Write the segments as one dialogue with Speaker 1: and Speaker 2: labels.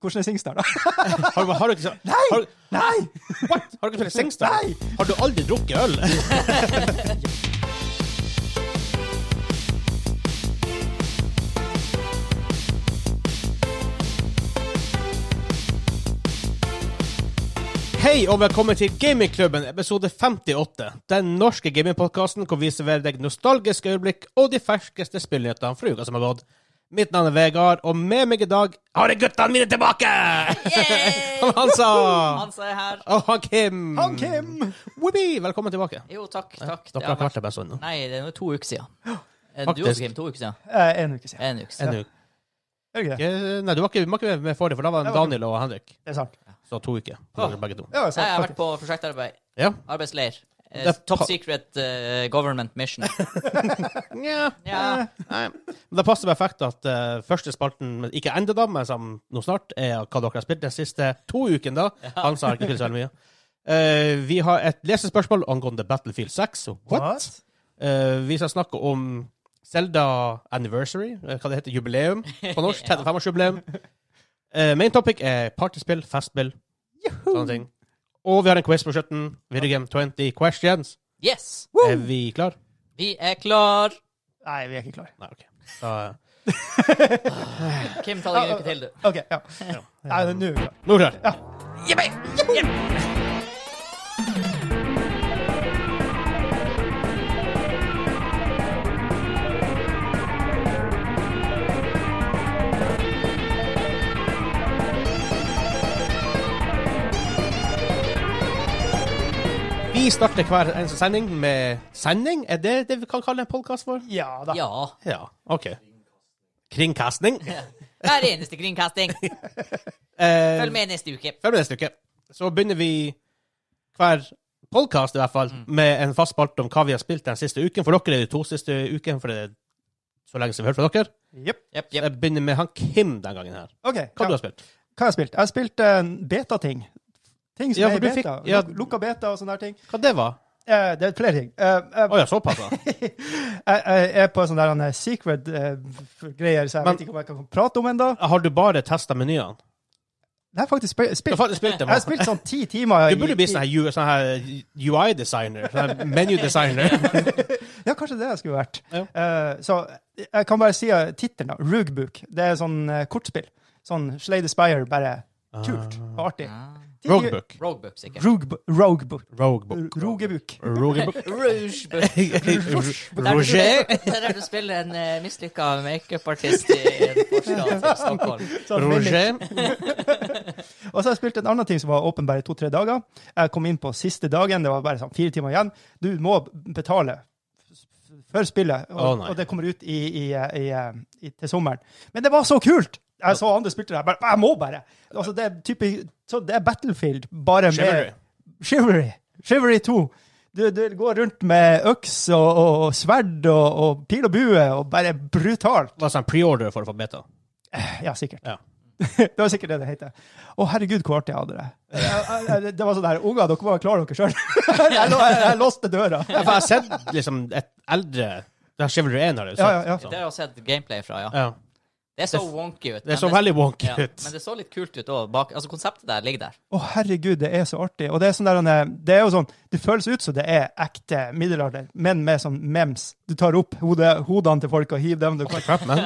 Speaker 1: Hvordan er Singstar, da? Mm.
Speaker 2: Har, du- har du ikke så- Har, du-
Speaker 1: Nei!
Speaker 2: what? Har du ikke spilt Singstar?
Speaker 1: Nei!
Speaker 2: Har du aldri drukket øl? Hei og velkommen til Gamingklubben, episode 58. Den norske gamingpodkasten hvor vi serverer deg nostalgiske øyeblikk og de ferskeste spillnyhetene fra uka som har gått. Mitt navn er Vegard, og med meg i dag har jeg guttene mine tilbake!
Speaker 3: Yay!
Speaker 2: Han Hansa!
Speaker 3: Hans er her.
Speaker 2: Og han Kim.
Speaker 1: Han Kim!
Speaker 2: Whoopi, velkommen tilbake.
Speaker 3: Jo, takk. takk. Det
Speaker 2: Dere
Speaker 3: har
Speaker 2: har
Speaker 3: vært...
Speaker 2: klart det på en stund nå.
Speaker 3: Nei, det er nå to uker siden. Eh, Du
Speaker 2: Faktisk.
Speaker 3: også, Kim. To uker siden.
Speaker 1: Eh, en uke siden.
Speaker 3: En uke siden.
Speaker 2: Ennå.
Speaker 1: Er det ikke det?
Speaker 2: Eh, Nei, du var ikke, du var ikke med forrige, for da var
Speaker 1: Jeg var
Speaker 2: Daniel og Henrik.
Speaker 1: Det er sant.
Speaker 2: Så to uker.
Speaker 3: Ah.
Speaker 2: Begge to.
Speaker 1: Ja, det er
Speaker 3: Nei,
Speaker 1: sant.
Speaker 3: jeg har vært
Speaker 1: faktisk.
Speaker 3: på prosjektarbeid.
Speaker 2: Ja.
Speaker 3: Arbeidsleir. Eh,
Speaker 2: Det er
Speaker 3: Top
Speaker 2: pa-
Speaker 3: secret eh, government mission.
Speaker 2: Nja.
Speaker 3: Ja.
Speaker 2: Nei. Men det passer perfekt at eh, første spalten, men ikke enda da, men som nå snart, er hva dere har spilt de siste to ukene. da. Hans har ikke spilt så veldig mye. Eh, vi har et lesespørsmål angående Battlefield 6. What?
Speaker 1: What?
Speaker 2: Eh, vi skal snakke om Zelda Anniversary, eh, hva det heter, jubileum på norsk. 35-årsjubileum. Eh, main topic er partyspill, festspill, sånne ting. Og vi har en quiz på slutten. Video Game 20 questions.
Speaker 3: Yes!
Speaker 2: Er vi klar?
Speaker 3: Vi er klar.
Speaker 1: Nei, vi er ikke klare.
Speaker 2: Nei, OK. Da,
Speaker 3: Kim, ta deg en uke til, du.
Speaker 1: OK, ja. Nei, men nå er vi klare.
Speaker 2: nå er vi klar.
Speaker 1: Ja.
Speaker 3: Jippi! Jippi!
Speaker 2: Vi starter hver eneste sending med sending. Er det det vi kan kalle en podkast for?
Speaker 1: Ja da.
Speaker 3: Ja.
Speaker 2: Ja, OK. Kringkasting.
Speaker 3: Hver eneste kringkasting.
Speaker 2: Eh,
Speaker 3: Følg med neste uke.
Speaker 2: Før det neste uke, så begynner vi hver podkast i hvert fall med en fast spalte om hva vi har spilt den siste uken. For dere er det de to siste ukene, for det er så lenge siden vi har hørt fra dere.
Speaker 1: Jepp.
Speaker 3: Jepp, jepp.
Speaker 2: Jeg begynner med han Kim den gangen her.
Speaker 1: OK.
Speaker 2: Hva
Speaker 1: ja.
Speaker 2: du har spilt?
Speaker 1: Hva har jeg spilt? Jeg har spilt eh, beta-ting. Ting som
Speaker 2: Ja,
Speaker 1: er
Speaker 2: for
Speaker 1: i
Speaker 2: du
Speaker 1: beta.
Speaker 2: fikk- ja.
Speaker 1: Luk- Lukka beta og sånne der ting.
Speaker 2: Hva det var?
Speaker 1: Eh, det er flere ting. Eh, eh,
Speaker 2: Å ja, såpass, da.
Speaker 1: jeg, jeg er på sånne der, han, eh, secret eh, f- greier, så jeg
Speaker 2: Men-
Speaker 1: vet ikke om jeg kan prate om ennå.
Speaker 2: Har du bare testa menyene?
Speaker 1: Jeg har faktisk spe-
Speaker 2: Du har
Speaker 1: spilt
Speaker 2: faktisk spilt dem?
Speaker 1: Jeg har spilt sånn ti timer.
Speaker 2: Du
Speaker 1: i-
Speaker 2: burde bli sånn her U- sånn her UI-designer. Sånn her Menu-designer.
Speaker 1: Ja, kanskje det jeg skulle vært.
Speaker 2: Ja.
Speaker 1: Eh, så jeg kan bare si eh, tittelen, da. Rugbook. Det er sånn eh, kortspill. Sånn Slay the Spire, bare kult og artig.
Speaker 3: Ah.
Speaker 1: Ti-
Speaker 2: Rogebook.
Speaker 3: Roguebook, sikkert.
Speaker 1: Rugb- Rogebook.
Speaker 2: Rogebook.
Speaker 1: Rogebook.
Speaker 2: Rogebook.
Speaker 3: Rougebook. Der du-
Speaker 2: Roger.
Speaker 3: Der er du spiller en uh, mislykka makeupartist i en forstad til Stockholm.
Speaker 1: Sånn mimic.
Speaker 2: Roger.
Speaker 1: Og så har jeg spilt en annen ting som var åpen bare i to-tre dager. Jeg kom inn på siste dagen, det var bare sånn fire timer igjen. Du må betale før spillet, og,
Speaker 2: Å, nei.
Speaker 1: og det kommer ut i, i, i, i, til sommeren. Men det var så kult! Jeg så andre spilte det, jeg bare Jeg må bare! Altså, det, er type, så det er Battlefield, bare
Speaker 2: Chivalry.
Speaker 1: med Chivalry. Chivalry 2. Du, du går rundt med øks og, og, og sverd og, og pil og bue, og bare brutalt.
Speaker 2: Det var sånn preorder for å få beta.
Speaker 1: Ja, sikkert.
Speaker 2: Ja.
Speaker 1: det var sikkert det det heter. Å, herregud, hvor artig jeg hadde det. Jeg- jeg- jeg- Det var sånn der Unger, dere må klare dere sjøl. jeg, lå- jeg, jeg låste døra.
Speaker 2: Ja, for Jeg har sett liksom et eldre Det er Chivalry 1, har jeg
Speaker 1: Ja, ja, ja.
Speaker 2: sett.
Speaker 3: Det har jeg sett gameplay fra, ja.
Speaker 2: ja.
Speaker 3: Det så wonky ut.
Speaker 2: Det
Speaker 3: men
Speaker 2: så veldig wonky
Speaker 3: ja,
Speaker 2: ut.
Speaker 3: Men det så litt kult ut òg. Altså, konseptet der ligger der.
Speaker 1: Å, herregud, det er så artig. Og det er sånn der, han er- det er jo sånn Det føles ut som det er ekte middelalder, men med sånn mems. Du tar opp hodet, hodene til folk og hiver dem. Du kan,
Speaker 2: Crap, man.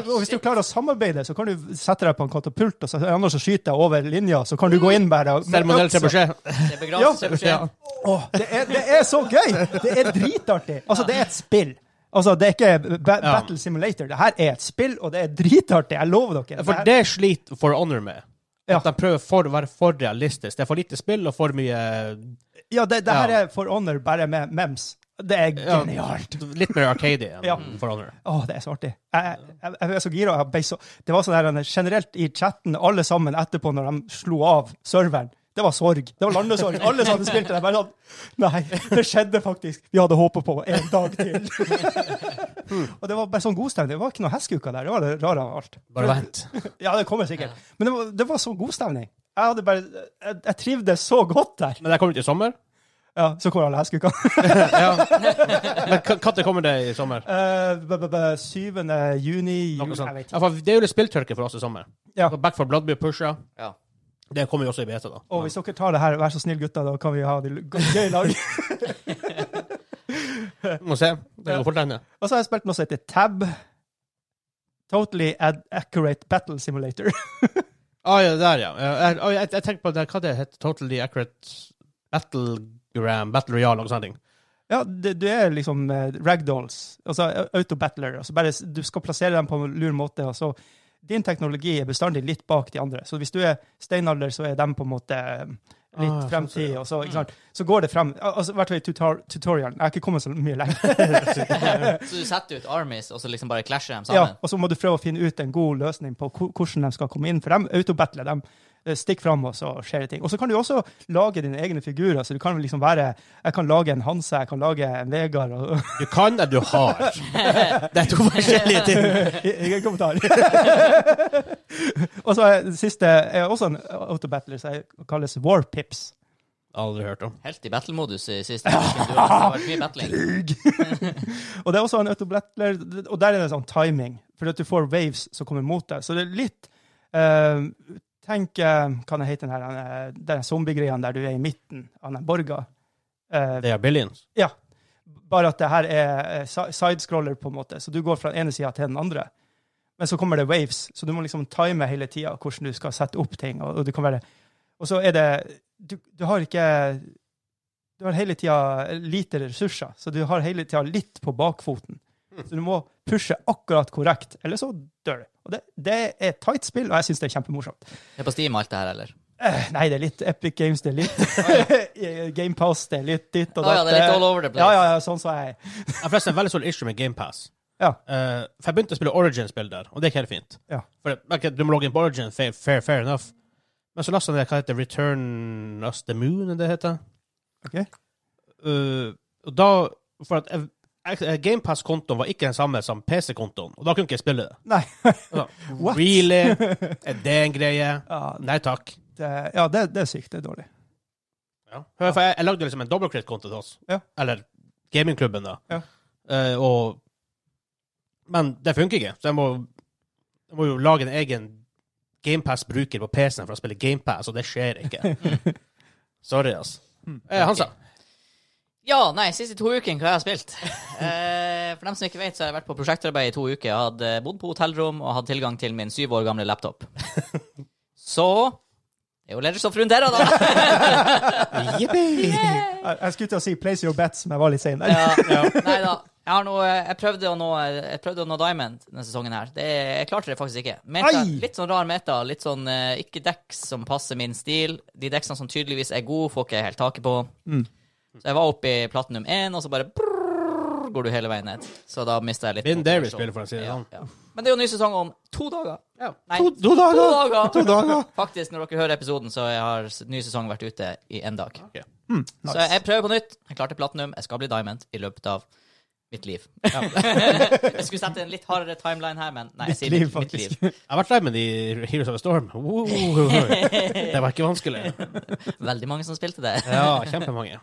Speaker 1: og hvis du klarer å samarbeide, så kan du sette deg på en katapult, og så, ellers så skyter jeg over linja, så kan du gå inn bare og- med
Speaker 2: Seremoniell
Speaker 1: øksa.
Speaker 2: trebuchet.
Speaker 3: Det er
Speaker 1: Ja.
Speaker 3: begravelse.
Speaker 2: Ja.
Speaker 3: beskjed.
Speaker 1: Åh, det, er, det er så gøy! Det er dritartig. Altså, det er et spill. Altså, det er ikke ba Battle Simulator. Det her er et spill, og det er dritartig. Jeg lover dere.
Speaker 2: For det sliter For Honor med.
Speaker 1: Ja.
Speaker 2: At de prøver for å være for realistisk. Det er for lite spill og for mye
Speaker 1: her, ja, det, det her
Speaker 2: Ja.
Speaker 1: er For Honor bare med mems. Det er
Speaker 2: Ja.
Speaker 1: genialt.
Speaker 2: Litt mer arcade enn
Speaker 1: Ja.
Speaker 2: For Honor.
Speaker 1: Å, det er så artig. Jeg, jeg, jeg er så gira. Jeg ble så, det var sånn her, generelt i chatten, alle sammen etterpå, når de slo av serveren. Det var sorg. Det var landesorg. Alle som hadde spilt det, bare sånn Nei, det skjedde faktisk. Vi hadde håpet på en dag til. Og det var bare sånn god stemning. Det var ikke noe heskuker der. Det var det rare av alt.
Speaker 2: Bare vent.
Speaker 1: Ja, det kommer sikkert. Men det var, det var så god stemning. Jeg hadde bare Jeg, jeg trivdes så godt der.
Speaker 2: Men det kommer ut i sommer?
Speaker 1: Ja, så kommer alle heskukene.
Speaker 2: Ja. Men k- når kommer det i sommer?
Speaker 1: Eh, b- b- b- 7. juni
Speaker 2: Noe
Speaker 1: juli, jeg
Speaker 2: sånt.
Speaker 1: vet ikke.
Speaker 2: Ja, for det er jo litt spilltørke for oss i sommer.
Speaker 1: Ja.
Speaker 2: Så Back for Blood blir pusha.
Speaker 3: Ja.
Speaker 2: Det kommer jo også i beta, da.
Speaker 1: Og hvis dere tar det her, vær så snill, gutter, da kan vi ha det gøy i lag.
Speaker 2: Vi Må se. Det
Speaker 1: Ja.
Speaker 2: går fort ennå.
Speaker 1: Og så har jeg spilt noe som heter Tab. Totally Ad Accurate Battle Simulator.
Speaker 2: Å Ah, ja, der, ja. Ja, Jeg, å, jeg, jeg tenkte på det, hva det heter Totally Accurate Battlegram, Battle Royale og sånne ting.
Speaker 1: Ja, det, du er liksom eh, ragdolls, altså eh, autobattler. Altså bare, s- du skal plassere dem på en lur måte. og så din teknologi er bestandig litt bak de andre. Så hvis du er steinalder, så er de på en måte eh, litt
Speaker 2: Ah, sånn
Speaker 1: fremtid,
Speaker 2: ser jeg.
Speaker 1: og så, ikke sant? så går det frem. Al- Altså, I hvert fall i tutor tutorialen. Jeg har ikke kommet så mye lenger.
Speaker 3: Så du setter ut armies, og så liksom bare clasher dem
Speaker 1: Ja,
Speaker 3: sammen?
Speaker 1: og så må du prøve å finne ut en god løsning på hvor- hvordan de skal komme inn, for de autobattler. De eh, stikker frem, og så skjer det ting. Og så kan du også lage dine egne figurer. så du kan liksom være, Jeg kan lage en Hanse, jeg kan lage en Vegard. og...
Speaker 2: Du kan det du har. Det er to forskjellige ting.
Speaker 1: Ingen kommentar. og så er det siste er også en autobattler som kalles War Pips.
Speaker 2: Aldri hørt om.
Speaker 3: Helt i battle-modus i siste uken. Du har vært mye battling.
Speaker 1: og det er også en autobattler, og der er det sånn timing, for at du får waves som kommer mot deg. Så det er litt eh, Tenk uh, Kan jeg hete den her eh, den zombiegreia der du er i midten av den borga? Eh,
Speaker 2: Det er billions.
Speaker 1: ja. Bare at det her er eh, si- sidescroller, på en måte. Så du går fra den ene sida til den andre. Men så kommer det waves, så du må liksom time hele tida hvordan du skal sette opp ting. Og, og du kan være Og så er det Du, du har ikke Du har hele tida lite ressurser, så du har hele tida litt på bakfoten.
Speaker 3: Mm.
Speaker 1: Så du må pushe akkurat korrekt, eller så dør du. Og det, det er et tight spill, og jeg syns det er kjempemorsomt.
Speaker 3: Det er på Steam alt det her, eller?
Speaker 1: Eh, Nei, det er litt Epic Games, det er litt Game Pass, det er litt ditt
Speaker 3: Å
Speaker 1: og datt.
Speaker 3: ja, det er litt all over the place.
Speaker 1: Ja, ja, ja, sånn sa jeg.
Speaker 2: Jeg har forresten en veldig stor issue med GamePass.
Speaker 1: Ja.
Speaker 2: Uh, for jeg begynte å spille Origin-spill der, og det er ikke helt fint.
Speaker 1: Ja.
Speaker 2: For det- ok, du må logge inn på Origin, fair, fair, fair enough. Men så lasta jeg ned hva heter Return Us The Moon, er det heter.
Speaker 1: Ok.
Speaker 2: Uh, og da For at jeg- jeg- GamePass-kontoen var ikke den samme som PC-kontoen, og da kunne ikke jeg spille det.
Speaker 1: Nei.
Speaker 2: Så,
Speaker 1: What?
Speaker 2: really? Er det en greie?
Speaker 1: Ja,
Speaker 2: Nei takk.
Speaker 1: det, ja det, det er sykt. Det er dårlig.
Speaker 2: Hør, for jeg, jeg lagde liksom en dobbeltkritt-konto til oss.
Speaker 1: Ja.
Speaker 2: Eller gamingklubben, da.
Speaker 1: Ja.
Speaker 2: Eh, og Men det funker ikke, så jeg må, jeg må jo lage en egen GamePass-bruker på PC-en for å spille GamePass, og det skjer ikke. Sorry, altså. Eh, Hansa.
Speaker 3: Ja, nei, siste to ukene hva jeg har spilt. Eh, for dem som ikke vet, så har jeg vært på prosjektarbeid i to uker. Jeg hadde bodd på hotellrom og hatt tilgang til min syv år gamle laptop. Så Det er jo Legends of Rundera, da!
Speaker 2: Jippi!
Speaker 1: Jeg, jeg skulle til å si 'place your bets', men jeg var litt sein der.
Speaker 3: Ja, nei da. Jeg, har nå, eh, jeg, prøvde å nå, jeg prøvde å nå Diamond denne sesongen her. Det, jeg klarte det faktisk ikke. Meta,
Speaker 1: Ai!
Speaker 3: litt sånn rar meta. Litt sånn eh, ikke dekks som passer min stil. De deksene som tydeligvis er gode, får ikke jeg helt taket på. Så jeg var oppe i platinum 1, og så bare brrrr, går du hele veien ned. Så da mista jeg litt
Speaker 2: Vin Davis
Speaker 3: motivasjon.
Speaker 2: spiller for å si det sånn.
Speaker 3: Ja. Men det er jo ny sesong om to dager.
Speaker 2: Ja.
Speaker 3: Nei,
Speaker 2: To, to dager!
Speaker 3: to dager.
Speaker 2: To dager.
Speaker 3: Faktisk, når dere hører episoden, så har s- ny sesong vært ute i én dag.
Speaker 2: Ok.
Speaker 1: Nice.
Speaker 3: Så jeg prøver på nytt. Jeg klarte platinum. Jeg skal bli diamond i løpet av mitt liv. jeg skulle sette en litt hardere timeline her, men nei, jeg
Speaker 1: Ditt
Speaker 3: sier
Speaker 1: liv,
Speaker 3: mitt, mitt liv.
Speaker 1: faktisk.
Speaker 2: Jeg har vært der med de Heroes of the Storm. Woo. Det var ikke vanskelig.
Speaker 3: Veldig mange som spilte det.
Speaker 2: Ja, kjempemange.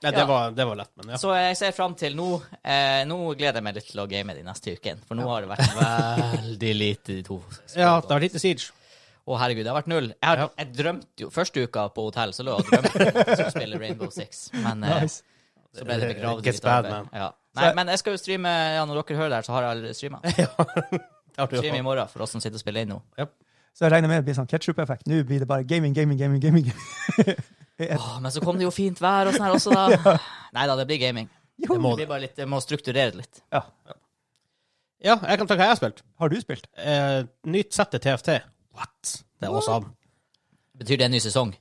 Speaker 2: Nei, det
Speaker 3: Ja.
Speaker 2: var, det var lett, men ja.
Speaker 3: Så jeg ser fram til nå. Eh, nå gleder jeg meg litt til å game de neste ukene, for nå har det vært veldig lite de to.
Speaker 2: ja det var lite siege.
Speaker 3: Å, herregud, det har vært null. Jeg, har,
Speaker 2: Ja.
Speaker 3: jeg drømte jo Første uka på hotell så lå jeg og drømte om at jeg skulle spille Rainbow Six, men eh,
Speaker 1: Nice.
Speaker 3: så ble det begravd
Speaker 2: Gets
Speaker 3: litt av
Speaker 2: bad,
Speaker 3: det.
Speaker 2: man.
Speaker 3: Ja.
Speaker 1: Så
Speaker 3: Nei,
Speaker 1: jeg-
Speaker 3: men jeg skal jo streame ja, Når dere hører det her, så har jeg allerede streama.
Speaker 2: Det var
Speaker 3: Stream i morgen for oss som sitter og spiller inn nå.
Speaker 1: Så jeg regner med det blir sånn ketsjup-effekt. Nå blir det bare gaming, gaming, gaming. gaming.
Speaker 3: Åh, men så kom det jo fint vær og sånn her også, da. Nei da, det blir gaming.
Speaker 1: Jo.
Speaker 3: Det, blir bare litt, det må strukturere det litt.
Speaker 1: Ja.
Speaker 2: Ja, jeg kan ta hva jeg har spilt.
Speaker 1: Har du spilt?
Speaker 2: Eh, nytt sett til TFT. What? Det er awesome.
Speaker 3: Betyr det en ny sesong?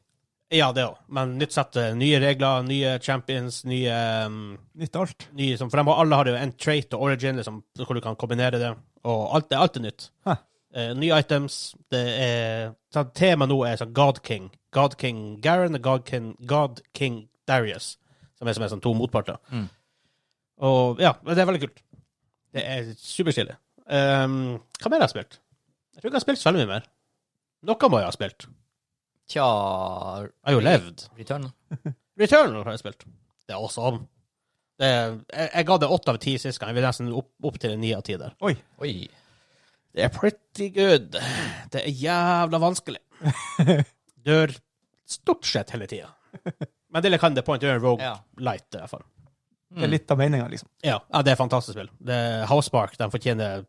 Speaker 2: Ja, det òg. Men nytt sett, eh, nye regler, nye champions, nye, um,
Speaker 1: Nytt alt?
Speaker 2: nye som, For de, har- alle har jo en trait og origin, liksom, hvor du kan kombinere det. Og alt, er- alt er nytt.
Speaker 1: Hæ.
Speaker 2: Eh, nye items. Det er så Temaet nå er sånn God King. God King Garen og God King, God King Darius. Som er, som er sånn to motparter.
Speaker 3: Mm.
Speaker 2: Og ja, men det er veldig kult. Det er superstilig. Um, hva mer har jeg spilt? Jeg tror ikke jeg har spilt så veldig mye mer. Noe må jeg ha spilt.
Speaker 3: Tja
Speaker 2: Jeg har jo levd.
Speaker 3: Returnal.
Speaker 2: Returnal har jeg spilt. Det er awesome. Det er, jeg, jeg ga det åtte av ti sist gang. Jeg vil nesten opp, opp til en ni av ti der.
Speaker 1: Oi.
Speaker 3: Oi.
Speaker 2: Det Det er pretty good. Det er jævla vanskelig. Dør stort sett hele tida. Men det kan det point gjøre Rogue
Speaker 3: Ja.
Speaker 2: Light, i hvert fall.
Speaker 1: Det
Speaker 3: Mm.
Speaker 1: er litt av meninga, liksom.
Speaker 2: Ja, ja, det er et fantastisk spill. Det er Housepark de fortjener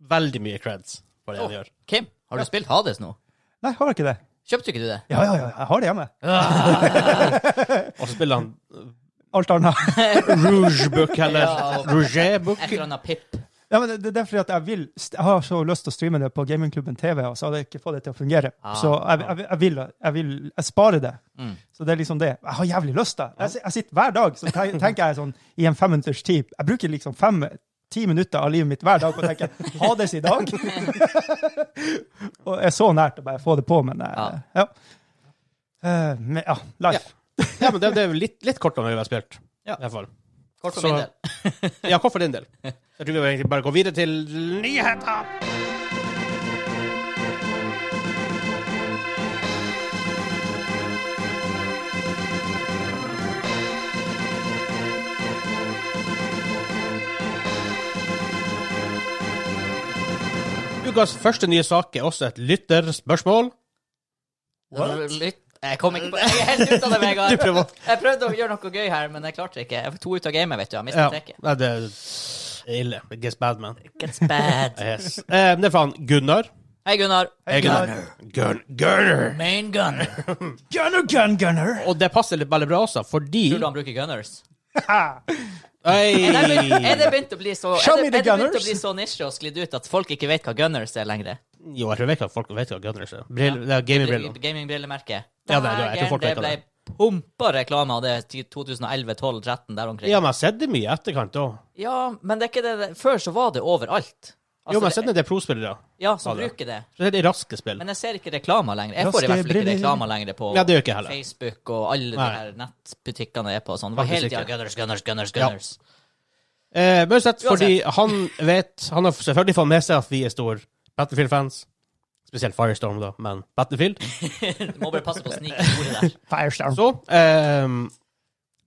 Speaker 2: veldig mye creds for det
Speaker 3: Åh.
Speaker 2: de gjør.
Speaker 3: Kim, har du spilt Hades nå?
Speaker 1: Nei, har jeg ikke det?
Speaker 3: Kjøpte ikke du det?
Speaker 1: Ja, ja, ja, jeg har det hjemme.
Speaker 2: Og så spiller han
Speaker 1: Alt annet.
Speaker 2: Rouge Book, eller
Speaker 3: Ja.
Speaker 2: Rouget Book.
Speaker 3: Et eller annet pip.
Speaker 1: Ja, men det, det er fordi at jeg vil Jeg har så lyst til å streame det på Gamingklubben TV, og så har jeg ikke fått det til å fungere.
Speaker 3: Ah.
Speaker 1: så jeg, jeg, jeg, vil, jeg vil Jeg sparer det.
Speaker 3: Mm.
Speaker 1: Så det er liksom det. Jeg har jævlig lyst til det. Jeg, si- jeg sitter hver dag så ten- tenker jeg sånn i en femminutters tid Jeg bruker liksom fem ti minutter av livet mitt hver dag på å tenke Hades i dag. og jeg er så nært å bare få det på, men eh,
Speaker 3: Ja.
Speaker 1: ja. Eh, men ja, life.
Speaker 2: Ja, men det, det er jo litt, litt kortere enn vi har spilt.
Speaker 3: Ja.
Speaker 2: I hvert fall.
Speaker 3: Kort for
Speaker 2: Så-
Speaker 3: min del.
Speaker 2: Ja, kort for din del. Jeg tror vi egentlig bare går videre til nyheter. Ukas første nye sak er også et lytterspørsmål.
Speaker 3: Lytt. Jeg kom ikke på Jeg er helt ute av det,
Speaker 2: Du
Speaker 3: Vegard.
Speaker 2: prøver å
Speaker 3: Jeg prøvde å gjøre noe gøy her, men jeg klarte ikke. Jeg fikk to ut av gamet, vet du. Jeg
Speaker 2: ja.
Speaker 3: mistet trekket.
Speaker 2: Nei, det er ille. It gets bad, man.
Speaker 3: Gets bad.
Speaker 2: Yes. Eh, det er fra han Gunnar.
Speaker 3: Hei, Gunnar.
Speaker 1: Hei,
Speaker 2: Gunnar. Gun Gunnar.
Speaker 3: Main gunner.
Speaker 1: Gunner, gun, gunner.
Speaker 2: Og det passer litt veldig bra også, fordi
Speaker 3: Tror du han bruker gunners?
Speaker 2: Oi!
Speaker 3: Er det begynt- er det begynt å bli så
Speaker 1: Show
Speaker 3: er
Speaker 1: me
Speaker 3: det,
Speaker 1: the
Speaker 3: er det begynt å
Speaker 1: gunners.
Speaker 3: bli så nisje og sklidd ut at folk ikke vet hva gunners er lenger?
Speaker 2: Jo, jeg tror ikke at folk vet hva Gunners er. Brill, det er gamingbriller.
Speaker 3: Gamingbrillemerket.
Speaker 2: Ja, nei, jeg tror folk
Speaker 3: Dægen,
Speaker 2: vet hva det
Speaker 3: ble pumpa reklame av det i 2011, 12, 13, der omkring.
Speaker 2: Ja,
Speaker 3: Ja.
Speaker 2: men jeg har sett det mye i etterkant òg.
Speaker 3: men det er ikke det Før så var det overalt. Altså,
Speaker 2: Jo, men jeg har sett det en del pro-spillere.
Speaker 3: ja, som
Speaker 2: Ja, det.
Speaker 3: bruker det.
Speaker 2: Så det er de raske spill.
Speaker 3: Men jeg ser ikke reklamer lenger. Jeg får i
Speaker 1: Raske
Speaker 3: hvert fall ikke
Speaker 1: briller.
Speaker 3: reklamer lenger på
Speaker 2: Ja, det gjør ikke jeg heller.
Speaker 3: Facebook og alle de
Speaker 2: Nei.
Speaker 3: her nettbutikkene jeg er på og sånn. Det var
Speaker 2: Faktisk
Speaker 3: hele tida
Speaker 2: ikke.
Speaker 3: gunners, gunners, gunners,
Speaker 2: Ja.
Speaker 3: gunners.
Speaker 2: Eh, men uansett,
Speaker 3: Uansett.
Speaker 2: fordi han vet Han har selvfølgelig fått med seg at vi er store Battlefield-fans. Spesielt Firestorm, da, men Battlefield.
Speaker 3: Du må bare passe på å snike ordet der.
Speaker 1: Firestorm.
Speaker 2: Så ehm,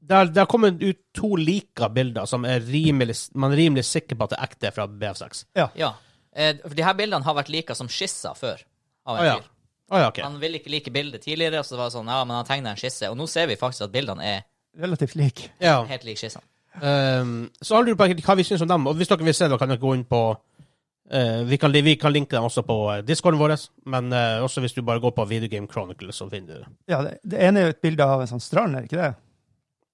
Speaker 2: der, der kommer ut to lika bilder som er rimelig, man er rimelig sikker på at det er ekte fra BF6.
Speaker 3: Ja. Eh, for de her bildene har vært lika som skisser før. Av
Speaker 2: Å
Speaker 3: en
Speaker 2: ja.
Speaker 3: fyr.
Speaker 2: Å ja, ok.
Speaker 3: Han ville ikke like bildet tidligere, og så var det sånn, ja, men han tegna en skisse. Og nå ser vi faktisk at bildene er
Speaker 1: Relativt lik.
Speaker 2: Ja.
Speaker 3: helt like skissene.
Speaker 2: Ehm, så har du på hva vi syns om dem. Og hvis dere vil se det, kan dere gå inn på eh, vi, kan, vi kan linke dem også på eh, discorden vår, men eh, også hvis du bare går på Video Game Chronicles, så finner du det.
Speaker 1: Ja, det, det ene er jo et bilde av en sånn strand, er det ikke det?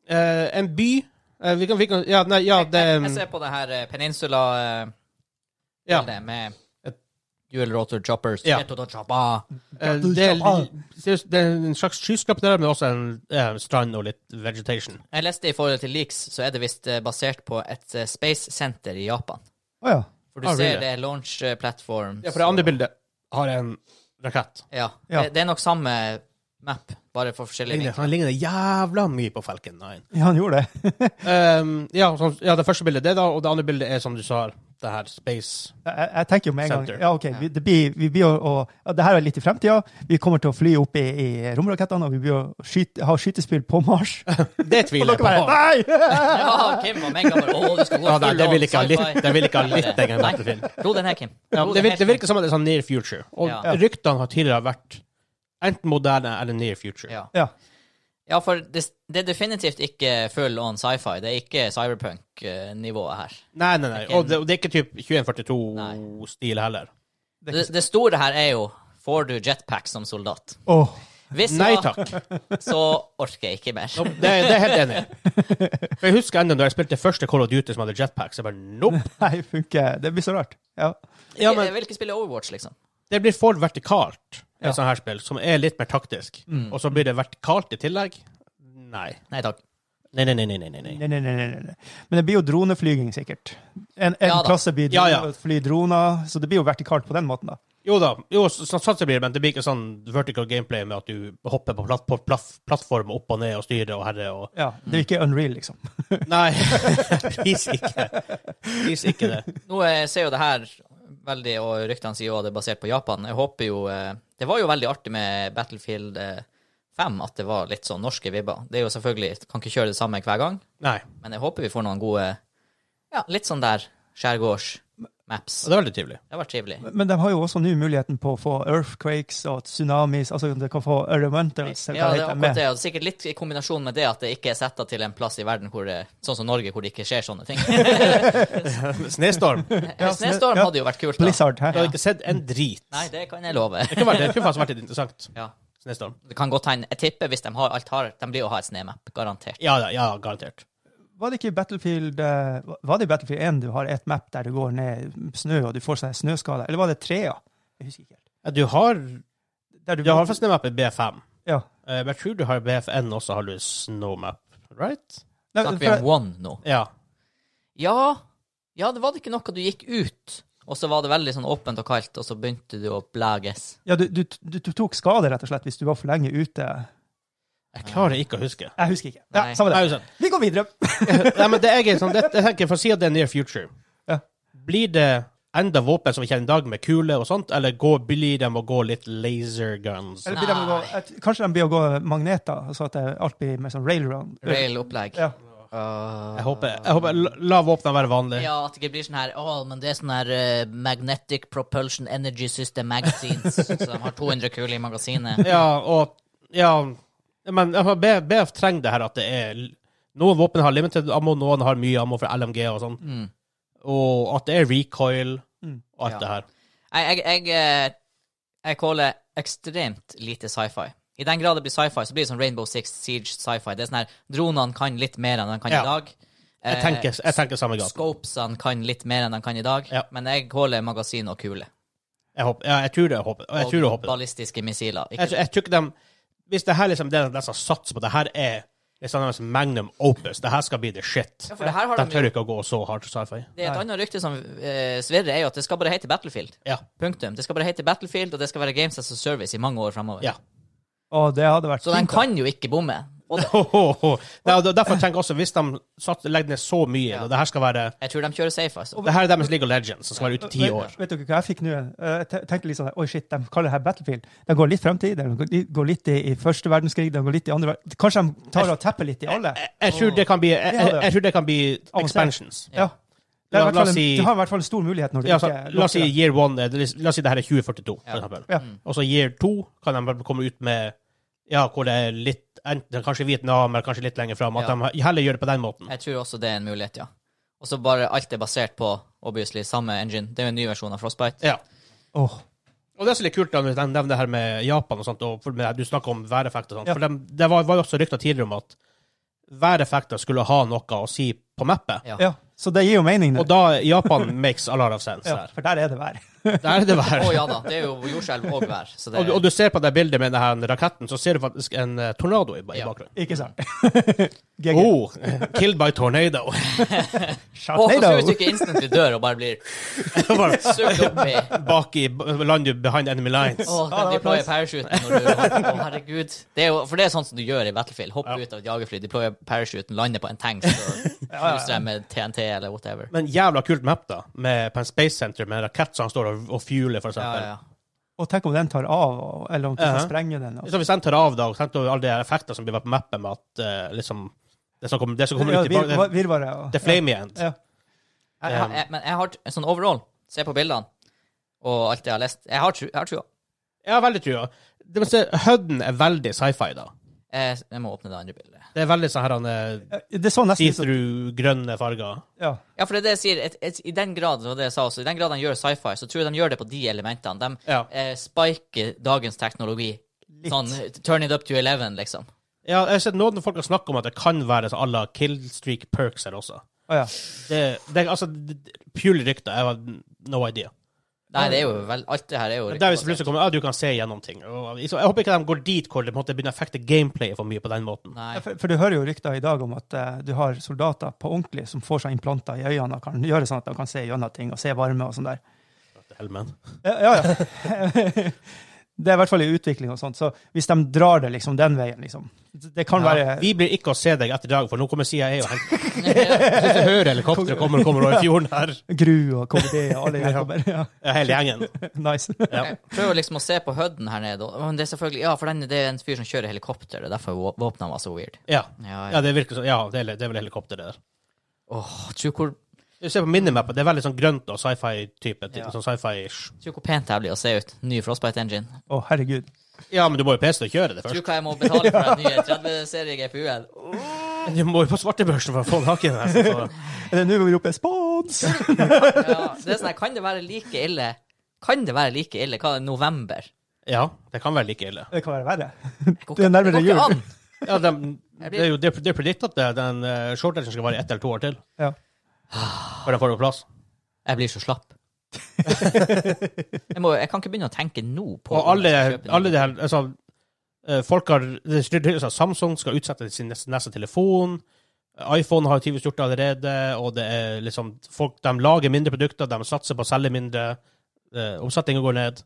Speaker 2: Eh, en by eh, vi kan, vi kan, Ja, nei, ja
Speaker 3: Jeg-
Speaker 2: det
Speaker 3: jeg, jeg ser på det her eh, Peninsula-bildet
Speaker 2: Um, ja,
Speaker 3: med dual rotor choppers.
Speaker 2: Ja.
Speaker 3: Get to the chopper.
Speaker 2: eh, det, er li- seriøst, det er en slags skyskraper der, men også en eh, strand og litt vegetation.
Speaker 3: Jeg leste i forhold til leaks, så er det visst eh, basert på et eh, space center i Japan.
Speaker 1: Å ja.
Speaker 3: For du
Speaker 2: Ah,
Speaker 3: ser
Speaker 2: really?
Speaker 3: det er launch eh, platforms.
Speaker 2: Ja, for det andre bildet har en rakett.
Speaker 3: Ja.
Speaker 1: Ja.
Speaker 3: Det, det er nok samme map, bare for forskjellige
Speaker 2: Ligner,
Speaker 3: vinkler.
Speaker 2: han ligner jævla mye på Falcon 9.
Speaker 1: ja, han gjorde det.
Speaker 2: Ehm, ja, sånn, ja, det første bildet er det, da, og det andre bildet er, som du sa, det her space
Speaker 1: Jeg, jeg tenker jo med en
Speaker 2: Center.
Speaker 1: gang ja, ok, vi, det blir, vi blir å, å, ja, det her er litt i fremtida. Vi kommer til å fly opp i, i romrakettene, og vi blir å skyte, ha skytespill på Mars.
Speaker 2: Det
Speaker 1: Og dere
Speaker 2: tviler jeg på.
Speaker 1: bare Nei!
Speaker 3: Ja, Kim var mega bare Å, du skal gå
Speaker 2: Ja, nei,
Speaker 3: full
Speaker 2: det vil
Speaker 3: on
Speaker 2: ikke ha
Speaker 3: sci-fi.
Speaker 2: litt- det vil ikke ha litt engang,
Speaker 3: Nei,
Speaker 2: Battlefield.
Speaker 3: Ro den her, Kim.
Speaker 2: Ja, det,
Speaker 3: Ro den
Speaker 2: vir-
Speaker 3: her,
Speaker 2: det
Speaker 3: Kim.
Speaker 2: virker som at det er sånn near future. Og
Speaker 3: Ja.
Speaker 2: ryktene har tidligere vært enten moderne eller near future.
Speaker 3: Ja.
Speaker 1: Ja.
Speaker 3: Ja, for det, det er definitivt ikke full on sci-fi. Det er ikke cyberpunk-nivået her.
Speaker 2: Nei, nei, nei. Og det, og det er ikke typ 2142-stil heller.
Speaker 1: Det er
Speaker 3: Det,
Speaker 1: ikke-
Speaker 3: det store her er jo Får du jetpack som soldat?
Speaker 1: Åh,
Speaker 3: Hvis
Speaker 2: Nei
Speaker 3: ja,
Speaker 2: takk.
Speaker 3: så orker jeg ikke mer.
Speaker 2: Nope, Det, det er jeg helt enig i. For Jeg husker ennå da jeg spilte første Call of Duty som hadde jetpacks. Jeg bare nope.
Speaker 1: nei, funker. Det blir så rart. Ja.
Speaker 2: Ja,
Speaker 3: Jeg
Speaker 2: men
Speaker 3: vil ikke spille Overwatch, liksom.
Speaker 2: det blir for vertikalt, et sånt her spill, som er litt mer taktisk. Og så blir det vertikalt i tillegg. Nei.
Speaker 3: Nei takk.
Speaker 2: Nei, nei, nei, nei, nei, nei.
Speaker 1: Nei, nei, nei, nei, nei. Men det blir jo droneflyging, sikkert. En, en
Speaker 3: Ja da.
Speaker 1: klasse blir
Speaker 2: Ja, ja.
Speaker 1: drone- fly droner, så det blir jo vertikalt på den måten, da.
Speaker 2: Jo da, jo, så- sånn satser blir det, men det blir ikke sånn vertical gameplay med at du hopper på, platt, på platt, plattform opp og ned og styrer og herre og
Speaker 1: Ja, Det er ikke unreal, liksom.
Speaker 2: Nei, please ikke. Please ikke det.
Speaker 3: Nå eh, ser jo det her veldig, og ryktene sier jo at det er basert på Japan. Jeg håper jo eh, Det var jo veldig artig med Battlefield eh, 5 at det var litt sånn norske vibber. Det er jo selvfølgelig Kan ikke kjøre det samme hver gang,
Speaker 2: Nei.
Speaker 3: men jeg håper vi får noen gode Ja, litt sånn der skjærgårds. Maps.
Speaker 2: Og det er veldig trivelig.
Speaker 3: Det har vært trivelig.
Speaker 1: Men de har jo også nå muligheten på å få earthquakes og tsunamis, altså de kan få elementals. eller
Speaker 3: Ja,
Speaker 1: hva
Speaker 3: det er
Speaker 1: heter
Speaker 3: akkurat det. Og sikkert litt i kombinasjon med det at det ikke er setta til en plass i verden hvor det, sånn som Norge, hvor det ikke skjer sånne ting.
Speaker 2: Snestorm. Det
Speaker 1: Ja,
Speaker 3: Snøstorm
Speaker 1: ja.
Speaker 3: hadde jo vært kult, da.
Speaker 1: Blizzard her.
Speaker 2: hadde ikke sett en drit.
Speaker 3: Nei, det kan jeg love.
Speaker 2: Det kunne, vært, det kunne faktisk vært litt interessant.
Speaker 3: Ja.
Speaker 2: Snestorm.
Speaker 3: Det kan godt hende. Jeg tipper hvis de har alt har, de blir å ha et snemap, garantert.
Speaker 2: Ja, ja, ja, garantert.
Speaker 1: Var det ikke i Battlefield eh, Var det i Battlefield 1 du har et map der du går ned snø, og du får sånne snøskader? Eller var det 3? Ja? Jeg husker ikke helt.
Speaker 2: Ja, du har
Speaker 1: Der du,
Speaker 2: Du har faktisk snowmap i B5.
Speaker 1: Ja.
Speaker 2: Eh, Men jeg tror du har i BFN også, har du snowmap, right?
Speaker 1: Nei,
Speaker 3: Snakker vi
Speaker 1: for-
Speaker 3: om One nå?
Speaker 2: Ja.
Speaker 3: Ja, ja, det var det ikke noe du gikk ut, og så var det veldig sånn åpent og kaldt, og så begynte du å blæges.
Speaker 1: Ja, du, du, du, du tok skade, rett og slett, hvis du var for lenge ute.
Speaker 2: Jeg klarer ikke å huske.
Speaker 1: Jeg husker ikke. Ja,
Speaker 3: Nei.
Speaker 1: samme
Speaker 2: Nei,
Speaker 1: det.
Speaker 2: uansett.
Speaker 1: Vi går videre.
Speaker 2: Nei, men det er egentlig sånn, det, jeg tenker, For å si at det er near future,
Speaker 1: Ja.
Speaker 2: blir det enda våpen som vi kjenner i dag, med kuler og sånt, eller går, blir de å gå litt laser guns?
Speaker 1: Eller blir de å gå, et, kanskje de blir å gå magneter, så at det alt blir med sånn railroad.
Speaker 3: Rail-opplegg.
Speaker 1: Ja.
Speaker 2: Jeg håper, jeg håper la- La våpnene være vanlige.
Speaker 3: Ja, at det ikke blir sånn her Å, men det er sånn her eh, Magnetic Propulsion Energy System Magazines. så de har 200 kuler i magasinet.
Speaker 2: Ja, og Ja, men jeg håper B- BF trenger det her at det er l- Noen våpen har limited ammo, noen har mye ammo fra LMG og sånn,
Speaker 3: Mm.
Speaker 2: og at det er recoil
Speaker 1: Mm.
Speaker 2: og alt
Speaker 3: Ja.
Speaker 2: det her.
Speaker 3: Jeg, jeg, jeg, eh, jeg caller ekstremt lite sci-fi. I den grad det blir sci-fi, så blir det sånn Rainbow Six Siege sci-fi. Det er sånn her, Dronene kan litt mer enn de kan
Speaker 2: Ja.
Speaker 3: i dag. Eh,
Speaker 2: Jeg tenker, jeg tenker samme gaten.
Speaker 3: Scopesene kan litt mer enn de kan i dag.
Speaker 2: Ja.
Speaker 3: Men jeg caller magasin og kule.
Speaker 2: Jeg, håper, ja, jeg tror det. Jeg håper, og jeg tror det,
Speaker 3: og
Speaker 2: håper.
Speaker 3: ballistiske missiler.
Speaker 2: Jeg,
Speaker 3: Ikke,
Speaker 2: tror- jeg tror ikke de, hvis det her liksom, det er de som satser på, det her er liksom deres magnum opus, det her skal bli the shit.
Speaker 3: Ja, for det her har
Speaker 2: de
Speaker 3: de
Speaker 2: tør ikke å gå så hardt sci-fi.
Speaker 3: det er et annet rykte som eh, svirrer, er jo at det skal bare hete Battlefield.
Speaker 2: Ja.
Speaker 3: Punktum. Det skal bare hete Battlefield, og det skal være Games as a Service i mange år framover.
Speaker 2: ja.
Speaker 1: Og det hadde vært
Speaker 3: Så den
Speaker 1: fint.
Speaker 3: kan jo ikke bomme. Og det,
Speaker 2: Nei, og derfor tenker jeg også, hvis de satser, legger ned så mye,
Speaker 3: Ja.
Speaker 2: og det her skal være
Speaker 3: jeg tror de kjører safe, altså.
Speaker 2: det her er deres League of Legends, som skal være ute i ti
Speaker 1: Vet-
Speaker 2: år.
Speaker 1: Vet dere hva jeg fikk nå? Eh, Jeg te- tenkte litt sånn Oi, shit, de kaller det her Battlefield. De går litt fremtid, de går- de går litt i, i første verdenskrig, de går litt i andre verdenskrig Kanskje de tar og tepper litt i alle?
Speaker 2: Jeg, jeg, tror det kan bli, jeg, jeg, jeg tror det kan bli expansions.
Speaker 1: Ja. Det er i
Speaker 2: La-
Speaker 1: hvert fall
Speaker 2: la oss
Speaker 1: en,
Speaker 2: si-
Speaker 1: du har i hvert fall en stor mulighet når du
Speaker 2: Ja, så,
Speaker 1: ikke
Speaker 2: la oss si
Speaker 1: lukker
Speaker 2: year one eh, det- La oss si det her er 2042, for
Speaker 3: Ja.
Speaker 2: eksempel. Mm.
Speaker 1: Ja.
Speaker 2: Og så year to kan de bare komme ut med Ja, hvor det er litt enten Kanskje Vietnam, eller kanskje litt lenger fram. At
Speaker 3: Ja.
Speaker 2: de heller gjør det på den måten.
Speaker 3: Jeg tror også det er en mulighet, ja. Og så bare alt er basert på obviously samme engine. Det er jo en ny versjon av Frostbite.
Speaker 2: Ja.
Speaker 1: Åh.
Speaker 2: Og det er så litt kult da når de nevner det her med Japan og sånt, og for, med, du snakker om væreffekter og sånt.
Speaker 1: Ja.
Speaker 2: For dem- det var, var jo også rykter tidligere om at væreffekter skulle ha noe å si på mappet.
Speaker 3: Ja.
Speaker 1: Ja, så det gir jo mening,
Speaker 2: Og
Speaker 1: det.
Speaker 2: da Japan makes a lot of sense
Speaker 1: Ja,
Speaker 2: her.
Speaker 1: for der er det vær.
Speaker 2: Der er det
Speaker 3: Å
Speaker 2: vær.
Speaker 3: ja da, det er jo jordskjelv og vær. Så det
Speaker 2: Og, du- og du ser på det bildet med denne raketten, så ser du faktisk en eh, tornado i, i
Speaker 3: Ja.
Speaker 2: bakgrunnen.
Speaker 1: Ikke sant? GG.
Speaker 2: Oh, killed by tornado.
Speaker 1: Shout
Speaker 3: og så
Speaker 1: out.
Speaker 3: tror du ikke instantly dør og bare blir
Speaker 2: Bare
Speaker 3: sugd opp i
Speaker 2: bak i lander du behind enemy lines.
Speaker 3: Å,
Speaker 1: Ja,
Speaker 3: kan
Speaker 1: det var
Speaker 3: deploye
Speaker 1: nice.
Speaker 3: parachuten når du Å, herregud. Det er jo, for det er sånn som du gjør i Battlefield. Hoppe ut av et jagerfly, deploye parachuten, lande på en tanks og knuse dem med TNT eller whatever.
Speaker 2: Men jævla kult map, da. Med, på en space center med en rakett som han står og, og fueler, for
Speaker 3: Ja,
Speaker 2: eksempel.
Speaker 3: ja.
Speaker 1: Og tenk om den tar av, og- eller om du kan
Speaker 2: Uh-huh.
Speaker 1: sprenge den. og-
Speaker 2: Så hvis den tar av, da, og tenk over alle de effektene som blir på mappet med at eh, liksom Det som kommer, det som kommer
Speaker 1: Ja,
Speaker 2: ut i bak-
Speaker 1: vir-
Speaker 2: det-
Speaker 1: Virvaret. og-
Speaker 2: The flame Eh, igjen.
Speaker 1: Ja.
Speaker 3: Jeg, jeg, jeg, men jeg har t- sånn overall, se på bildene og alt jeg har lest, jeg har tru- jeg har trua.
Speaker 2: Jeg har veldig trua. Det vil si, Hudden er veldig sci-fi, da.
Speaker 3: Jeg, jeg må åpne det andre bildet.
Speaker 2: Det er veldig sånn her han eh,
Speaker 1: Ja. Det sånn så nesten ut som
Speaker 2: see-through, grønne farger.
Speaker 1: ja.
Speaker 3: Ja, for det er det jeg sier, et, et, i den grad det var det jeg sa også, i den grad de gjør sci-fi, så tror jeg de gjør det på de elementene. De
Speaker 2: Ja.
Speaker 3: eh, spiker dagens teknologi. Sånn turn it up to 11, liksom.
Speaker 2: Ja, jeg har sett noen folk har snakket om at det kan være så à la killstreak perks her også.
Speaker 1: Å, ja.
Speaker 2: Det, det er altså det- det- pure rykter. Jeg har no idea.
Speaker 3: Nei, det er jo vel Alt det her er jo
Speaker 2: Men der hvis det plutselig kommer, ja, du kan se gjennom ting. Og, så, jeg håper ikke de går dit hvor det på en måte begynner å affekte gameplayet for mye på den måten.
Speaker 3: Nei.
Speaker 1: Ja, For, for du hører jo rykter i dag om at eh, du har soldater på ordentlig som får seg implanter i øynene og kan gjøre sånn at de kan se gjennom ting og se varme og sånn der.
Speaker 2: Helmen.
Speaker 1: Ja, ja. ja. det er i hvert fall i utvikling og sånt, så hvis de drar det liksom den veien, liksom Det kan være
Speaker 2: Vi blir ikke å se deg etter i dag, for nå kommer CIA og henter Hvis du hører helikopteret kommer, kommer over fjorden her.
Speaker 1: Gru og KVD og alle de her kommer. Ja.
Speaker 2: Ja, hele gjengen.
Speaker 1: Nice.
Speaker 2: Ja.
Speaker 3: Jeg prøver liksom å se på hødden her nede, og men det er selvfølgelig Ja, for den, det er en fyr som kjører helikopter, det er derfor vå- våpnene var så weird.
Speaker 2: Ja.
Speaker 3: Ja,
Speaker 2: ja, det virker sånn. Ja, det er, det er vel helikopter, det der.
Speaker 3: Åh, tro hvor
Speaker 2: Du ser på minimappet, det er veldig sånn grønt og sci-fi-type.
Speaker 3: Ja.
Speaker 2: Sånn sci-fi-ish.
Speaker 3: Tror hvor pent det her blir å se ut. Ny Frostbite Engine.
Speaker 1: Å, herregud.
Speaker 2: Ja, men du må jo PC til å kjøre det først.
Speaker 3: Tror hva jeg må betale for den nye 30-serie GPU-en.
Speaker 2: Du må jo på svartebørsen for å få tak i den. altså, så-
Speaker 1: Er det nå vi roper 'spons'?
Speaker 3: Ja, det er sånn her, kan det være like ille? Kan det være like ille? Hva, november?
Speaker 2: Ja, det kan være like ille.
Speaker 1: Det kan være verre.
Speaker 3: Det
Speaker 1: Det er
Speaker 3: går ikke-
Speaker 1: nærmere
Speaker 3: det går ikke
Speaker 1: jul.
Speaker 3: an.
Speaker 2: Ja, de, det er jo det, det er predikt at det- den uh, shortagen skal vare ett eller to år til.
Speaker 1: Ja.
Speaker 2: Før den får på plass.
Speaker 3: Jeg blir så slapp. jeg, må, jeg kan ikke begynne å tenke nå på
Speaker 2: Og
Speaker 3: om jeg skal
Speaker 2: alle,
Speaker 3: kjøpe den.
Speaker 2: alle de her altså, eh, Folk har det styrt- altså, Samsung skal utsette sin neste, neste telefon. iPhone har jo tydeligvis gjort det allerede. Og det er liksom folk, De lager mindre produkter, de satser på å selge mindre. Uh, Omsetninga går ned.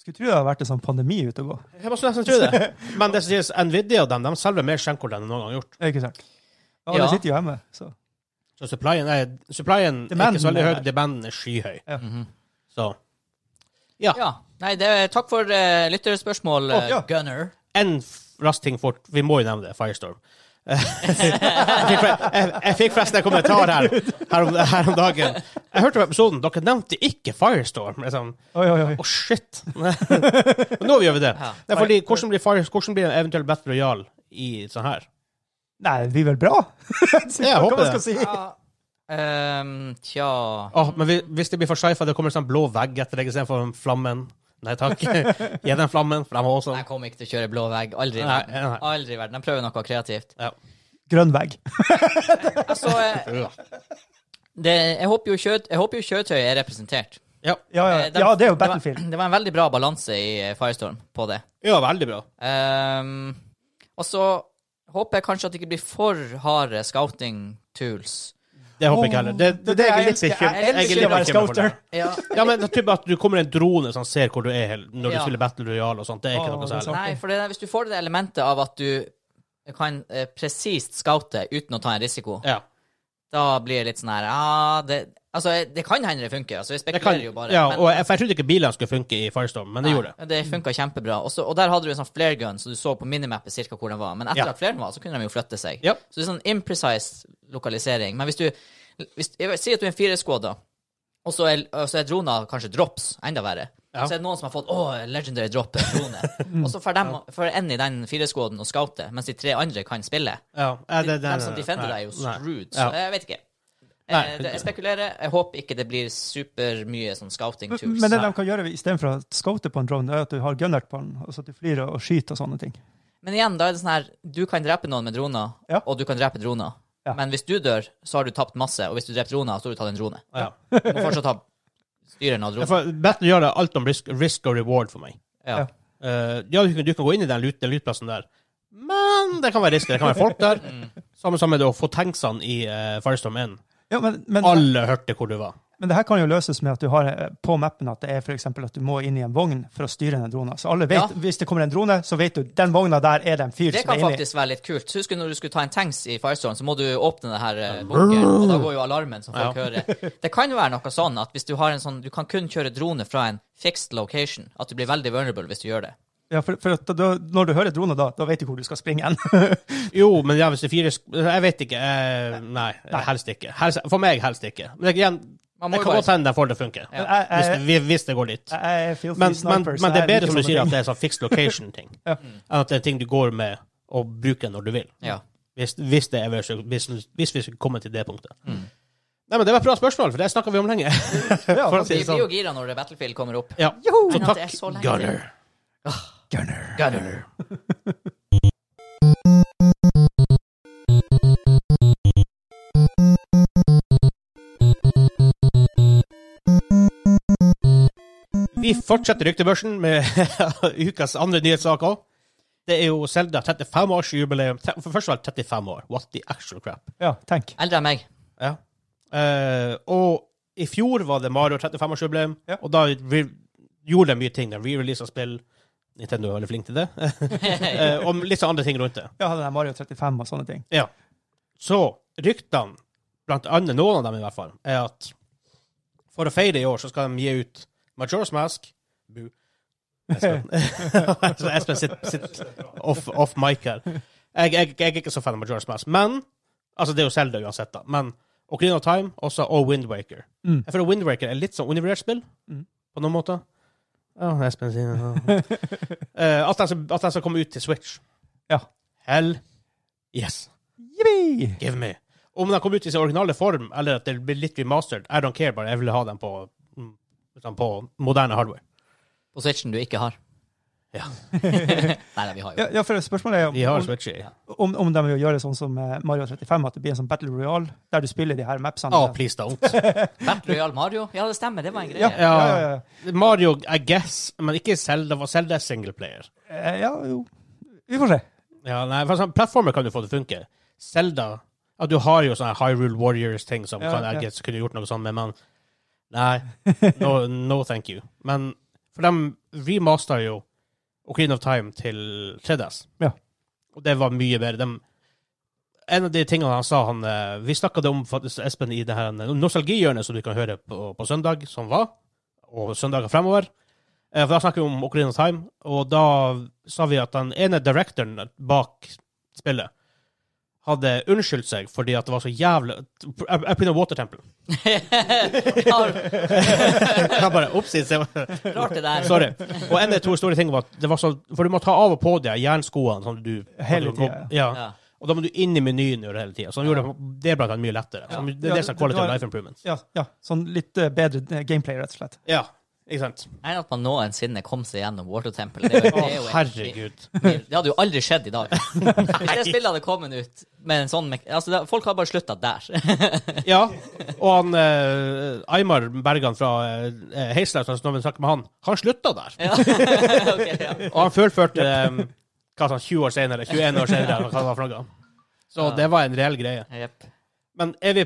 Speaker 1: Skulle tro det hadde vært en sånn pandemi ute og gå.
Speaker 2: Jeg må nesten tro det. Men det som sies, Nvidia og dem, de selger mer skjenkekort enn de noen gang har gjort.
Speaker 1: Er det ikke sant? Ja,
Speaker 3: Ja.
Speaker 1: Alle sitter jo hjemme, så
Speaker 2: Så supplyen er, supplyen er
Speaker 1: Demanden
Speaker 2: ikke så veldig høy,
Speaker 1: er der.
Speaker 2: demanden er skyhøy.
Speaker 3: Mhm.
Speaker 2: Så
Speaker 3: Ja. Nei, det er, takk for eh, lytterspørsmål,
Speaker 1: Å,
Speaker 3: eh,
Speaker 1: ja.
Speaker 3: Gunner.
Speaker 2: en f- rask ting fort. Vi må jo nevne det. Firestorm. jeg, fikk, for- jeg, jeg fikk forresten en kommentar her her om, her om dagen. Jeg hørte på episoden. Dere nevnte ikke Firestorm. Liksom.
Speaker 1: Oi, oi, oi.
Speaker 2: Å, shit. Men nå gjør vi det.
Speaker 3: Ja.
Speaker 2: Det er fordi, hvordan blir, Fire, hvordan blir en eventuell Battle Royale i sånn her?
Speaker 1: Nei, det blir vel bra?
Speaker 2: Jeg
Speaker 1: Hva
Speaker 2: håper
Speaker 1: man
Speaker 2: det.
Speaker 1: skal si?
Speaker 3: Ehm, tja
Speaker 2: Åh, men vi, hvis det blir for sci-fi, det kommer en sånn blå vegg etter deg istedenfor flammen. Nei takk. Gi den flammen, for de har også
Speaker 3: Jeg kommer ikke til å kjøre blå vegg. Aldri i
Speaker 2: Nei,
Speaker 3: verden.
Speaker 2: nei.
Speaker 3: Aldri i verden. Jeg prøver noe kreativt.
Speaker 2: ja.
Speaker 1: Grønn vegg.
Speaker 3: Altså, eh, det, jeg, håper jo kjøt, jeg håper jo kjøretøy er representert.
Speaker 2: Ja.
Speaker 1: Ja, ja.
Speaker 3: Eh, den-
Speaker 1: ja, det er jo
Speaker 3: var-
Speaker 1: Battlefield.
Speaker 3: Det var en veldig bra balanse i eh, Firestorm på det.
Speaker 2: ja, veldig bra.
Speaker 3: Ehm, og så håper jeg kanskje at det ikke blir for harde scouting tools.
Speaker 2: Det håper jeg ikke heller. Det, det, det, er jeg litt
Speaker 1: elsker. Jeg
Speaker 2: bekym- jeg er
Speaker 3: elsker
Speaker 2: litt
Speaker 3: å være
Speaker 2: bekymret for det.
Speaker 1: scouter.
Speaker 3: Ja.
Speaker 2: Ja, men det er typ at du kommer en drone som ser hvor du er hel- når du
Speaker 3: Ja.
Speaker 2: spiller Battle Royale og sånt. Det er ikke
Speaker 1: Å,
Speaker 2: noe
Speaker 1: det er
Speaker 2: særlig.
Speaker 1: sant.
Speaker 3: Nei, for det, der- hvis du får det elementet av at du kan eh, presist scoute uten å ta en risiko,
Speaker 2: Ja.
Speaker 3: da blir det litt sånn her ah, det, Altså, det kan hende det funker. Altså, vi
Speaker 2: Det
Speaker 3: spekulerer
Speaker 2: kan,
Speaker 3: jo bare.
Speaker 2: ja,
Speaker 3: men-
Speaker 2: og jeg, for jeg trodde ikke bilene skulle funke i Firestorm, men det gjorde det.
Speaker 3: Nei, Det funka kjempebra. Også, og der hadde du en sånn flare gun, så du så på minimappet cirka hvor den var. Men etter
Speaker 2: Ja.
Speaker 3: at flaren var, så kunne de jo flytte seg.
Speaker 2: Ja.
Speaker 3: Så det er sånn imprecise lokalisering. Men hvis du hvis, jeg vil, Si at du er en fireskåda, og så er, og så er drona kanskje drops, enda verre.
Speaker 2: Ja.
Speaker 3: Så er det noen som har fått Å, legendary drop en drone. og så får dem- får en i den fireskåden og scoute, mens de tre andre kan spille.
Speaker 2: Ja, eh, det, det,
Speaker 3: De som
Speaker 2: nei, nei,
Speaker 3: defender deg, er jo
Speaker 2: nei.
Speaker 3: screwed. Så
Speaker 2: Ja.
Speaker 3: jeg vet ikke.
Speaker 2: Nei.
Speaker 3: Eh, det- Jeg spekulerer. Jeg håper ikke det blir supermye sånn scouting tools.
Speaker 1: Men det de kan gjøre istedenfor å scoute på en drone, det er at du har gunnert på den, altså at du flyr og skyter og sånne ting.
Speaker 3: Men igjen, da er det sånn her Du kan drepe noen med droner,
Speaker 1: Ja.
Speaker 3: og du kan drepe droner.
Speaker 1: Ja.
Speaker 3: Men hvis du dør, så har du tapt masse, og hvis du dreper droner, så har du tatt en drone.
Speaker 2: Ja.
Speaker 3: Du må fortsatt ha styreren av
Speaker 2: Ja,
Speaker 3: dronen.
Speaker 2: for Battle Royale er alt om risk, risk og reward for meg.
Speaker 3: Ja.
Speaker 1: Ja.
Speaker 2: Eh, ja, du kan, du kan gå inn i den, lut, den lutplassen der, men det kan være risk. Det kan være folk der.
Speaker 3: Mm.
Speaker 2: Samme som med det å få tanksene i eh, Firestorm 1.
Speaker 1: Ja, men, men,
Speaker 2: Alle hørte hvor du var.
Speaker 1: men det her kan jo løses med at du har eh, på mappen at det er for eksempel at du må inn i en vogn for å styre den dronen. Så alle vet,
Speaker 3: Ja.
Speaker 1: hvis det kommer en drone, så vet du den vogna der er det en fyr
Speaker 3: Det
Speaker 1: som
Speaker 3: kan
Speaker 1: er inni.
Speaker 3: faktisk være litt kult. Husker du når du skulle ta en tanks i Firestorm, så må du åpne det her eh, bunkeren, og da går jo alarmen som folk
Speaker 2: Ja.
Speaker 3: hører. Det kan være noe sånn at hvis du har en sånn Du kan kun kjøre drone fra en fixed location. At du blir veldig vulnerable hvis du gjør det.
Speaker 1: Ja, for, for at da, når du hører drone, da, da vet du hvor du skal springe hen.
Speaker 2: Jo, men ja, hvis det er fire sk- Jeg vet ikke. eh, nei, helst ikke. Helst, for meg helst ikke. Men det- igjen,
Speaker 3: Man må
Speaker 2: jeg
Speaker 3: jo
Speaker 2: kan
Speaker 3: bare-
Speaker 2: godt hende jeg får det funke.
Speaker 1: Jeg- jeg-
Speaker 2: Hvis det, vi- hvis det går dit.
Speaker 1: jeg er filthy
Speaker 2: Men, men,
Speaker 1: sniper, så
Speaker 2: men det er
Speaker 1: jeg liker
Speaker 2: bedre som du
Speaker 1: sånne
Speaker 2: sier, at
Speaker 1: ting.
Speaker 2: det er sånn fixed location-ting.
Speaker 1: Ja.
Speaker 2: Enn at det er ting du går med og bruker når du vil.
Speaker 3: Ja.
Speaker 2: Hvis, hvis, det er, hvis, hvis vi skulle komme til det punktet.
Speaker 3: Mm.
Speaker 2: Nei, men Det var et bra spørsmål, for det snakka vi om lenge.
Speaker 1: Ja,
Speaker 2: For å si
Speaker 3: Vi
Speaker 2: det
Speaker 3: blir jo
Speaker 2: sånn.
Speaker 3: gira når det Battlefield kommer opp.
Speaker 2: Ja. Så
Speaker 3: Men at det er
Speaker 2: takk,
Speaker 3: så lenge til.
Speaker 2: Gunner.
Speaker 1: Gunner.
Speaker 3: Gunner.
Speaker 2: Vi fortsetter ryktebørsen med ukas andre nyhetssak òg. Det er jo Selda 35-årsjubileum. Te- For først og fremst 35 år. What the actual crap.
Speaker 1: Ja, tenk.
Speaker 3: Eldre enn meg.
Speaker 2: Ja. Eh, og i fjor var det Mario 35-årsjubileum,
Speaker 1: Ja.
Speaker 2: og da re gjorde de mye ting. De re-releasa spill. Nintendo er veldig flink til det. Eh, og litt sånn andre ting rundt det.
Speaker 1: Ja, den der Mario 35 og sånne ting.
Speaker 2: Ja. Så ryktene, blant annet noen av dem i hvert fall, er at for å feire i år, så skal de gi ut Majora's Mask Bu. Espen. Så Espen sitter sitt off, off mic her. Jeg, jeg, jeg er ikke så fan av Majora's Mask, men Altså, det er jo Zelda uansett, da. Men å Ocarina of Time også, og Wind Waker.
Speaker 1: Mm.
Speaker 2: Jeg føler Wind Waker er litt sånn undervurdert spill,
Speaker 1: Mm.
Speaker 2: på noen måter. Ja, det er spennende. Eh, At den skal- at den skal komme ut til Switch.
Speaker 1: Ja.
Speaker 2: Hell yes.
Speaker 1: Jippi!
Speaker 2: Give me. Om den kommer ut i sin originale form, eller at det blir litt remastered, I don't care, bare jeg vil ha den på, mm, sånn på moderne hardware.
Speaker 3: På Switchen du ikke har.
Speaker 2: Ja.
Speaker 3: Nei, nei, vi har jo
Speaker 1: Ja, ja, for spørsmålet er
Speaker 2: Vi har
Speaker 1: om,
Speaker 2: Switch i
Speaker 3: Ja.
Speaker 1: om, om de vil gjøre sånn som eh, Mario 35, at det blir en sånn Battle Royale, der du spiller de her mapsene.
Speaker 2: Ah, please don't.
Speaker 3: Battle Royale Mario. Ja, det stemmer, det var en greie.
Speaker 1: ja, ja, ja, ja.
Speaker 2: Mario, I guess, men ikke Zelda, for Zelda er singleplayer.
Speaker 1: Eh, ja, jo. Vi får se.
Speaker 2: Ja, nei, for sånn, plattformer kan du få til å funke. Zelda ja, Du har jo sånne Hyrule Warriors-ting som
Speaker 1: Ja,
Speaker 2: kan, jeg
Speaker 1: ja.
Speaker 2: guess, kunne gjort noe sånt med, men Nei. No, no thank you. Men For de remaster jo Ocarina of Time til 3DS.
Speaker 1: Ja.
Speaker 2: Og det var mye bedre. De, en av de tingene han sa han, eh, Vi snakka det om faktisk, Espen i det her eh, nostalgihjørnet som du kan høre på, på søndag, som var, og søndager fremover. Eh, For Da snakker vi om Ocarina of Time, og da sa vi at den ene directoren bak spillet hadde unnskyldt seg fordi at det var så jævlig Jeg jeg begynner Water Temple. Han bare Oppsids.
Speaker 3: Rart det der.
Speaker 2: Sorry. Og en av de to store tingene var at det var så For du må ta av og på deg jernskoene som du
Speaker 1: Hele
Speaker 2: som du går-
Speaker 1: tiden,
Speaker 2: Ja.
Speaker 3: Ja.
Speaker 2: Og da må du inn i menyen gjøre det hele tida. Så han gjorde det blant annet mye lettere. Så
Speaker 1: Ja.
Speaker 2: det er det som er quality of life improvements.
Speaker 1: Ja, ja. Sånn litt eh, bedre eh, gameplay, rett og slett.
Speaker 2: Ja, ikke sant?
Speaker 3: Nei, at man noensinne kom seg gjennom Water Temple. Det, er jo-
Speaker 2: Å,
Speaker 3: det er jo
Speaker 2: herregud.
Speaker 3: Det hadde jo aldri skjedd i dag. Hvis det spillet hadde kommet ut med en sånn mek altså, det, Folk har bare slutta der.
Speaker 2: Ja, og han eh, Aymar Bergan fra eh, Heislaus, altså, når vi snakker med han, han slutta der.
Speaker 3: ja. Ok, ja.
Speaker 2: Og han fullførte um, hva sa han, 20 år senere, 21 år senere, eller hva det var for noe. Så
Speaker 3: Ja.
Speaker 2: det var en reell greie.
Speaker 3: Jepp.
Speaker 2: Men er, vi,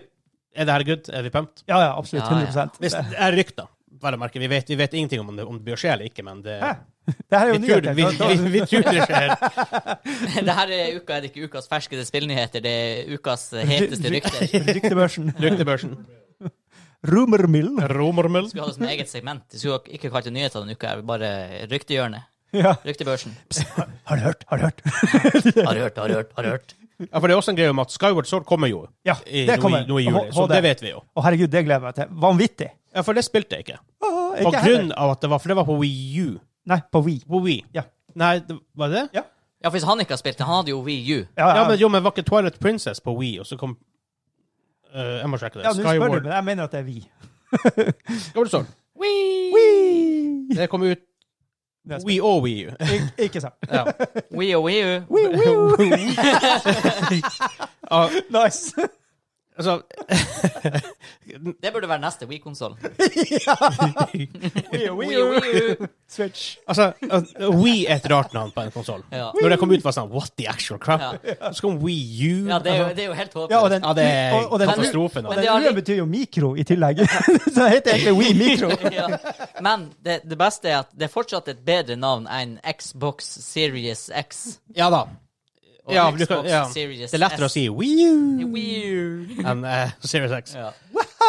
Speaker 2: er det her good? Er vi pumped?
Speaker 1: Ja, ja, absolutt.
Speaker 3: Ja, ja.
Speaker 1: 100
Speaker 2: Hvis det er rykter, vel å merke. Vi vet, vi vet ingenting om det, om det bør skje eller ikke, men det
Speaker 1: Hæ? Det her er jo
Speaker 2: vi tror,
Speaker 1: nyheter.
Speaker 2: vi,
Speaker 1: Da- da-
Speaker 2: vi, vi tror det skjer.
Speaker 3: Det her er uka er det ikke ukas ferskeste spillnyheter, det er ukas heteste rykter.
Speaker 1: Ryktebørsen.
Speaker 2: Ryktebørsen.
Speaker 1: Rumormill.
Speaker 2: Romormel.
Speaker 3: Skulle ha det som eget segment. Jeg skulle ha- ikke kalt det nyheter denne uka, her, bare ryktehjørnet.
Speaker 1: Ja.
Speaker 3: Ryktebørsen.
Speaker 1: Har du hørt? Har du hørt?
Speaker 3: Har du hørt, har du hørt, har du hørt?
Speaker 2: Ja, for det er også en greie om at Skyward Sword kommer jo
Speaker 1: Ja,
Speaker 2: i,
Speaker 1: det
Speaker 2: nå, i,
Speaker 1: kommer.
Speaker 2: nå i juli,
Speaker 1: H-
Speaker 2: så
Speaker 1: HD.
Speaker 2: det vet vi jo.
Speaker 1: Å, herregud, det gleder jeg meg til. Vanvittig.
Speaker 2: Ja, for det spilte jeg ikke.
Speaker 1: Å,
Speaker 2: På
Speaker 1: ikke
Speaker 2: grunn
Speaker 1: heller.
Speaker 2: av at det var For det var på Wii U.
Speaker 1: Nei, på We.
Speaker 2: På Wii.
Speaker 1: Ja.
Speaker 2: Nei, det, var det?
Speaker 3: Ja, for hvis han ikke har spilt det, han hadde jo Wii U.
Speaker 1: Ja,
Speaker 2: Ja,
Speaker 1: ja,
Speaker 2: men jo, men var ikke Twilight Princess på Wii, og så kom Eh, Jeg må sjekke det.
Speaker 1: ja, nå spør du,
Speaker 2: Skyward
Speaker 1: men jeg mener at det er vi.
Speaker 2: Skyward Sword.
Speaker 1: Wii!
Speaker 2: Det kom ut
Speaker 1: Det er
Speaker 2: Wii og Wii U.
Speaker 1: Ik ikke sant.
Speaker 2: Ja.
Speaker 3: Wii og Wii U.
Speaker 1: Wii, wii, wii.
Speaker 2: Ah,
Speaker 1: Nice.
Speaker 2: altså
Speaker 3: Det burde være neste Wii-konsoll.
Speaker 1: Wii, wii,
Speaker 3: Wii og Wii U.
Speaker 1: Switch.
Speaker 2: Altså, uh, Wii er et rart navn på en konsoll.
Speaker 3: Ja.
Speaker 2: Når det kom ut, var det sånn What the actual crap?
Speaker 3: Ja.
Speaker 2: Så kom Wii U.
Speaker 3: Ja, det er jo,
Speaker 2: altså,
Speaker 3: det er jo helt
Speaker 1: Ja, og
Speaker 3: håpløst.
Speaker 1: den,
Speaker 2: ja, det er
Speaker 1: og, og den,
Speaker 3: Men-
Speaker 2: katastrofe nå.
Speaker 1: og
Speaker 3: men- det
Speaker 1: den
Speaker 3: har
Speaker 1: U-en
Speaker 3: litt-
Speaker 1: betyr jo mikro i tillegg. Så det heter egentlig Wii Mikro.
Speaker 3: ja. Men det, det beste er at det er fortsatt et bedre navn enn Xbox Series X.
Speaker 2: ja da.
Speaker 3: Og
Speaker 2: Ja,
Speaker 3: Xbox
Speaker 2: du kan, ja.
Speaker 3: Series
Speaker 2: Det er lettere å
Speaker 3: S.
Speaker 2: si Wii U
Speaker 3: Weird.
Speaker 2: enn eh, Series X.
Speaker 3: Ja.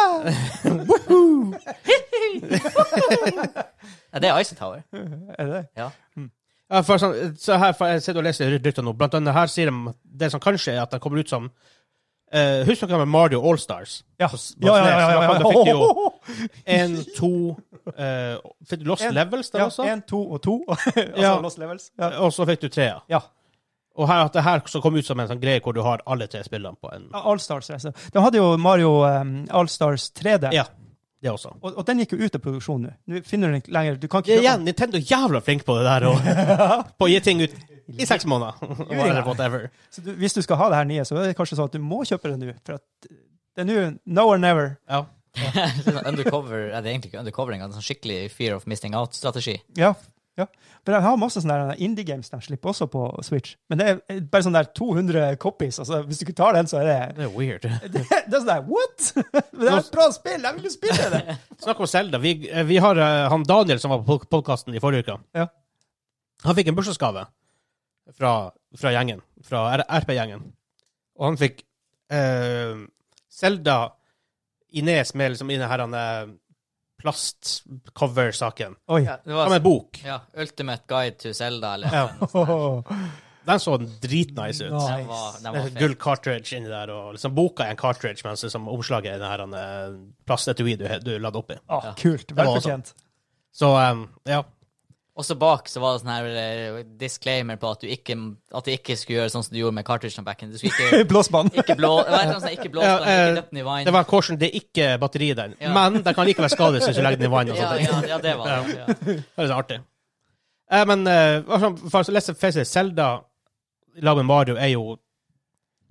Speaker 3: ja, det er Ice Tower.
Speaker 1: Er det det?
Speaker 3: Ja.
Speaker 2: Ja, for sånn, så her for jeg sitter og leser rykter nå. Blant annet her sier de at det som kanskje er at den kommer ut som eh, Husk dere med Mario Allstars?
Speaker 1: Ja,
Speaker 2: på
Speaker 1: ja, ja. ja,
Speaker 2: SNES,
Speaker 1: ja,
Speaker 2: da
Speaker 1: ja.
Speaker 2: fikk de jo-
Speaker 1: Ho, ho, ho.
Speaker 2: Én, to eh, Fikk du Lost
Speaker 1: En-
Speaker 2: Levels der
Speaker 1: Ja,
Speaker 2: også?
Speaker 1: en, to og to. altså
Speaker 2: Ja.
Speaker 1: Lost Levels. Ja.
Speaker 2: Og så fikk du trea.
Speaker 1: ja.
Speaker 2: Og her, at det her så kom ut som en sånn greie hvor du har alle tre spillene på en
Speaker 1: Allstars. Altså. De hadde jo Mario um, Allstars 3D,
Speaker 2: Ja, det også.
Speaker 1: og, og den gikk jo ut av produksjon nå. Nå finner du den ikke lenger. Du kan ikke kjøpe
Speaker 2: Igjen, Nintendo er jævla flink på det der og på å gi ting ut i seks måneder. Eller whatever.
Speaker 1: den. Så du, hvis du skal ha det her nye, så er det kanskje sånn at du må kjøpe det nå. For at det er nå no or never.
Speaker 2: Ja.
Speaker 3: Sånn undercover er det egentlig ikke undercover engang. Sånn skikkelig fear of missing out-strategi.
Speaker 1: Ja. ja. For jeg har masse sånne der indie games de slipper også på Switch. Men det er bare sånn der 200 copies. Altså, hvis du ikke tar den, så er det
Speaker 2: Det er weird.
Speaker 1: Det, det er sånn der What?! Men det er et bra spill! Jeg vil jo spille det!
Speaker 2: Snakk om Selda. Vi, eh, vi har eh, han Daniel som var på podkasten i forrige uke.
Speaker 1: Ja.
Speaker 2: Han fikk en bursdagsgave fra, fra gjengen. Fra R- RP-gjengen. Og han fikk eh, Selda Ines med liksom i den her eh, plastcover-saken.
Speaker 1: Oi.
Speaker 3: det
Speaker 2: Som
Speaker 3: var
Speaker 2: en bok.
Speaker 1: Ah,
Speaker 3: ja, Ultimate Guide to Zelda, eller
Speaker 2: Ja.
Speaker 1: Åh.
Speaker 2: Den så dritnice ut.
Speaker 1: Ja.
Speaker 3: Den var, den var
Speaker 2: Det er
Speaker 3: fet.
Speaker 2: Gull cartridge inni der, og liksom boka er en cartridge, mens liksom omslaget er den her eh, plastetui du, du ladde oppi.
Speaker 1: Å,
Speaker 3: Ja.
Speaker 1: kult.
Speaker 2: var
Speaker 1: Velfortjent.
Speaker 2: Så um, ja.
Speaker 3: Og så bak så var det sånn her eh, disclaimer på at du ikke, at du ikke skulle gjøre sånn som du gjorde med cartridgen back in. Du skulle ikke,
Speaker 1: Blåsmann.
Speaker 3: ikke blå... det var et eller annet sånn, Ikke blåse
Speaker 2: Ja,
Speaker 3: den, ikke
Speaker 2: eh,
Speaker 3: døpt den i vann.
Speaker 2: Det var en caution, det er ikke batteri der.
Speaker 3: Ja.
Speaker 2: Men den kan likevel skades hvis du legger den i vann. og
Speaker 3: ja,
Speaker 2: sånt.
Speaker 3: ja, ja, det var det. Ja.
Speaker 2: Det er litt artig. Eh, men eh, hva som- for å lese face it, Zelda i lag med Mario er jo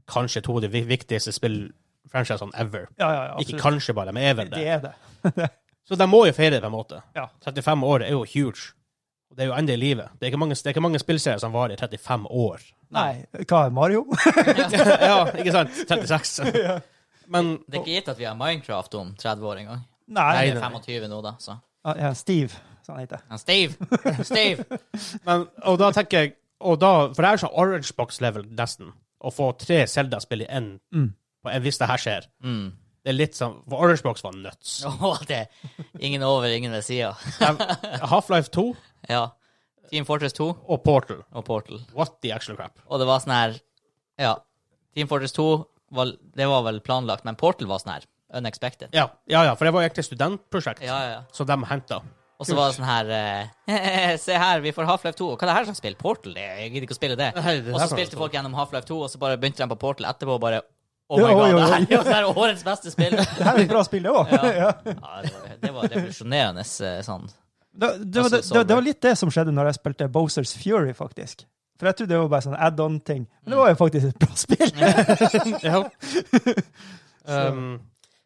Speaker 2: kanskje to av de vi- viktigste spill-franchisene ever.
Speaker 1: Ja, ja, ja.
Speaker 2: Ikke
Speaker 1: absolutt.
Speaker 2: kanskje bare, men er vel
Speaker 1: Det
Speaker 2: det.
Speaker 1: er det.
Speaker 2: Så de må jo feire det på en måte.
Speaker 1: Ja.
Speaker 2: 35 år er jo huge. Og Det er jo enda i livet. Det er ikke mange, det er ikke mange spillserier som varer i 35 år.
Speaker 1: Nei, hva er Mario?
Speaker 2: ja, ikke sant? 36. Men
Speaker 3: Det er ikke gitt at vi har Minecraft om 30 år engang.
Speaker 1: Nei.
Speaker 3: Vi
Speaker 2: nei,
Speaker 3: er
Speaker 2: nei.
Speaker 3: 25 nå, da, så
Speaker 1: Ja, ja, Steve, som han heter.
Speaker 3: Men Steve! Steve!
Speaker 2: Men, og da tenker jeg og da, For det er sånn Orange Box-level, nesten. Å få tre Zelda-spill i én
Speaker 1: Mm.
Speaker 2: på en- hvis det her skjer.
Speaker 3: Mm.
Speaker 2: Det er litt sånn For Orange Box var nuts.
Speaker 3: Å, det Ingen over, ingen ved sida.
Speaker 2: Half-Life 2
Speaker 3: Ja. Team Fortress 2
Speaker 2: og Portal.
Speaker 3: og Portal.
Speaker 2: What the actual crap?
Speaker 3: Og det var sånn her Ja. Team Fortress 2 var, det var vel planlagt, men Portal var sånn her. Unexpected.
Speaker 2: Ja, ja, ja for det var jo egentlig studentprosjekt
Speaker 3: Ja, ja, ja.
Speaker 2: som de henta.
Speaker 3: Og så var det sånn her eh, Se her, vi får Half-Life 2. Og hva er det her slags spill? Portal? Det, jeg gidder ikke å spille det.
Speaker 2: Nei, det er
Speaker 3: Og
Speaker 2: derfor
Speaker 3: så
Speaker 2: det
Speaker 3: spilte
Speaker 2: står.
Speaker 3: folk gjennom Half-Life 2, og så bare begynte de på Portal etterpå og bare Oh my
Speaker 1: Ja, oi,
Speaker 3: god,
Speaker 1: oi,
Speaker 3: det
Speaker 1: oi.
Speaker 3: her er jo sånn her årets beste spill!
Speaker 1: Det her er et bra spill, det òg.
Speaker 3: Ja.
Speaker 1: Ja.
Speaker 3: Ja, det, var, det var revolusjonerende eh, sånn.
Speaker 1: Det, det, var-
Speaker 3: Altså,
Speaker 1: det,
Speaker 3: sånn
Speaker 1: det, det var
Speaker 3: det.
Speaker 1: litt det som skjedde når jeg spilte Bozers Fury, faktisk. For jeg trodde det var bare sånn add-on-ting. Men det var jo faktisk et bra spill.
Speaker 2: ja. Um,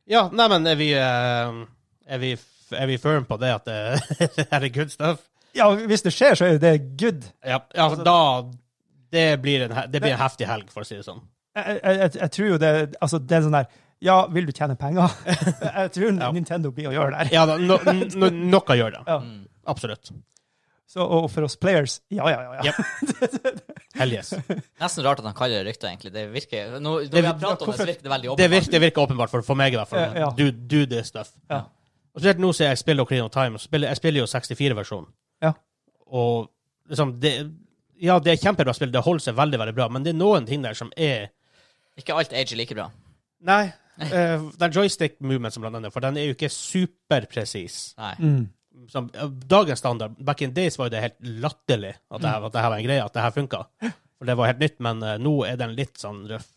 Speaker 2: ja, nei, men er vi, eh, er vi er vi firm på det at det her er good stuff?
Speaker 1: Ja, hvis det skjer, så er jo det good.
Speaker 2: Ja, ja
Speaker 3: Altså-
Speaker 2: da det blir, en, he- det blir en heftig helg, for å si det sånn.
Speaker 1: Jeg, jeg, jeg, jeg tror jo det Altså, det er sånn der Ja, vil du tjene penger? Jeg tror Nintendo blir å gjøre det her.
Speaker 2: Ja, da, no, no, noe gjør det.
Speaker 1: Ja.
Speaker 2: Absolutt.
Speaker 1: Så, og for oss players, ja, ja, ja. ja.
Speaker 2: Yep. Hell yes.
Speaker 3: Nesten rart at han kaller det rykter, egentlig. Det virker Nå, Når
Speaker 2: Det-
Speaker 3: vi har pratet om det, så
Speaker 1: hvorfor-
Speaker 3: virker det veldig
Speaker 2: Det
Speaker 3: åpenbart.
Speaker 2: virker, det virker åpenbart, for, for meg i hvert fall.
Speaker 1: Ja, ja.
Speaker 2: Do, do this stuff.
Speaker 1: Ja.
Speaker 2: Og spesielt nå ser jeg spiller Ocarina of Time. og Spiller, jeg spiller jo 64-versjonen.
Speaker 1: Ja.
Speaker 2: Og liksom det, Ja, det er kjempebra spill, det holder seg veldig, veldig bra, men det er noen ting der som er
Speaker 3: Ikke alt age like bra.
Speaker 2: Nei. eh, den joystick-movement som blant annet, for den er jo ikke superpresis.
Speaker 3: Nei.
Speaker 1: Mm.
Speaker 2: som, eh, dagens standard Back in days var jo det helt latterlig at det, her, at det her var en greie, at det her funka. For det var helt nytt, men eh, nå er den litt sånn røff.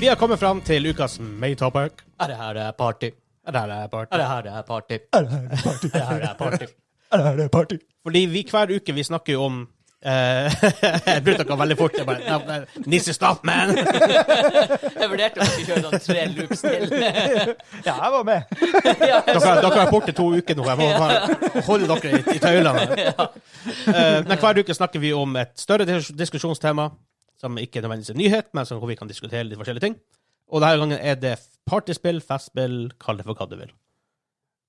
Speaker 2: Vi har kommet fram til ukas main topic.
Speaker 3: Er det her eh, party?
Speaker 2: Det her er part.
Speaker 3: Er det her eh, party?
Speaker 1: Er det her party?
Speaker 3: Er det her eh, party?
Speaker 1: Er det her party?
Speaker 2: Fordi vi hver uke vi snakker jo om eh, Jeg brukte dere veldig fort. Jeg bare, nei, nei, Nisse, stop, man!
Speaker 3: Jeg vurderte om jeg skulle kjøre sånn tre loops til.
Speaker 1: Ja, jeg var med.
Speaker 3: Ja,
Speaker 2: Dere, dere er borte to uker nå. Jeg må bare holde dere i, i tøylene. Eh, men hver uke snakker vi om et større dis diskusjonstema, som ikke nødvendigvis er nyhet, men som hvor vi kan diskutere litt forskjellige ting. Og denne gangen er det partyspill, festspill, kall det for hva du vil.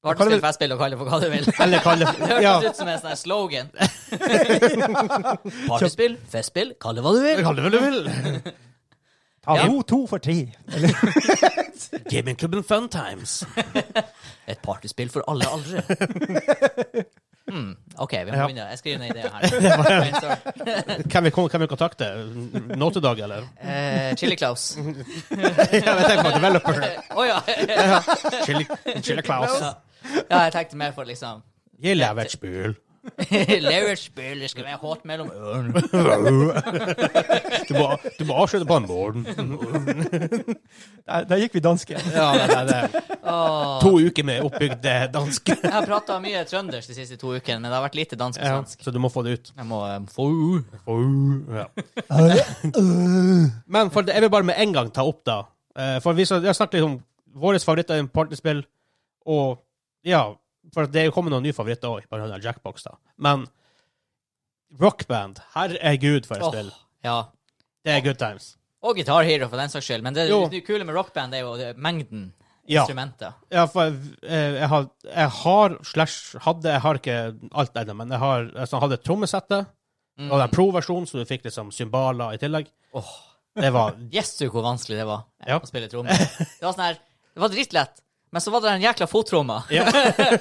Speaker 3: Barnespill, festspill og kall det for hva du vil.
Speaker 2: Eller kall det
Speaker 3: Det hørtes
Speaker 2: ja,
Speaker 3: ut som en sånn her slogan. Partyspill, festspill, kall det hva du vil.
Speaker 2: kall det hva du vil.
Speaker 1: Ta
Speaker 3: Ja.
Speaker 1: to, to for tre.
Speaker 2: Gamingklubben Fun Times.
Speaker 3: Et partyspill for alle aldre. Hmm, OK, vi må
Speaker 2: Ja.
Speaker 3: begynne. Jeg skriver ned ideen her. Brainstorm.
Speaker 2: Kan vi, kom- kan vi kontakte Nåtedag, eller?
Speaker 3: Eh, Chili Claus. Å
Speaker 2: Mm. Ja, jeg tenker på developer.
Speaker 3: ja.
Speaker 2: Chili, Chili Claus.
Speaker 3: ja! Jeg tenkte mer for liksom
Speaker 2: Jeg lever et spil.
Speaker 3: Leverspill, det skal være hardt mellom ørene.
Speaker 2: Du må, du må avslutte på en morgen.
Speaker 1: Der, der gikk vi danske.
Speaker 2: Ja, det er det.
Speaker 3: Åh.
Speaker 2: To uker med oppbygd eh, dansk.
Speaker 3: Jeg har prata mye trøndersk de siste to ukene, men det har vært lite dansk og svensk.
Speaker 2: Så du må få det ut.
Speaker 3: Jeg må eh, få
Speaker 2: Ja. Men for, det- jeg vil bare med en gang ta opp, da. Eh, For vi, så, vi har snakket litt om våre favoritter i partyspill, og ja For det er jo kommet noen nye favoritter òg, bare den der Jackbox, da. Men Rock Band, herregud, for et
Speaker 3: Åh,
Speaker 2: spill.
Speaker 3: Ja.
Speaker 2: Det er good times.
Speaker 3: Og Guitar Hero, for den saks skyld. Men det,
Speaker 2: Jo.
Speaker 3: det kule med rockband er jo det- mengden
Speaker 2: Ja.
Speaker 3: instrumenter.
Speaker 2: Ja, for jeg, eh, jeg har, jeg har slash hadde Jeg har ikke alt ennå, men jeg har altså, jeg hadde trommesettet.
Speaker 3: Mm.
Speaker 2: Og den pro-versjonen, så du fikk liksom cymbaler i tillegg.
Speaker 3: Åh,
Speaker 2: Det var
Speaker 3: Gjestu hvor vanskelig det var
Speaker 2: Ja.
Speaker 3: å spille tromme. Det var sånn her, det var dritlett, men så var det den jækla fottromma.
Speaker 2: Ja.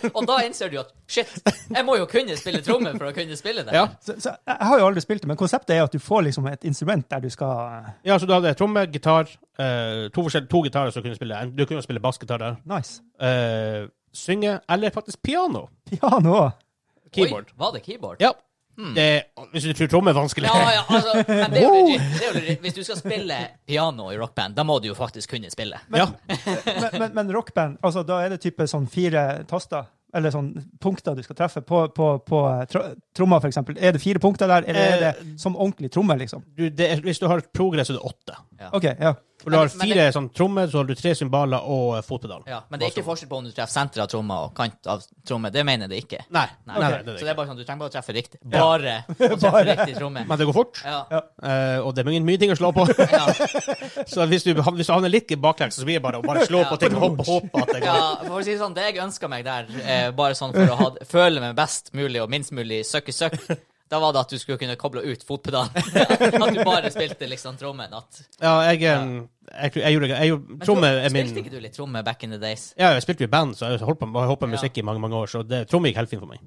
Speaker 3: og da innser du at shit, jeg må jo kunne spille tromme for å kunne spille det.
Speaker 2: Ja,
Speaker 1: Så, så jeg jeg har jo aldri spilt det, men konseptet er at du får liksom et instrument der du skal eh,
Speaker 2: ja så du hadde tromme, gitar, eh, to, forskjell- to gitarer som kunne spille. Du kunne jo spille bassgitar der.
Speaker 1: Nice.
Speaker 2: Eh, synge, eller faktisk piano.
Speaker 1: Piano òg.
Speaker 2: Keyboard.
Speaker 3: Oi, var det keyboard?
Speaker 2: Ja. Det, hvis du tror tromme er vanskelig.
Speaker 3: Hmm. Ja, ja, altså, men det er jo legit. Det er jo legit. Hvis du skal spille piano i rockband, da må du jo faktisk kunne spille.
Speaker 2: Ja.
Speaker 1: Men, men, men rockband, altså da er det type sånn fire taster, eller sånn punkter du skal treffe på, på, på eh, tr- tromma, for eksempel. Er det fire punkter der, eller er
Speaker 3: Eh,
Speaker 1: det som ordentlig tromme, liksom?
Speaker 2: Du, det, er- hvis du har progress, så er det åtte.
Speaker 1: OK, ja.
Speaker 2: For du har
Speaker 3: Men- men
Speaker 2: fire sånn, trommer, så har du tre cymbaler og eh, fotpedal.
Speaker 3: Ja, men det er ikke forskjell på om du treffer senter av tromma og kant av tromme. Det mener jeg det ikke.
Speaker 2: Nei, nei,
Speaker 3: Nei,
Speaker 2: nei, det er
Speaker 3: så
Speaker 2: det
Speaker 3: det
Speaker 2: ikke.
Speaker 3: er bare sånn, du trenger bare å treffe riktig. Bare å treffe
Speaker 1: Bare.
Speaker 3: riktig tromme.
Speaker 2: Men det går fort,
Speaker 3: Ja.
Speaker 2: eh, og det er mye, mye ting å slå på.
Speaker 3: Ja.
Speaker 2: Så hvis du, hvis du havner litt i baklengs, så blir det bare å bare slå på ting og håpe, håpe at det
Speaker 3: ja,
Speaker 2: går.
Speaker 3: for å si det sånn, det jeg ønska meg der, eh, bare sånn for å ha, føle meg best mulig og minst mulig søkk-søkk, da var det at du skulle kunne koble ut fotpedalen. at du bare spilte liksom trommen. At,
Speaker 2: Ja, jeg, eh, jeg, tror- jeg gjorde jeg, gjorde-
Speaker 3: Men
Speaker 2: Tromme
Speaker 3: tro-
Speaker 2: er min
Speaker 3: Spilte ikke du litt tromme back in the days?
Speaker 2: Ja, jeg spilte jo i band, så jeg holdt på, har holdt på med
Speaker 3: Ja.
Speaker 2: musikk i mange mange år, så det, tromme gikk helt fint for meg.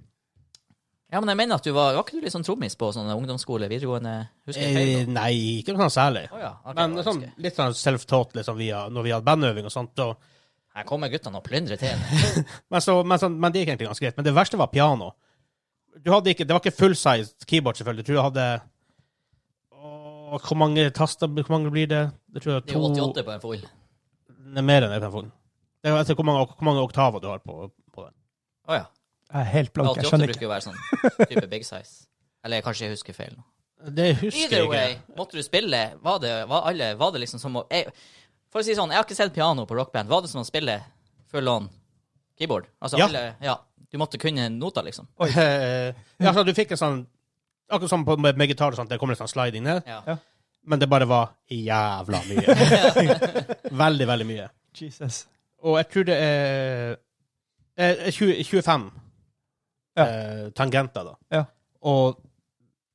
Speaker 3: Ja, men jeg mener at du var Var ikke du litt sånn trommis på sånn ungdomsskole, videregående? Husker jeg
Speaker 2: Eh,
Speaker 3: feil? da?
Speaker 2: nei, ikke noe sånn særlig.
Speaker 3: Å ja, ok,
Speaker 2: Men
Speaker 3: da
Speaker 2: sånn,
Speaker 3: husker jeg.
Speaker 2: litt sånn self-taught liksom, via, når vi hadde bandøving og sånt. Og,
Speaker 3: Her kommer guttene og plyndrer til.
Speaker 2: men, så, men, sånn, men det gikk egentlig ganske greit. Men det verste var piano. Du hadde ikke, det var ikke full-size keyboard, selvfølgelig. Jeg tror jeg hadde Åh, Hvor mange taster hvor mange blir det? Jeg tror
Speaker 3: Det
Speaker 2: jeg
Speaker 3: er jo
Speaker 2: har to
Speaker 3: 88 på en foil.
Speaker 2: Det er mer enn jeg kan få den. Det er etter hvor mange, hvor mange oktaver du har på, på den.
Speaker 3: Å ja.
Speaker 1: Jeg er helt blank, jeg
Speaker 3: 88
Speaker 1: skjønner ikke.
Speaker 3: bruker jo å være sånn type big size. Eller kanskje jeg husker feil nå.
Speaker 2: Det husker
Speaker 3: Either
Speaker 2: jeg
Speaker 3: way,
Speaker 2: ikke.
Speaker 3: måtte du spille? Var det, var alle, var det liksom som å jeg, For å si det sånn, jeg har ikke sett piano på rockband. Var det som å spille full on keyboard? Altså,
Speaker 2: Ja.
Speaker 3: Alle, ja. Du måtte kunne nota, liksom.
Speaker 2: Eh, ja, så du fikk en sånn Akkurat som på- med, med gitar, og sånt, det kommer en sånn sliding ned.
Speaker 3: Ja.
Speaker 1: Ja.
Speaker 2: Men det bare var jævla mye. veldig, veldig mye.
Speaker 1: Jesus.
Speaker 2: Og jeg tror det er eh, 20, 25
Speaker 1: Ja.
Speaker 2: eh, tangenter, da.
Speaker 1: Ja.
Speaker 2: Og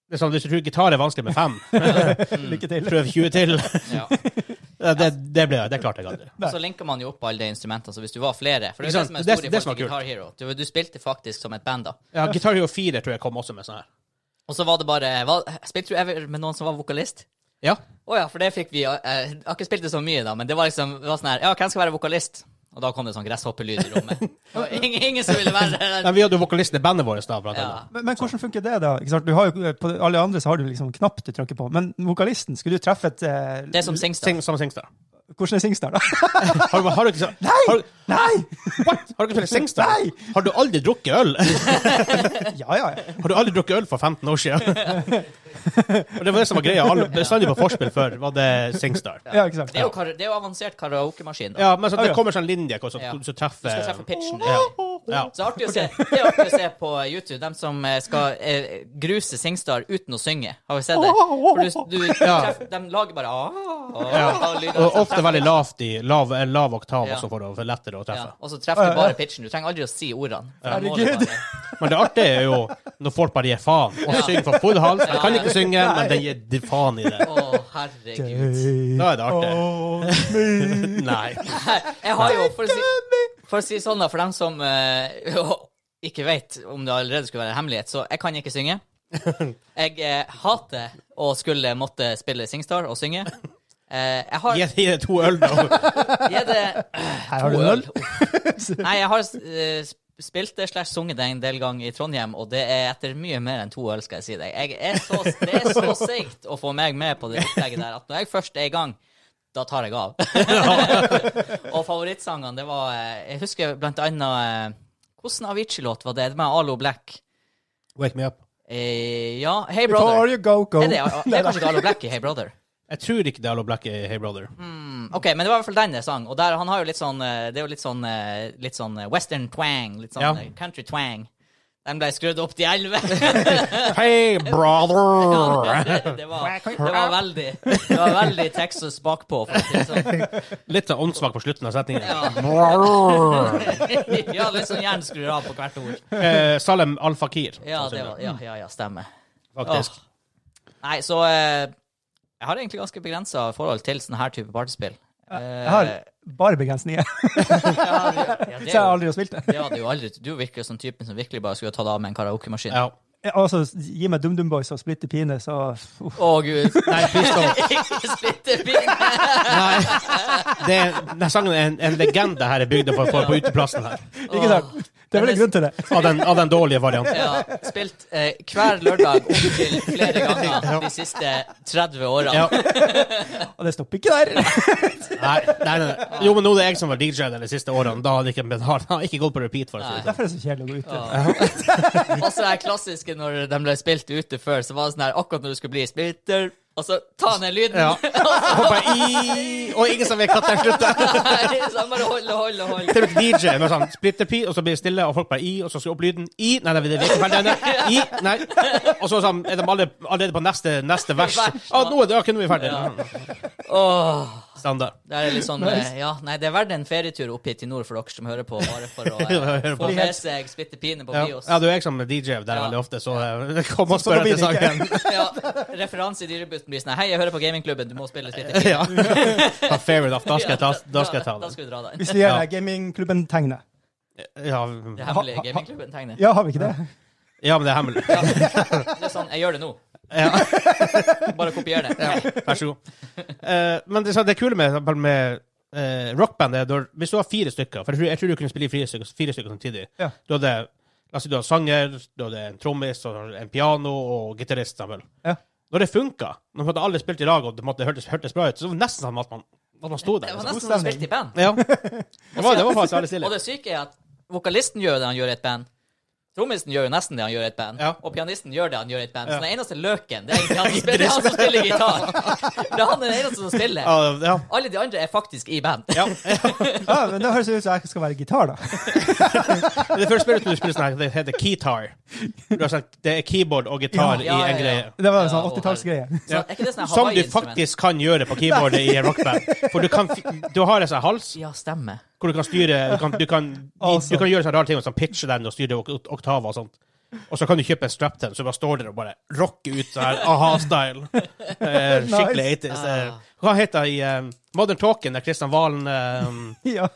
Speaker 2: det er sånn, hvis du tror gitar er vanskelig med fem,
Speaker 3: Mm.
Speaker 1: Lykke til.
Speaker 2: prøv 20 til.
Speaker 3: Ja.
Speaker 2: det, det, det, ble, det klarte jeg aldri.
Speaker 3: Og så linker man jo opp alle de instrumentene, så hvis du var flere For det er
Speaker 2: Ikke
Speaker 3: jo det som
Speaker 2: sant?
Speaker 3: er
Speaker 2: Det-
Speaker 3: stor
Speaker 2: det
Speaker 3: i forhold til
Speaker 2: som er
Speaker 3: Guitar Hero. Du, du spilte faktisk som et band, da.
Speaker 2: Ja, Gitar Hero 4 tror jeg kom også med sånn her.
Speaker 3: Og så var det bare hva- Spilte du ever med noen som var vokalist?
Speaker 2: Ja.
Speaker 3: Å ja, for det fikk vi eh, Jeg har ikke spilt det så mye, da, men det var liksom det var sånn her Ja, hvem skal være vokalist? Og da kom det sånn gresshoppelyd i rommet. Og ingen, ingen som ville være
Speaker 2: Nei, vi hadde jo vokalisten i bandet vårt da, blant
Speaker 3: Ja.
Speaker 2: annet.
Speaker 1: Men, men hvordan funker det, da? Ikke sant? Du har jo, eh, på alle andre så har du liksom en knapp du trykker på. Men vokalisten, skulle du treffe et eh,
Speaker 3: Det er som Singstar.
Speaker 2: Sing, samme Singstar.
Speaker 1: Hvordan er Singstar, da?
Speaker 2: Har, du- har du ikke så- Har,
Speaker 1: Nei!
Speaker 2: what? Har du ikke spilt Singstar?
Speaker 1: Nei!
Speaker 2: Har du aldri drukket øl?
Speaker 1: Ja, ja. ja.
Speaker 2: Har du aldri drukket øl for 15 år siden? Og det var det som var greia. Alle bestandig på forspill før var det Singstar.
Speaker 1: ja ikke sant?
Speaker 3: Det er jo, kar- det er jo avansert karaokemaskin. da.
Speaker 2: Ja, men så
Speaker 1: Ah,
Speaker 2: det
Speaker 1: ja.
Speaker 2: kommer sånn linje hvor så,
Speaker 3: Ja.
Speaker 2: så
Speaker 3: Du skal treffe
Speaker 2: treffer
Speaker 3: pitchen.
Speaker 2: Ja. Ja.
Speaker 3: Så artig å se, det er artig å se på YouTube, dem som eh, skal eh, gruse Singstar uten å synge. Har vi sett det? For du, du,
Speaker 2: Ja.
Speaker 3: treffer- de lager bare ah,
Speaker 2: Ja.
Speaker 3: og lyder
Speaker 2: Og
Speaker 3: som
Speaker 2: ofte veldig lavt i lav, en lav oktav
Speaker 3: Ja.
Speaker 2: også for å for lettere å
Speaker 3: sånn. Ja,
Speaker 2: treffe.
Speaker 3: og så treffer
Speaker 1: Ja, ja.
Speaker 3: du bare pitchen. Du trenger aldri å si ordene. for da må du
Speaker 1: Herregud.
Speaker 3: bare-
Speaker 2: Men det artige er jo når folk bare gir faen og
Speaker 3: Ja.
Speaker 2: synger for full hals. De
Speaker 3: Ja.
Speaker 2: kan ikke synge, men de gir de faen i det.
Speaker 3: Å, herregud.
Speaker 2: Da er det artig.
Speaker 1: artig.
Speaker 2: Nei.
Speaker 3: Jeg har jo, for å si, for å si sånn da, for dem som eh, ikke vet om det allerede skulle være hemmelighet, så jeg kan ikke synge. Jeg eh, hater å skulle måtte spille Singstar og synge. Eh, jeg har
Speaker 2: Gi gi det to øl, da.
Speaker 3: Gi det
Speaker 1: Her har du null.
Speaker 3: Nei, jeg har eh, sp- spilt det slash sunget det en del ganger i Trondheim, og det er etter mye mer enn to øl, skal jeg si deg. Jeg er så, det er så seigt å få meg med på det opplegget der at når jeg først er i gang, da tar jeg av. og favorittsangene, det var eh, Jeg husker blant annet eh, Hvordan Avicii-låt var det? Det var Alo Black.
Speaker 2: Wake me up.
Speaker 3: Eh, ja, Hey
Speaker 1: Before
Speaker 3: Brother.
Speaker 1: you go, go.
Speaker 3: Er det, det er kanskje ikke Alo Black i Hey Brother?
Speaker 2: Jeg tror ikke det er Allo Black i Hey Brother.
Speaker 3: Mm, OK, men det var i hvert fall den jeg sang. Og der, han har jo litt sånn eh, Det er jo litt sånn, eh, litt sånn eh, western twang. Litt sånn
Speaker 2: Ja.
Speaker 3: eh, country twang. Den ble skrudd opp til 11.
Speaker 2: Hey, brother!
Speaker 3: det, var, det var veldig Det var veldig Texas bakpå, for å si det sånn.
Speaker 2: Litt sånn åndssvak på slutten av setningen.
Speaker 3: Ja.
Speaker 2: Brother.
Speaker 3: ja, litt sånn hjernen skrur av på hvert ord.
Speaker 2: Eh, Salem Al-Fakir.
Speaker 3: Ja, det var, ja, ja, ja stemmer.
Speaker 2: Faktisk.
Speaker 3: Åh. Nei, så eh, Jeg har egentlig ganske begrensa forhold til sånn her type partyspill. Eh,
Speaker 1: Jeg har bare begrensninger,
Speaker 3: ja,
Speaker 1: så
Speaker 3: det
Speaker 1: jeg har
Speaker 3: er jo,
Speaker 1: aldri har spilt det.
Speaker 3: ja, det er jo aldri Du virker som typen som virkelig bare skulle ha tatt av med en karaokemaskin.
Speaker 2: Ja.
Speaker 1: Ja, Altså, gi meg DumDum Boys og Splitter Pine, så uff.
Speaker 3: Å, gud.
Speaker 2: Nei, please don't.
Speaker 3: Ikke splitterpinne!
Speaker 2: Nei. Det er, denne sangen er en, en legende her i bygda for, for på uteplassen her.
Speaker 1: Ikke sant? Det er vel en grunn til det.
Speaker 2: Av den, av den dårlige varianten.
Speaker 3: Ja, spilt eh, hver lørdag opptil flere ganger de siste 30 årene.
Speaker 2: Ja.
Speaker 1: Og det stopper ikke der.
Speaker 2: Nei, nei, nei, nei. Jo, men nå er det jeg som var DJ de siste årene. Da hadde ikke, men har, har ikke gått på repeat. for å si det sånn.
Speaker 1: Derfor er det så kjedelig å gå ut.
Speaker 3: Og så det her klassiske når de ble spilt ute før, så var det sånn her akkurat når du skulle bli splitter, og så ta ned lyden.
Speaker 2: Ja.
Speaker 3: Og
Speaker 2: Og bare i- Og ingen som vet når den slutter.
Speaker 3: så så bare holde, holde, holde.
Speaker 2: Det blir DJ med sånn splitter pi, og så blir det stille, og folk bare i, og så skal opp lyden i Nei, nei, det er ikke ferdig ennå. I, nei. Og så sånn, er de alle, allerede på neste, neste vers. Å, nå er det, ok, nå er vi ferdige.
Speaker 3: Åh,
Speaker 2: Standard.
Speaker 3: det er litt sånn eh, Ja, nei, det er verdt en ferietur opp hit til nord for dere som hører på, bare for å eh,
Speaker 2: Hører på.
Speaker 3: få med seg splitterpine på
Speaker 2: Ja,
Speaker 3: bios.
Speaker 2: ja, du er jeg som er DJ der
Speaker 3: Ja.
Speaker 2: veldig ofte, så eh, kom og
Speaker 1: Så- så da
Speaker 2: spør
Speaker 1: blir
Speaker 2: etter
Speaker 1: det ikke.
Speaker 2: sangen.
Speaker 3: Ja, referanse i Dyrebutten blir sånn Hei, jeg hører på gamingklubben, du må spille splitterpine.
Speaker 2: ja. Ja, Fair enough. Da skal jeg ta, da skal jeg ta
Speaker 3: Da
Speaker 2: den.
Speaker 3: skal du dra den.
Speaker 1: Hvis vi gjør
Speaker 2: Ja.
Speaker 1: gamingklubben tegnet.
Speaker 2: Ja,
Speaker 3: Det hemmelige gamingklubben tegner.
Speaker 1: Ja, har vi ikke det?
Speaker 2: ja, men det er hemmelig.
Speaker 3: Det er sånn, jeg gjør det nå.
Speaker 2: Ja.
Speaker 3: Bare kopier det.
Speaker 2: Vær så god. Eh, men det, så det kule med, med eh, rockband er når- hvis du har fire stykker For jeg tror, jeg tror du kunne spille i fire stykker, fire stykker samtidig.
Speaker 1: Ja.
Speaker 2: Du hadde, la oss si du har sanger, du hadde en trommis, og en piano og gitarist. sammen.
Speaker 1: Ja.
Speaker 2: Når det funka, når på en måte alle spilte i lag og det, på en måte, hørtes, hørtes bra ut, så var det nesten som at man, at man sto der.
Speaker 3: Det var
Speaker 2: Liksom.
Speaker 3: nesten som å spille i band.
Speaker 2: Ja. Det, var, det var faktisk veldig
Speaker 3: Og
Speaker 2: stilig.
Speaker 3: det syke er at vokalisten gjør det han gjør i et band. Trommisen gjør jo nesten det han gjør i et band.
Speaker 2: Ja.
Speaker 3: Og pianisten gjør det han gjør i et band.
Speaker 2: Ja.
Speaker 3: Så den eneste løken, det er egentlig han som spiller, det er han som spiller gitar. Det er han den eneste som spiller.
Speaker 2: Ja, ja.
Speaker 3: Alle de andre er faktisk i band.
Speaker 2: Ja.
Speaker 1: Ja, men Det høres ut som jeg skal være gitar, da.
Speaker 2: Det første spillet du spiller sånn her, det heter keytar. Du har sagt, det er keyboard og gitar i
Speaker 3: Ja, ja,
Speaker 2: en
Speaker 3: ja, ja.
Speaker 2: greie.
Speaker 1: Det var en
Speaker 3: Ja,
Speaker 1: sånn
Speaker 3: og
Speaker 1: 80-tallsgreie.
Speaker 3: Så er ikke det sånn
Speaker 2: Som du
Speaker 3: Hawaii-instrument?
Speaker 2: faktisk kan gjøre på keyboardet i en rockband. For du, kan, fi- du har en sånn hals
Speaker 3: Ja, stemmer.
Speaker 2: hvor du kan styre Du kan, du kan,
Speaker 1: Altså.
Speaker 2: du kan gjøre sånne rare ting som pitche den og styre ok- oktaver og sånt. Og så kan du kjøpe en strap-ten, så bare står der og bare rocker ut sånn her aha-style. Eh, skikkelig 80s. Eh, Hva heter det i eh, Modern Talking, der eh, Kristian Valen-parodien?
Speaker 1: Ja.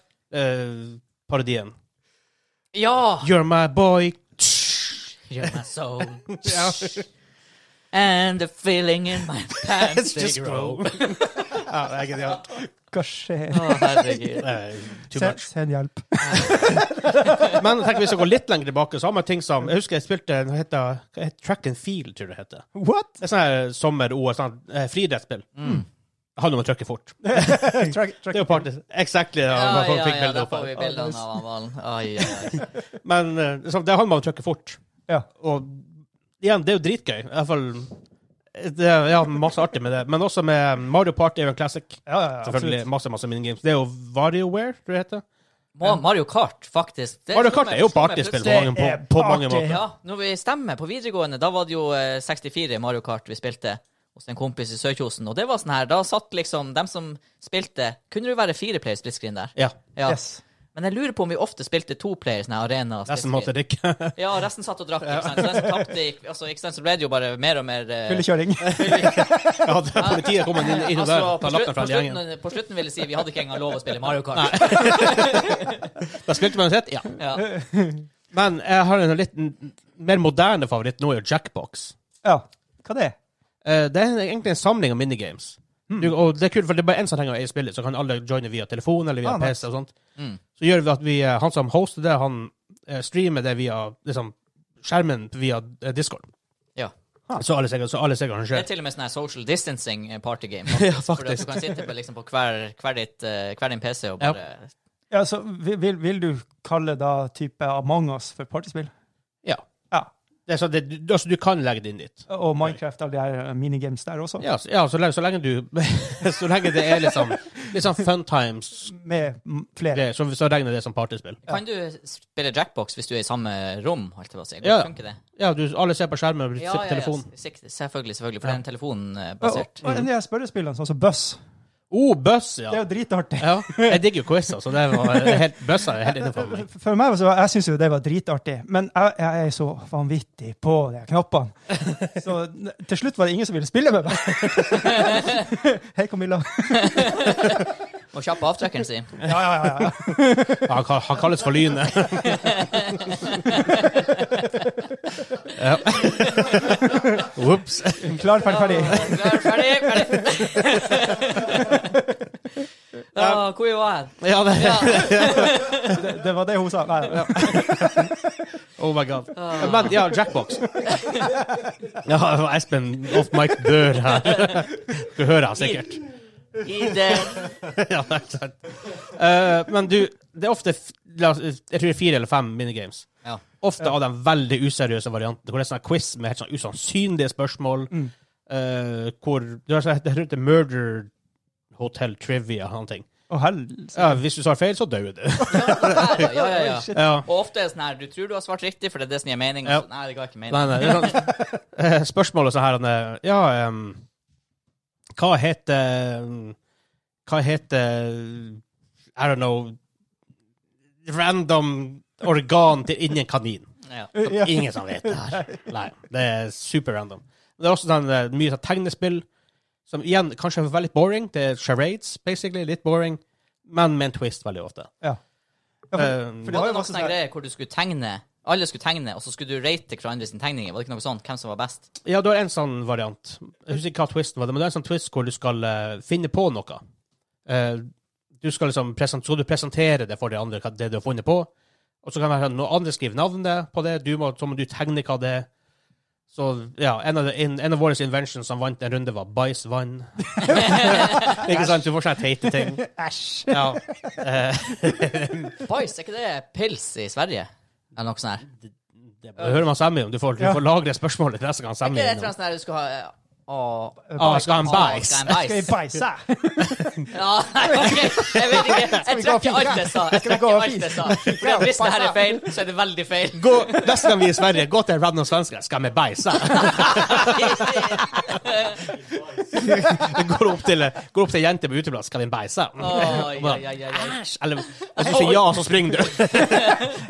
Speaker 3: Ja!
Speaker 2: eh, You're my boy.
Speaker 3: You're my soul. And the feeling in my pants they
Speaker 2: Just
Speaker 3: grow.
Speaker 2: grow. ja, det er genialt.
Speaker 1: Hva skjer?
Speaker 3: Å, herregud.
Speaker 2: Eh, Too
Speaker 1: Se-
Speaker 2: much.
Speaker 1: Send hjelp.
Speaker 2: Men tenk hvis jeg går litt lenger tilbake, så har man ting som Jeg husker jeg spilte hva heter, hva heter Track and Field, tror jeg det heter.
Speaker 1: What?
Speaker 2: Det er sånn her sommer-OL, sånn eh, friidrettsspill.
Speaker 3: Mm.
Speaker 2: Det handler om å trykke fort. Det
Speaker 1: Track, track.
Speaker 2: er jo party. Exactly. Ja,
Speaker 3: Ja,
Speaker 2: man
Speaker 3: ja,
Speaker 2: fikk
Speaker 3: ja,
Speaker 2: bildet
Speaker 3: der
Speaker 2: opp
Speaker 3: får
Speaker 2: her.
Speaker 3: vi bildene av han Valen. Ai, ai, ai.
Speaker 2: Men eh, så det handler om å trykke fort.
Speaker 1: Ja.
Speaker 2: Og igjen, det er jo dritgøy. I hvert fall det er, Ja, masse artig med det. Men også med Mario Party er jo en classic.
Speaker 1: Ja, ja, ja,
Speaker 2: Selvfølgelig
Speaker 1: absolutt.
Speaker 2: masse masse minigames. Det er jo WarioWare, tror jeg det heter.
Speaker 3: Ma- Mario Kart, faktisk. Det sånn
Speaker 2: Mario
Speaker 3: slo
Speaker 2: Kart
Speaker 3: meg-
Speaker 2: er jo
Speaker 3: slo meg
Speaker 2: partyspill på
Speaker 3: plutselig.
Speaker 2: mange, på,
Speaker 1: Det er
Speaker 2: på mange
Speaker 1: party.
Speaker 2: måter.
Speaker 3: Ja, når vi stemmer på videregående, da var det jo eh, 64 i Mario Kart vi spilte hos en kompis i Sørkjosen, og det var sånn her, da satt liksom dem som spilte Kunne det jo være fire player split screen der?
Speaker 2: Ja.
Speaker 3: Ja.
Speaker 1: Yes.
Speaker 3: Men jeg lurer på om vi ofte spilte to player sånn her arena. split
Speaker 2: Nesten
Speaker 3: screen.
Speaker 2: måtte drikke.
Speaker 3: Ja, resten satt og drakk, ikke sant. Så den som tapte, gikk- altså, ikke sant, så ble det jo bare mer og mer eh,
Speaker 1: Fyllekjøring.
Speaker 2: Ja, da politiet kommer inn, inn der
Speaker 3: Altså,
Speaker 2: og
Speaker 3: på,
Speaker 2: tar lappen fra
Speaker 3: slutten, på,
Speaker 2: gjengen.
Speaker 3: slutten, på slutten vil jeg si vi hadde ikke engang lov å spille Mario Kart.
Speaker 2: Da spilte man uansett, ja.
Speaker 3: Ja.
Speaker 2: Men jeg har en litt mer moderne favoritt nå, er jo Jackbox.
Speaker 1: Ja. Hva det er?
Speaker 2: Eh, Det er egentlig en samling av minigames.
Speaker 1: Hmm.
Speaker 2: Du, og det er kult, for det er bare én som trenger å eie spillet, så kan alle joine via telefon eller via
Speaker 1: Ah,
Speaker 2: PC
Speaker 1: nice.
Speaker 2: og sånt.
Speaker 3: Mm.
Speaker 2: Så gjør vi at vi, eh, han som hoster det, han eh, streamer det via liksom, skjermen via eh, Discord.
Speaker 3: Ja.
Speaker 1: Ah.
Speaker 2: Så alle ser så alle ser hva som
Speaker 3: Det er
Speaker 2: skjer.
Speaker 3: til og med sånn her social distancing eh, party game.
Speaker 2: Ja,
Speaker 3: For at du
Speaker 2: faktisk.
Speaker 3: kan sitte på, liksom, på hver, hver, ditt, eh, hver din PC og bare
Speaker 1: Ja, så vil, vil- vil du kalle da type Among us for partyspill?
Speaker 2: Ja.
Speaker 1: Ja.
Speaker 2: Det er så det, du- altså, du kan legge det inn dit.
Speaker 1: Og Minecraft og alle de her minigames der også?
Speaker 2: Ja, så, ja, så, lenge, så lenge du Så lenge det er liksom Litt sånn fun times.
Speaker 1: med m- flere.
Speaker 2: Det, så, så regner det som partyspill.
Speaker 3: Kan du spille jackbox hvis du er i samme rom? Holdt jeg på å si.
Speaker 2: Ja.
Speaker 3: Funker det?
Speaker 2: Ja, du, alle ser på skjermen og sitter på telefonen.
Speaker 3: s- sikt- Selvfølgelig, selvfølgelig. For
Speaker 2: Ja.
Speaker 3: det er en eh,
Speaker 1: Og,
Speaker 3: telefonbasert.
Speaker 1: og en av de her spørrespillene, sånn som Buss,
Speaker 2: Oh, buss,
Speaker 1: det er
Speaker 2: ja.
Speaker 1: jo dritartig.
Speaker 2: ja. Jeg digger jo quizer, så det var det er helt, bøssa er helt innenfor meg.
Speaker 1: For meg, så, Jeg syns jo det var dritartig, men jeg, jeg er så vanvittig på de her knappene. Så n- til slutt var det ingen som ville spille med meg. Hei, Camilla.
Speaker 3: Og kjapp avtrekkeren sin.
Speaker 1: Ja, ja, ja, ja.
Speaker 2: Ja, Han, kall- han kalles for Lynet. ja. Ops.
Speaker 1: Klar, ferdig, ferdig.
Speaker 3: Klar, ferdig, ferdig. da, hvor var jeg?
Speaker 2: Ja, det,
Speaker 3: Ja.
Speaker 1: Det, det var det hun sa. Nei, ja.
Speaker 2: oh my god. Men ja, Jackbox. Ja, det var Espen off mic dør her. Du hører han sikkert.
Speaker 3: I det
Speaker 2: Ja, det er sant. Eh, men du, det er ofte f- la oss- jeg tror det er fire eller fem minigames.
Speaker 3: Ja.
Speaker 2: Ofte av den veldig useriøse varianten, hvor det er sånn quiz med helt sånn usannsynlige spørsmål.
Speaker 1: Mm.
Speaker 2: eh, hvor Det er sånn- det heter Murder Hotel Trivia og sånne ting.
Speaker 1: Og helse.
Speaker 2: Ja, hvis du svarer feil, så dør du.
Speaker 3: Ja, ja, ja. ja.
Speaker 2: ja.
Speaker 3: Og ofte er det sånn her Du tror du har svart riktig, for det er det som gir mening.
Speaker 2: Ja.
Speaker 3: Så, nei, det ga ikke mening.
Speaker 2: Nei, nei. det er sånn- Eh, Spørsmålet så her han er, Ja, em, hva heter em, Hva heter I don't know Random organ til inni en kanin.
Speaker 3: Ja.
Speaker 2: Som
Speaker 1: Ja.
Speaker 2: Ingen som vet det her. Nei, det er super random. Det er også sånn, eh, mye sånn tegnespill som igjen kanskje er veldig boring. Det er charades, basically. Litt boring, men med en twist veldig ofte. Eh,
Speaker 1: Ja. Ja, for,
Speaker 2: Em,
Speaker 1: for det
Speaker 3: Var
Speaker 1: var
Speaker 3: det
Speaker 1: jo
Speaker 3: noen
Speaker 1: masse
Speaker 3: sånne
Speaker 1: sånn
Speaker 3: greier hvor du skulle tegne Alle skulle tegne, og så skulle du rate hverandre sine tegninger? Var det ikke noe sånt? Hvem som var best?
Speaker 2: Ja, du har en sånn variant. Jeg husker ikke hva twisten var, det, men det er en sånn twist hvor du skal eh, finne på noe. Eh, du skal liksom presen- skal du presentere det for de andre, hva det du har funnet på. Og så kan det være sånn, noen andre skriver navnet på det, du må, så må du tegne hva det er. Så ja, en av, de- en, en av våre inventions som vant en runde, var Bæsj vann. ikke sant? Du får sånne teite ting.
Speaker 1: Æsj.
Speaker 2: Ja. Eh,
Speaker 3: Bajs, er ikke det pils i Sverige? Eller noe sånt her?
Speaker 2: det hører man Sammy om. Du får, du
Speaker 1: Ja.
Speaker 2: får lagre spørsmålet til neste gang
Speaker 3: Er ikke
Speaker 2: Sammy
Speaker 3: det
Speaker 2: er
Speaker 3: et eller
Speaker 2: innom.
Speaker 3: annet sånt her du skal ha eh, Å,
Speaker 2: Ah, skal ha en
Speaker 3: å,
Speaker 2: bæsj.
Speaker 3: skal
Speaker 1: Jeg skal i
Speaker 3: jeg ha en bæsj?
Speaker 1: bæsj, jeg.
Speaker 3: Ja, nei, ok. Jeg vet ikke. Jeg
Speaker 1: gå
Speaker 3: trekker alt jeg sa. Jeg
Speaker 1: vi gå
Speaker 3: trekker alt
Speaker 1: fint?
Speaker 3: jeg sa. For Hvis det her er feil, så er det veldig feil.
Speaker 2: Gå, neste gang vi er i Sverige, gå til en random svenske. Skal vi bæsje? Det går opp til, går opp til jenter på uteplass. Skal vi bæse?
Speaker 3: Oi, oi, oi, oi, oi.
Speaker 2: Æsj! Eller hvis du sier ja, så springer du.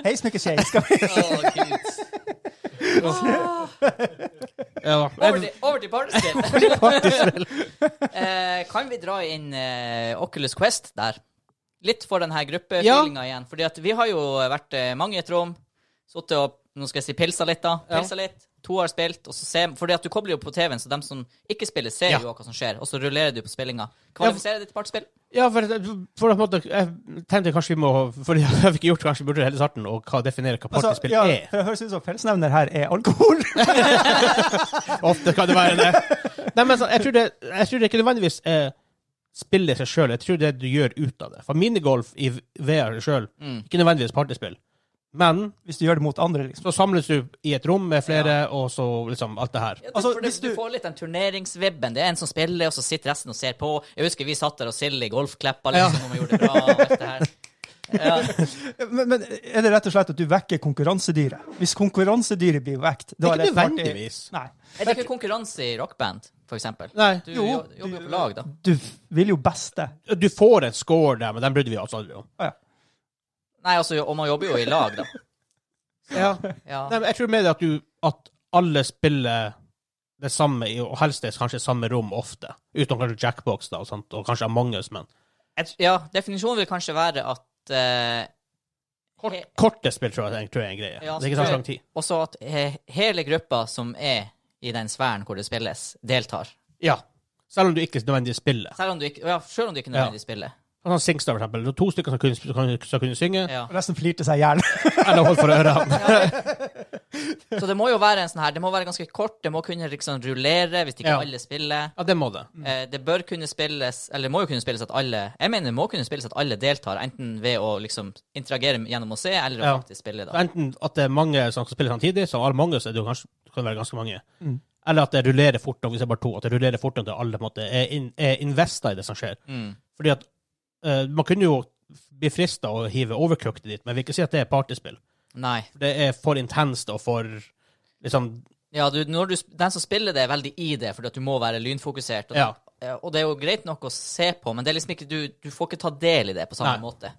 Speaker 1: Hei, Snukkeskje. Skal vi
Speaker 3: Å, Gud.
Speaker 2: Ja,
Speaker 3: Over
Speaker 2: jeg,
Speaker 3: til, over til partyspill. Eh, kan vi dra inn eh, Oculus Quest der? Litt for denne gruppefeelinga igjen. Fordi at vi har jo vært eh, mange i et rom. Sittet og nå skal jeg si pilsa litt, da. Pilsa litt. To har spilt. Og så ser, fordi at du kobler jo på TV-en, så dem som ikke spiller, ser
Speaker 2: Ja.
Speaker 3: jo hva som skjer. Og så rullerer du på spillinga. Kvalifiserer det til partyspill?
Speaker 2: ja for, for å på en måte, jeg tenkte kanskje vi må For jeg har ikke gjort kanskje vi burde det hele starten og hva, definere hva
Speaker 1: Altså,
Speaker 2: partyspill
Speaker 1: ja,
Speaker 2: er.
Speaker 1: for det høres ut som fellesnevner her er alkohol.
Speaker 2: Ofte kan det være det. Nei, men sånn, jeg, tror det, jeg tror det ikke nødvendigvis er spillet i seg sjøl. Jeg tror det du gjør ut av det. For minigolf i VR sjøl,
Speaker 1: Mm.
Speaker 2: ikke nødvendigvis partyspill. Men
Speaker 1: Hvis du gjør det mot andre, liksom.
Speaker 2: så samles du i et rom med flere, og så liksom alt det her.
Speaker 3: Ja, du,
Speaker 1: Altså,
Speaker 3: for det,
Speaker 1: hvis
Speaker 3: du...
Speaker 1: du-
Speaker 3: får litt den turneringsvibben. Det er en som spiller, og så sitter resten og ser på. Jeg husker vi satt der og Silje golfkleppa liksom, om vi gjorde det bra. og alt det her. Ja.
Speaker 1: Men, men er det rett og slett at du vekker konkurransedyret? Hvis konkurransedyret blir vekt, da
Speaker 2: Ikke
Speaker 1: er det party-
Speaker 2: nødvendigvis.
Speaker 1: Nei.
Speaker 3: Er det ikke konkurranse i rockband, for eksempel?
Speaker 2: Nei.
Speaker 3: Du
Speaker 1: Jo,
Speaker 3: jo, jobber jo på lag, da.
Speaker 1: Du f- vil jo beste.
Speaker 2: Du får en score der, men den brydde vi oss aldri om.
Speaker 1: Å, ja.
Speaker 3: Nei, altså, og man jobber jo i lag, da. Ja.
Speaker 2: Nei, men jeg tror mer det at, du, at alle spiller det samme, i- og helst det er kanskje samme rom ofte. Utenom kanskje Jackbox da, og, sånt, og kanskje Among us, men
Speaker 3: Jeg tr- ja, definisjonen vil kanskje være at eh,
Speaker 2: kort,
Speaker 3: he-
Speaker 2: korte spill tror jeg, tror jeg er en greie.
Speaker 3: Ja,
Speaker 2: det er ikke
Speaker 3: så
Speaker 2: så
Speaker 3: tror
Speaker 2: lang tid.
Speaker 3: Også at he, hele gruppa som er i den sfæren hvor det spilles, deltar.
Speaker 2: Ja. Selv om du ikke nødvendigvis spiller.
Speaker 3: Selv om du ikke, ja, selv om du ikke nødvendigvis spiller.
Speaker 2: Sånn Singstar, for eksempel. Det var to stykker som kunne, som kunne, som kunne synge,
Speaker 3: Ja.
Speaker 1: Resten flirte seg i hjel.
Speaker 2: eller holdt for ørene.
Speaker 3: Så det må jo være en sånn her Det må være ganske kort, det må kunne liksom rullere hvis ikke
Speaker 2: Ja.
Speaker 3: alle spiller.
Speaker 2: Ja, det må det.
Speaker 3: Eh, det bør kunne spilles Eller må jo kunne spilles at alle Jeg mener det må kunne spilles at alle deltar, enten ved å liksom interagere gjennom å se, eller å
Speaker 2: Ja.
Speaker 3: faktisk spille,
Speaker 2: Så
Speaker 3: da.
Speaker 2: enten at det er mange som spiller samtidig, som alle mange, så er det jo kanskje, kan det være ganske mange.
Speaker 3: Mm.
Speaker 2: Eller at det
Speaker 3: Mm.
Speaker 2: rullerer fort nok, hvis det er bare to, at det rullerer fort nok til alle på en måte er, in, er investa i det som skjer. Fordi at eh, Man kunne jo bli frista å hive overcooked dit, men jeg vil ikke si at det er partyspill.
Speaker 3: Nei.
Speaker 2: For Det er for intenst og for liksom
Speaker 3: Ja, du, når du, sp- den som spiller det, er veldig i det, fordi at du må være lynfokusert. Og,
Speaker 2: Ja.
Speaker 3: eh, og det er jo greit nok å se på, men det er liksom ikke, du, du får ikke ta del i det på samme
Speaker 2: Nei.
Speaker 3: måte.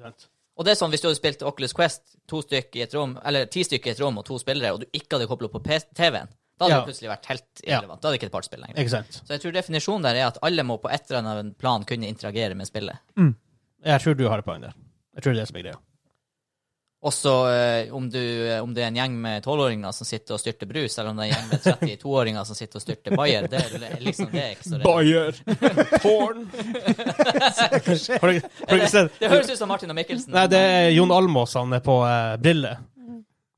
Speaker 2: sant.
Speaker 3: Og det er sånn hvis du hadde spilt Oculus Quest to stykk i et rom, eller ti stykker i et rom og to spillere, og du ikke hadde koblet på PS TV-en, da hadde
Speaker 2: Ja.
Speaker 3: det plutselig vært helt
Speaker 2: Ja.
Speaker 3: irrelevant. Da hadde det ikke et partyspill lenger.
Speaker 2: Ikke sant.
Speaker 3: Så jeg tror definisjonen der er at alle må på et eller annet plan kunne interagere med spillet.
Speaker 2: Jeg tror du har et poeng der. Jeg tror det er det som er greia.
Speaker 3: Også eh, om, du, eh, om det er en gjeng med 12-åringer som sitter og styrter brus, eller om det er en gjeng med 32-åringer som sitter og styrter bayer, det er jo liksom det er ikke så relevant.
Speaker 2: Bayer! Porn! har du, har du ikke sett?
Speaker 3: Det høres ut som Martin og Mikkelsen.
Speaker 2: Mm. Nei, det er Jon Almaas, han er på eh, briller.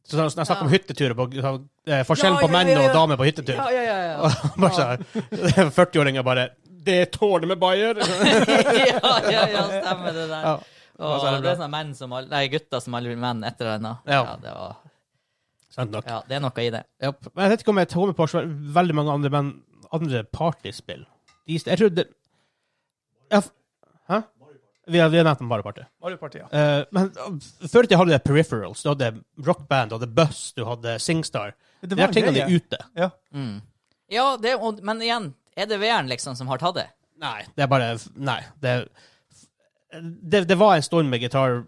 Speaker 2: Så når jeg snakker om hytteturer på, eh, Forskjellen
Speaker 3: Ja,
Speaker 2: på
Speaker 3: ja,
Speaker 2: menn
Speaker 3: ja, ja.
Speaker 2: og damer på hyttetur.
Speaker 3: Ja, ja, ja. ja.
Speaker 2: Bare sånn, 40-åringer bare Det er tårnet med Bayer!
Speaker 3: ja, ja, ja, stemmer det der.
Speaker 2: Ja.
Speaker 3: Og
Speaker 2: så er det
Speaker 3: det,
Speaker 2: bra.
Speaker 3: er sånne menn som aldri, nei, gutter som aldri blir menn etter eller annet.
Speaker 2: Ja.
Speaker 3: det var,
Speaker 2: Sant nok.
Speaker 3: ja, det er noe i det.
Speaker 2: Japp. Men Jeg vet ikke om jeg tar med på svæ- veldig mange andre, men andre partyspill. De- Jeg tror det ja, f- Hæ? Vi har, vi har nevnt Mario Party.
Speaker 1: Mario Party, ja.
Speaker 2: Eh, men uh, før i tida hadde du Peripherals, du hadde Rock Band, du hadde Buss, du hadde Singstar.
Speaker 1: Det
Speaker 2: De
Speaker 1: var
Speaker 2: her tingene
Speaker 1: greie.
Speaker 2: er ute.
Speaker 1: Ja.
Speaker 3: Mm. Ja, det, og, men igjen, er det VR-en liksom som har tatt det?
Speaker 2: Nei, det er bare Nei. Det, det, det var en stund med gitar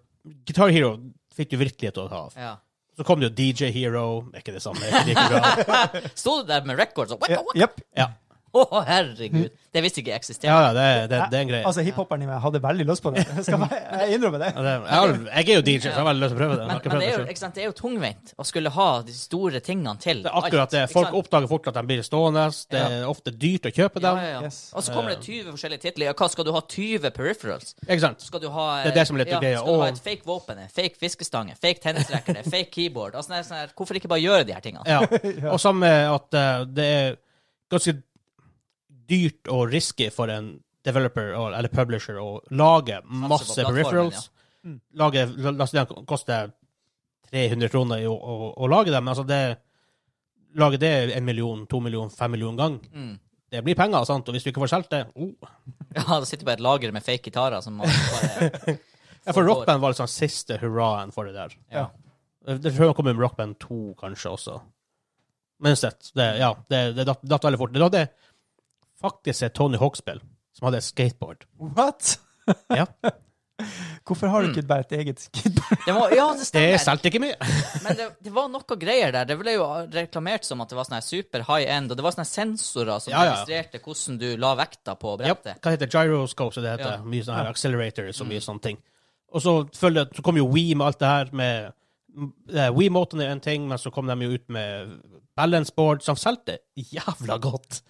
Speaker 2: Guitar Hero fikk du virkelig til å ta av.
Speaker 3: Ja.
Speaker 2: Så kom det jo DJ Hero. Er ikke det samme. er Ikke like bra.
Speaker 3: Sto du der med records og
Speaker 1: Ja,
Speaker 3: Å,
Speaker 1: Jepp.
Speaker 2: Ja, Mm.
Speaker 3: herregud. Det visste ikke jeg
Speaker 2: ja,
Speaker 3: eksisterte.
Speaker 2: ja det, er- det, det er en greie.
Speaker 1: Altså, hiphoperen i meg hadde veldig lyst på det. Jeg Skal jeg, jeg innrømmer det.
Speaker 2: Ja, det, jeg, har, jeg er jo DJ, så jeg har veldig lyst til å prøve det. Jeg
Speaker 3: Men,
Speaker 2: har ikke
Speaker 3: men
Speaker 2: prøvd
Speaker 3: det,
Speaker 2: det,
Speaker 3: er jo,
Speaker 2: selv.
Speaker 3: ikke sant, det er jo tungvint å skulle ha de store tingene til.
Speaker 2: det er akkurat det.
Speaker 3: alt, ikke
Speaker 2: Folk
Speaker 3: sant?
Speaker 2: oppdager fort at de blir stående. Det er ofte dyrt å kjøpe
Speaker 3: ja,
Speaker 2: dem.
Speaker 3: ja, ja.
Speaker 1: Yes.
Speaker 3: Og så kommer det 20 forskjellige titler. Ja, hva skal du ha? 20 peripherals?
Speaker 2: Ikke sant?
Speaker 3: Skal du ha,
Speaker 2: Det er det som er litt greia,
Speaker 3: Skal du ha
Speaker 2: og-
Speaker 3: et fake våpen, en fake fiskestange, fake tennisracket, fake keyboard? Altså, nei, sånn her, hvorfor ikke bare gjøre de her tingene?
Speaker 2: Ja. Og samme at eh, det er ganske dyrt og risky for en developer og, eller publisher å lage masse
Speaker 3: plattformen,
Speaker 2: peripherals. Lage, la, la oss si den koster 300 kroner i å, å, å lage dem. Altså det, lage det en million, to million, fem million gang.
Speaker 3: Mm.
Speaker 2: Det blir penger, sant? og hvis du ikke får solgt det oh.
Speaker 3: Ja, da sitter du på et lager med fake gitarer som man bare
Speaker 2: Ja, For rockband var liksom siste hurraen for det der.
Speaker 3: Ja.
Speaker 2: Det tror jeg kom med rockband 2 kanskje også. Men uansett, det, ja, det, det datt, datt veldig fort. Det hadde faktisk et Tony Hawk-spill som hadde et skateboard.
Speaker 1: What?
Speaker 2: Ja.
Speaker 1: Hvorfor
Speaker 2: Mm.
Speaker 1: har du ikke bare et eget skateboard?
Speaker 3: Det var, ja, det
Speaker 2: Det
Speaker 3: stemmer.
Speaker 2: solgte ikke mye.
Speaker 3: Men det, det var noe greier der. Det ble jo reklamert som at det var sånn her super high end, og det var sånne her sensorer som
Speaker 2: Ja, ja.
Speaker 3: registrerte hvordan du la vekta på
Speaker 2: Ja,
Speaker 3: brettet.
Speaker 2: hva heter det? Gyroscope, så det heter.
Speaker 3: Ja.
Speaker 2: Mye sånne her accelerators og
Speaker 1: Mm.
Speaker 2: mye sånne ting. Og så, følger, så kom jo Wii med alt det her med eh, Wii-måten er en ting, men så kom de jo ut med balance board, som solgte jævla godt.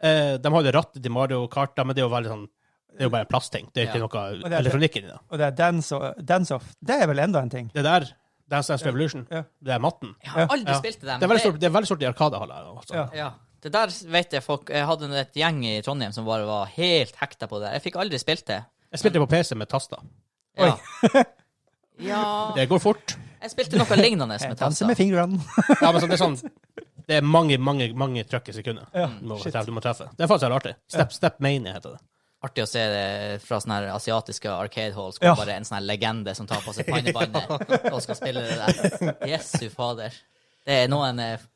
Speaker 2: Eh, de hadde rattet til Mario Kart, da, men det er jo veldig sånn det er jo bare en plastting. Det er ikke
Speaker 3: Ja.
Speaker 1: det
Speaker 2: noe
Speaker 1: er-
Speaker 2: elektronikk inni det.
Speaker 1: Og det er dance, og, dance off. Det er vel enda en ting.
Speaker 2: Det der, Dance Dance Revolution,
Speaker 1: Ja.
Speaker 2: det er matten.
Speaker 3: Jeg har aldri
Speaker 2: Ja.
Speaker 3: spilt det
Speaker 2: Det
Speaker 3: der.
Speaker 2: er
Speaker 3: men
Speaker 2: veldig stort, det er veldig stort i Arkadehaller. Altså.
Speaker 1: Ja.
Speaker 3: Ja. Det der vet jeg folk Jeg hadde et gjeng i Trondheim som bare var helt hekta på det. Jeg fikk aldri spilt det.
Speaker 2: Jeg spilte på PC med taster.
Speaker 3: Ja. ja
Speaker 2: Det går fort.
Speaker 3: Jeg spilte noe lignende
Speaker 1: Jeg
Speaker 3: med
Speaker 1: danser
Speaker 3: Tassa.
Speaker 1: med fingrene.
Speaker 2: Ja, men så det er sånn Det er mange, mange mange trøkk i sekundet du, må
Speaker 1: shit.
Speaker 2: treffe, du må treffe. Det er faktisk helt artig. Step Step Mania heter det.
Speaker 3: Artig å se det fra sånne her asiatiske arcade halls hvor
Speaker 1: Ja.
Speaker 3: bare en sånn her legende som tar på seg pannebandet og skal spille det der. Jesu fader. Det er noen eh,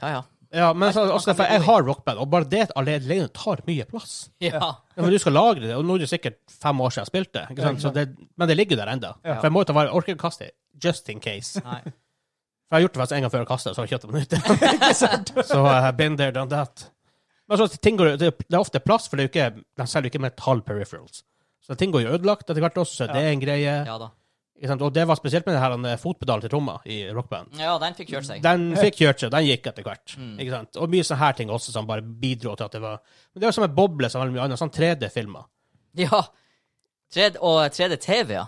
Speaker 3: Ja, ja.
Speaker 2: Ja, men så,
Speaker 3: Man
Speaker 2: også
Speaker 3: kan
Speaker 2: derfor,
Speaker 3: bli
Speaker 2: jeg
Speaker 3: god i.
Speaker 2: har rockband, og bare det alene tar mye plass.
Speaker 3: ja.
Speaker 2: Ja, men Du skal lagre det, og nå er det sikkert fem år siden jeg spilte, ikke sant? Så det, men det ligger jo der ennå.
Speaker 1: Ja.
Speaker 2: For jeg må jo ta vare orker ikke å kaste det, just in case.
Speaker 3: Nei.
Speaker 2: For jeg har gjort det faktisk en gang før jeg kastet, så har jeg kjøttet meg ut. så uh, been there, done that. Men så ting går, jo- det, det er ofte plass, for det er jo ikke, de selger jo ikke metall peripherals. Så ting går jo ødelagt etter hvert også, så det er en greie.
Speaker 3: Ja da.
Speaker 2: Ikke sant? Og det var spesielt med den her eh, fotpedalen til tromma i rockband.
Speaker 3: Ja, den fikk kjørt seg.
Speaker 2: Den fikk kjørt seg, den gikk etter hvert.
Speaker 3: Mm.
Speaker 2: Ikke sant? Og mye sånne her ting også som bare bidro til at det var Men det er jo som en boble som veldig mye annet, sånn 3D-filmer.
Speaker 3: Ja. 3D, og 3D-TV, ja.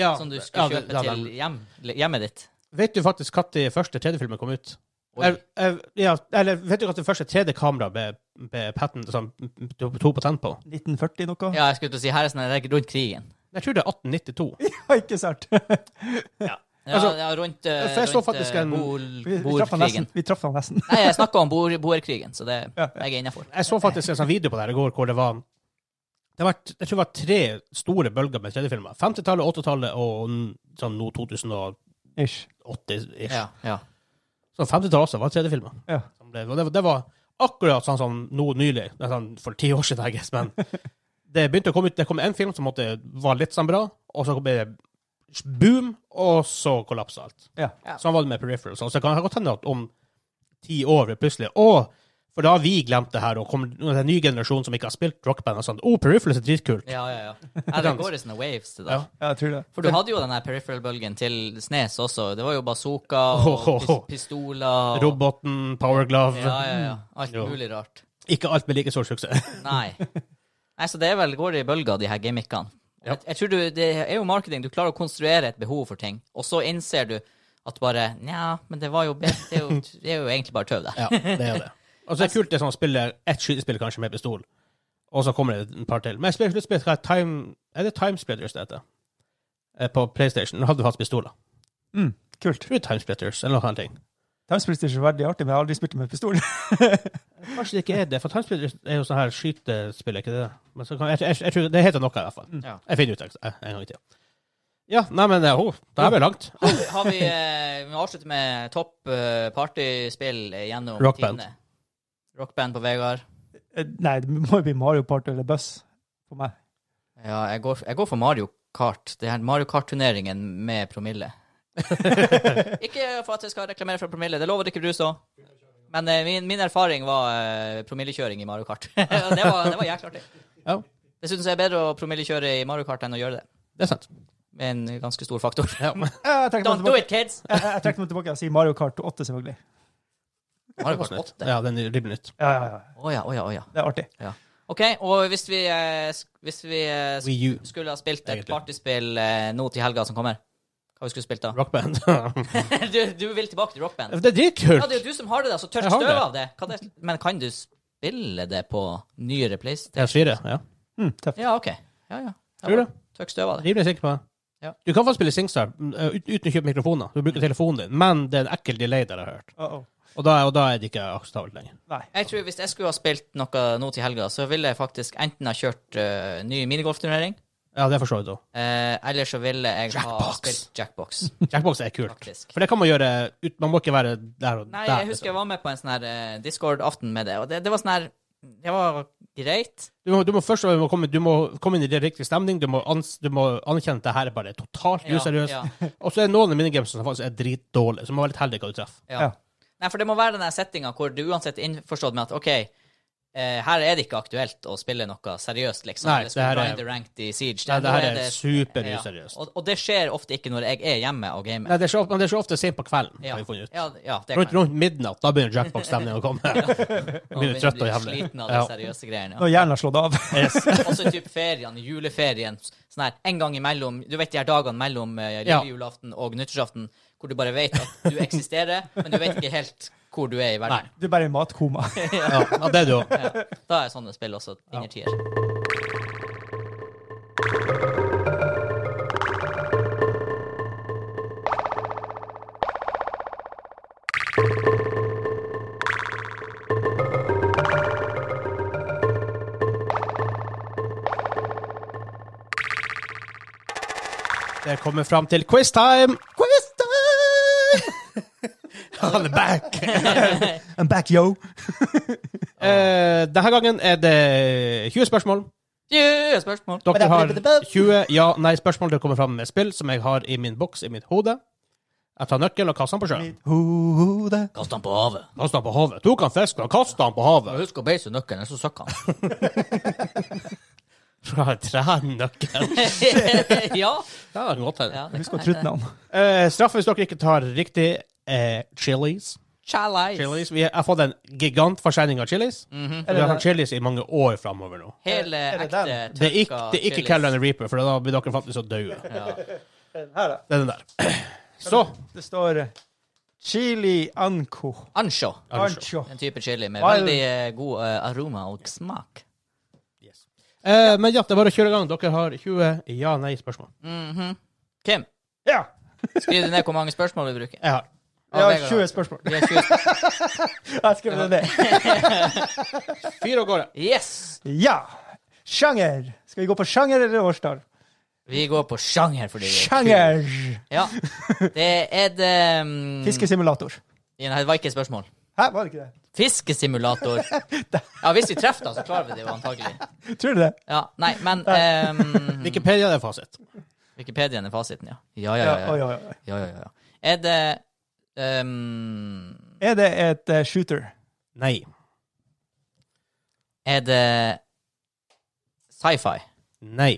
Speaker 2: Ja,
Speaker 3: Som du
Speaker 2: ja,
Speaker 3: skulle
Speaker 2: det-
Speaker 3: kjøpe
Speaker 2: ja,
Speaker 3: til
Speaker 2: den-
Speaker 3: hjem, hjemmet ditt.
Speaker 2: Vet du faktisk når de første 3D-filmene kom ut?
Speaker 3: Oi.
Speaker 2: Er- er- ja, eller vet du når det første 3D-kameraet ble, ble patent, sånn, to, to patent på?
Speaker 1: 1940 noe?
Speaker 3: Ja, jeg skulle til å si her er sånn her rundt krigen.
Speaker 2: Jeg tror det er 1892.
Speaker 1: Ja, ikke sant?
Speaker 3: Ja,
Speaker 2: Altså,
Speaker 3: ja rundt, eh,
Speaker 2: for jeg så
Speaker 3: rundt
Speaker 2: faktisk
Speaker 3: eh,
Speaker 2: en-
Speaker 3: Boel-
Speaker 1: Vi, vi traff han nesten.
Speaker 3: boerkrigen.
Speaker 1: Vi traff han nesten.
Speaker 3: Nei, jeg snakka om boer- boerkrigen, så det jeg er jeg innafor.
Speaker 2: Jeg så faktisk en sånn video på det her i går hvor det var det har vært, jeg tror det var tre store bølger med 3D-filmer. 50-tallet, 80-tallet og n- sånn nå 2008-ish.
Speaker 1: Ish.
Speaker 3: Ja, ja.
Speaker 2: Så 50-tallet Sånn også var 3D-filmer.
Speaker 1: Ja.
Speaker 2: Som ble- og Det, var- det var akkurat sånn som nå nylig, det er sånn for ti år siden, I guess, men det begynte å komme ut, det kom en film som måtte, var litt sånn bra, og så ble det boom, og så kollapset alt.
Speaker 1: Ja.
Speaker 3: Ja.
Speaker 2: Sånn var det med Peripheral. Så det kan godt hende at om ti år blir det plutselig Å, for da har vi glemt det her, og kommer det er en ny generasjon som ikke har spilt rockband, og sånn Å, Peripheral er dritkult.
Speaker 3: ja, ja, ja. ja det går i sånne waves. Det der.
Speaker 2: Ja.
Speaker 1: ja, jeg tror det.
Speaker 3: For du hadde jo den her peripheral-bølgen til Snes også. Det var jo bazooka og
Speaker 2: Ho, ho, ho.
Speaker 3: pis- pistoler og
Speaker 2: Roboten, Power Glove
Speaker 3: Ja, ja, ja. Alt
Speaker 2: Jo.
Speaker 3: mulig rart.
Speaker 2: Ikke alt med like stor suksess.
Speaker 3: Nei. Nei, så det er vel går i bølger, de her gimmickene.
Speaker 2: Ja.
Speaker 3: Jeg, jeg tror du, Det er jo marketing. Du klarer å konstruere et behov for ting, og så innser du at bare Nja, men det var jo bedre Det er jo, det er jo egentlig bare tøv, det.
Speaker 2: ja, det er det. Altså, det er kult det er sånn å spille ett skytespill kanskje med pistol, og så kommer det et par til. Men jeg spiller sluttspill, hva er Time Er det Time Splitters det heter? Eh, På PlayStation. Nå hadde du hatt pistoler.
Speaker 1: Mm, kult.
Speaker 2: Tror det er Time Splitters eller noe sånt.
Speaker 1: Timesplitter er så veldig artig, men jeg har aldri spilt det med pistol.
Speaker 2: Kanskje det ikke er det, for Timespill er jo sånn her skytespill, er ikke det? Men så kan, jeg, jeg, jeg tror det heter noe, i hvert fall.
Speaker 3: Mm. Ja.
Speaker 2: Jeg finner ut det eh, en gang i tida. Ja, nei, men eh, oh, det her ble langt.
Speaker 3: Har vi, har vi, eh, vi må avslutte med topp eh, partyspill gjennom
Speaker 2: Rock Band.
Speaker 3: tidene. Rockband på Vegard.
Speaker 1: Eh, Nei, det må jo bli Mario Party eller Buss for meg.
Speaker 3: Ja, jeg går, jeg går for Mario Kart. Det her Mario Kart-turneringen med promille. ikke for at jeg skal reklamere for promille, det lover ikke brus òg. Men eh, min, min erfaring var eh, promillekjøring i Mario Kart. det, var, det var jækla artig.
Speaker 2: Ja,
Speaker 3: Dessuten så er det bedre å promillekjøre i Mario Kart enn å gjøre det.
Speaker 2: det er sant.
Speaker 3: Med en ganske stor faktor.
Speaker 1: Eh, Jeg trekker meg
Speaker 3: Don't do
Speaker 1: tilbake,
Speaker 3: it, kids!
Speaker 1: jeg, jeg trekker meg tilbake og sier Mario Kart 8, selvfølgelig.
Speaker 3: Mario Kart 8. Å
Speaker 2: Ja, den er ribben nytt.
Speaker 1: Ja, ja, ja.
Speaker 3: ja, å ja, å ja.
Speaker 1: Det er artig.
Speaker 3: OK, og hvis vi, eh, sk- hvis vi eh, sk-
Speaker 2: Wii U.
Speaker 3: skulle ha spilt et
Speaker 2: Egentlig.
Speaker 3: partyspill eh, nå til helga som kommer, hva vi skulle spilt da?
Speaker 2: Rockband.
Speaker 3: du, du vil tilbake til rockband?
Speaker 2: det er
Speaker 3: Ja,
Speaker 2: dritkult!
Speaker 3: det er jo du som har det, da, så tørt
Speaker 2: Jeg har
Speaker 3: støv
Speaker 2: det.
Speaker 3: av det. Kan det. Men kan du spille det på nyere PlayStation?
Speaker 2: PS4, ja.
Speaker 1: Mm, tøft.
Speaker 3: Ja, OK. Ja, ja.
Speaker 2: Tror du?
Speaker 3: Tørt støv av det.
Speaker 2: Rimelig Altså, sikker på det.
Speaker 3: Ja.
Speaker 2: Du kan få spille SingStar mm, eh, ut- uten å kjøpe mikrofoner. Du bruker telefonen din, men det er en ekkel delay der, jeg har hørt.
Speaker 1: Uh -oh.
Speaker 2: Og da, og da er det ikke akseptabelt lenger.
Speaker 1: Nei.
Speaker 3: Jeg tror Hvis jeg skulle ha spilt noe nå til helga, så ville jeg faktisk enten ha kjørt eh, ny minigolfturnering,
Speaker 2: Ja, det forstår jeg da.
Speaker 3: eh, eller så ville jeg ha
Speaker 2: Jackbox.
Speaker 3: spilt Jackbox.
Speaker 2: Jackbox er kult.
Speaker 3: Faktisk.
Speaker 2: For det kan man gjøre ut, Man må ikke være der og der.
Speaker 3: Nei, jeg
Speaker 2: liksom.
Speaker 3: husker jeg var med på en sånn her eh, Discord-aften med det, og det, det var sånn her Det var greit.
Speaker 2: Du må, du må først og fremst komme, du må komme inn i det riktige stemning. Du må, ans, du må anerkjenne at det her er bare totalt
Speaker 3: Ja,
Speaker 2: useriøst.
Speaker 3: ja.
Speaker 2: Og så er det noen av minigamesene som faktisk er dritdårlige, så du må være litt heldig hva du treffer.
Speaker 3: Ja.
Speaker 1: Ja.
Speaker 3: Nei, for det må være den der settinga hvor du uansett er innforstått med at OK, eh, her er det ikke aktuelt å spille noe seriøst, liksom.
Speaker 2: Nei,
Speaker 3: Eller
Speaker 2: det
Speaker 3: skulle
Speaker 2: her er-
Speaker 3: grinde ranked i Siege.
Speaker 2: Nei, det
Speaker 3: Nå
Speaker 2: her er
Speaker 3: ja.
Speaker 2: superuseriøst.
Speaker 3: Og, og det skjer ofte ikke når jeg er hjemme og gamer.
Speaker 2: Nei, det er så, men det er så ofte sent på kvelden,
Speaker 3: Ja,
Speaker 2: har vi funnet ut.
Speaker 3: ja, ja, det
Speaker 2: Rundt,
Speaker 3: kan
Speaker 2: rundt midnatt, da begynner jackbox-stemningen å komme.
Speaker 3: Nå
Speaker 2: Blir
Speaker 3: begynner
Speaker 2: du trøtt og
Speaker 3: jeg å bli
Speaker 2: jævlig.
Speaker 3: Sliten av de
Speaker 2: Ja.
Speaker 3: seriøse greiene.
Speaker 1: Nå er hjernen slått av.
Speaker 2: Yes.
Speaker 3: Ja. Også typ ferien, juleferien, sånn her en gang imellom Du vet de her dagene mellom eh, lille
Speaker 2: Ja.
Speaker 3: julaften og nyttårsaften hvor du bare vet at du eksisterer, men du vet ikke helt hvor du er i verden.
Speaker 2: Nei.
Speaker 1: Du er bare i matkoma.
Speaker 2: Ja, ja, det er det jo.
Speaker 3: Ja. Da er sånne spill også innertier.
Speaker 2: Det kommer fram til quiz time! Quiz time! Han er back!
Speaker 1: I'm back, yo!
Speaker 2: Eh, denne gangen er det 20 spørsmål.
Speaker 3: Yeah, spørsmål.
Speaker 2: Dere har 20 ja-nei-spørsmål dere kommer fram med spill som jeg har i min boks i mitt hode. Jeg tar nøkkel og kaster den på sjøen.
Speaker 1: Hode.
Speaker 3: Kast han på havet.
Speaker 2: Kaster den på havet. Tok han fisken og kastet den på havet.
Speaker 3: Husk å beise nøkkelen, så søkker han.
Speaker 2: Fra trænøkkelen.
Speaker 3: ja.
Speaker 2: Ja, det kan godt hende.
Speaker 3: ja det
Speaker 1: Husk å
Speaker 3: kan
Speaker 1: trutte
Speaker 3: hende.
Speaker 1: navn.
Speaker 2: Eh, straff hvis dere ikke tar riktig eh, chilis.
Speaker 3: Chalice.
Speaker 2: Chilis. Vi har jeg har fått en gigantforskjelling av chilis.
Speaker 3: Mhm.
Speaker 2: Vi har hatt chilis i mange år framover nå.
Speaker 3: Hele
Speaker 1: Er det
Speaker 3: eh, ekte
Speaker 1: den?
Speaker 2: Det er ikke, det er ikke
Speaker 3: chilis.
Speaker 2: Carolina Reaper, for da blir dere faktisk så døde.
Speaker 3: Ja.
Speaker 1: Her, da.
Speaker 2: Det er den der. Så
Speaker 1: Det står eh, chili anco.
Speaker 3: Ancho.
Speaker 1: Ancho.
Speaker 3: En type chili med
Speaker 1: Wild.
Speaker 3: veldig eh, god eh, aroma og smak.
Speaker 2: eh, Men ja, det er bare å kjøre i gang. Dere har 20 ja-nei-spørsmål.
Speaker 3: Mhm. Kim,
Speaker 1: Ja.
Speaker 3: skriv ned hvor mange spørsmål vi bruker.
Speaker 2: Jeg har
Speaker 1: Jeg har 20
Speaker 3: Vegard.
Speaker 1: spørsmål.
Speaker 3: Vi har 20 spørsmål.
Speaker 1: Jeg skrev det ned.
Speaker 2: fire av gårde.
Speaker 3: Yes!
Speaker 1: Ja. Sjanger! Skal vi gå på sjanger eller årstall?
Speaker 3: Vi går på sjanger fordi vi er kule.
Speaker 1: Sjanger!
Speaker 3: Ja. Det er det um,
Speaker 1: Fiskesimulator.
Speaker 3: Nei, det var ikke et spørsmål.
Speaker 1: Hæ, var det ikke det?
Speaker 3: Fiskesimulator. Ja, hvis vi treffer da, så klarer vi det jo antagelig.
Speaker 1: Tror du det?
Speaker 3: Ja, nei, men um,
Speaker 2: Wikipedia er fasit.
Speaker 3: Wikipediaen er fasiten, ja. Ja, ja, ja. ja.
Speaker 1: oi, oi, oi.
Speaker 3: ja, ja, ja. Er det um,
Speaker 1: Er det et eh, shooter?
Speaker 2: Nei.
Speaker 3: Er det sci-fi?
Speaker 2: Nei.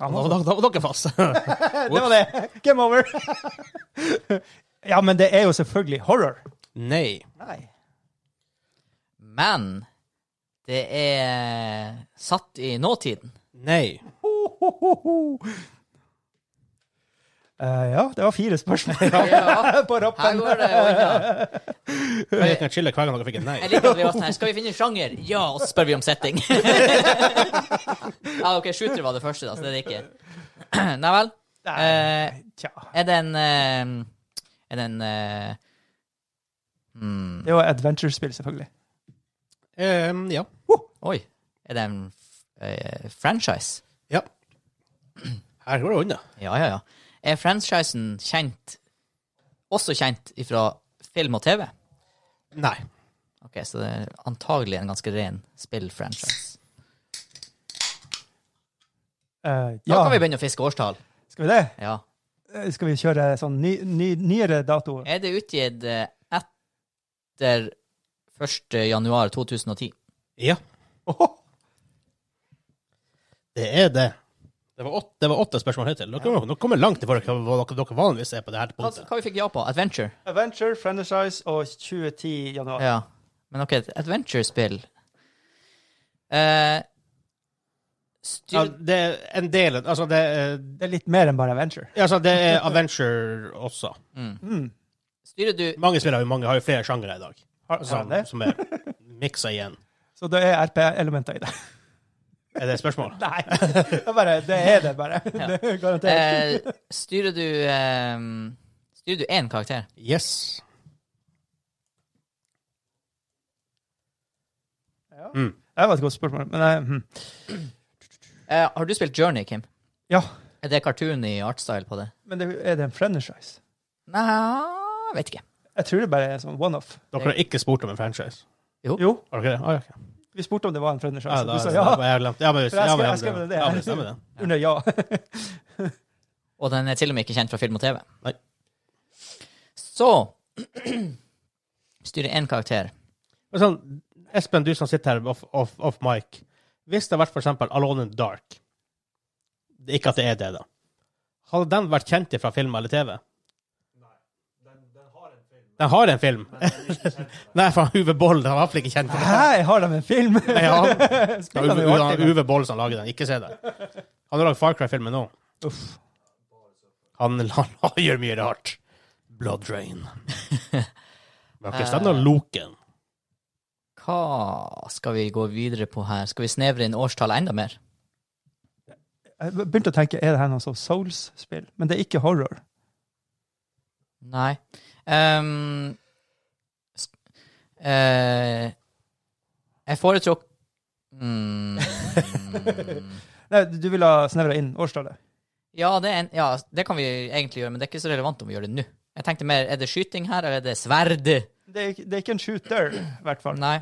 Speaker 1: Ja,
Speaker 2: Da,
Speaker 1: men-
Speaker 2: da, da var dere fast.
Speaker 1: Det var det. Game over. ja, men det er jo selvfølgelig horror.
Speaker 2: Nei.
Speaker 1: Nei.
Speaker 3: Men det er satt i nåtiden.
Speaker 2: Nei.
Speaker 1: Ho, ho, ho, ho. Eh, ja, det var fire spørsmål
Speaker 3: Ja.
Speaker 1: på
Speaker 3: Her
Speaker 1: rappen.
Speaker 3: går det unna.
Speaker 2: Jeg kan chille hver gang dere fikk et nei.
Speaker 3: Jeg liker at vi var sånn her. Skal vi finne sjanger? Ja, og så spør vi om setting. ja, OK, shooter var det første, da, så det er det ikke. Nei vel. Eh,
Speaker 1: Tja.
Speaker 3: er det en eh, Er det en eh, hmm,
Speaker 1: Det var adventure-spill, selvfølgelig.
Speaker 2: Ehm, ja.
Speaker 3: Oi. Er det en eh, franchise?
Speaker 2: ja. Her går det unna.
Speaker 3: Ja, ja, ja. Er franchisen kjent, også kjent ifra film og TV?
Speaker 2: Nei.
Speaker 3: Ok, så det er antagelig en ganske ren spillfranchise.
Speaker 1: Eh,
Speaker 3: Da
Speaker 1: ja,
Speaker 3: kan vi begynne å fiske årstall.
Speaker 1: skal vi det?
Speaker 3: Ja.
Speaker 1: Eh, Skal vi kjøre sånn ny, ny, nyere dato?
Speaker 3: Er det utgitt eh, etter 1. januar 2010?
Speaker 2: Ja.
Speaker 1: Åhå.
Speaker 2: Det er det. Det var åtte, det var åtte spørsmål hittil. Dere, dere kommer langt ifra hva hva dere, dere vanligvis er på det her
Speaker 1: Altså,
Speaker 3: Hva,
Speaker 2: punktet.
Speaker 3: Altså, hva vi fikk ja på? Adventure?
Speaker 1: Adventure, franchise og 2010 januar.
Speaker 3: Ja. Men ok, et adventure-spill. Eh,
Speaker 2: Ja,
Speaker 3: styr...
Speaker 2: det er en del Altså, det er,
Speaker 1: Det er litt mer enn bare adventure.
Speaker 2: ja, altså, det er adventure også.
Speaker 1: Mm.
Speaker 3: Styrer du
Speaker 2: Mange spillere har jo mange, har jo flere sjangere i dag
Speaker 1: Har, har
Speaker 2: som,
Speaker 1: det?
Speaker 2: som er miksa igjen.
Speaker 1: Så det er RP-elementer i det.
Speaker 2: Er det et spørsmål?
Speaker 1: Nei, det er, bare, det, er det bare. Det er garantert.
Speaker 3: eh, Styrer du eh, Styrer du én karakter?
Speaker 2: Yes. Mm.
Speaker 1: Det var et godt spørsmål. Men eh, hm.
Speaker 3: Eh, har du spilt Journey, Kim?
Speaker 1: ja,
Speaker 3: Er det cartoon i artstyle på det?
Speaker 1: men det, er det en franchise?
Speaker 3: Nei, jeg vet ikke.
Speaker 1: Jeg tror det bare er sånn one-off.
Speaker 2: Dere har ikke spurt om en franchise?
Speaker 1: Jo,
Speaker 2: Har dere det? Ah, ja, ok.
Speaker 1: vi spurte om det var en franchise.
Speaker 2: Ja, da,
Speaker 1: du sa
Speaker 2: da,
Speaker 1: ja.
Speaker 2: da, jeg glemte. ja, men,
Speaker 1: For jeg
Speaker 2: ja, men,
Speaker 1: skrev-
Speaker 2: ja,
Speaker 1: jeg skrev
Speaker 2: men-
Speaker 1: det.
Speaker 2: ja, men det stemmer det.
Speaker 1: Under ja.
Speaker 3: Og den er til og med ikke kjent fra film og TV.
Speaker 2: Nei.
Speaker 3: Så Styrer én karakter.
Speaker 2: Men sånn, Espen, du som sitter her off, off, off mic. Hvis det hadde vært for eksempel Alone in the Dark Det- Ikke at det er det, da. Hadde den vært kjent fra film eller TV? Nei. Den, har en film. Den har en film? Nei, faen, Uwe Boll den var i hvert fall ikke kjent for det.
Speaker 1: Hæ, har de en film?
Speaker 2: Nei, ja. Det
Speaker 1: Spiller
Speaker 2: var
Speaker 1: de
Speaker 2: Uwe,
Speaker 1: jo alltid
Speaker 2: Uwe,
Speaker 1: med?
Speaker 2: Uwe Boll som lager den. Ikke se den. Han har lagd Far Cry-filmen nå.
Speaker 1: Uff.
Speaker 2: Han, han, han gjør mye rart. Blood Rain. Men ikke stand og Loken.
Speaker 3: Hva skal vi gå videre på her? Skal vi snevre inn årstallet enda mer?
Speaker 1: Jeg begynte å tenke, er det her noe sånn Souls-spill? Men det er ikke horror.
Speaker 3: Nei. Ehm, s- eh, jeg foretrok... Mm,
Speaker 1: Nei, du ville ha snevra inn årstallet?
Speaker 3: ja, det er en, ja, det kan vi egentlig gjøre, men det er ikke så relevant om vi gjør det nå. Jeg tenkte mer, Er det skyting her, eller er det sverd?
Speaker 1: Det er, ikke- det er ikke en shooter, i hvert fall.
Speaker 3: Nei.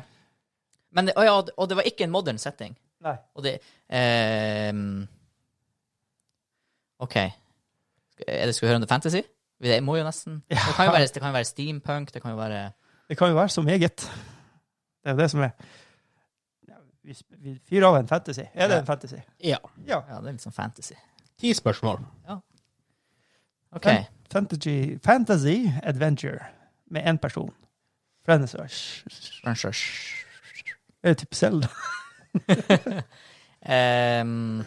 Speaker 3: Men, det- å ja, og det var ikke en modern setting.
Speaker 1: Nei.
Speaker 3: Og det ehm, OK. Skal- Er det Skal vi høre om det er fantasy? Det må jo nesten Det kan jo være, det kan jo være steampunk, det kan jo være
Speaker 1: Det kan jo være så meget. Det er jo det som er Ja, Vi, sp- vi fyrer av en fantasy. Er det en fantasy?
Speaker 2: Ja.
Speaker 1: Ja.
Speaker 3: Ja, det er litt sånn fantasy.
Speaker 2: Ti spørsmål.
Speaker 3: OK.
Speaker 1: Fan- Fantasy, fantasy adventure med én person. Franchise. Er det typ Zelda?
Speaker 3: Ehm,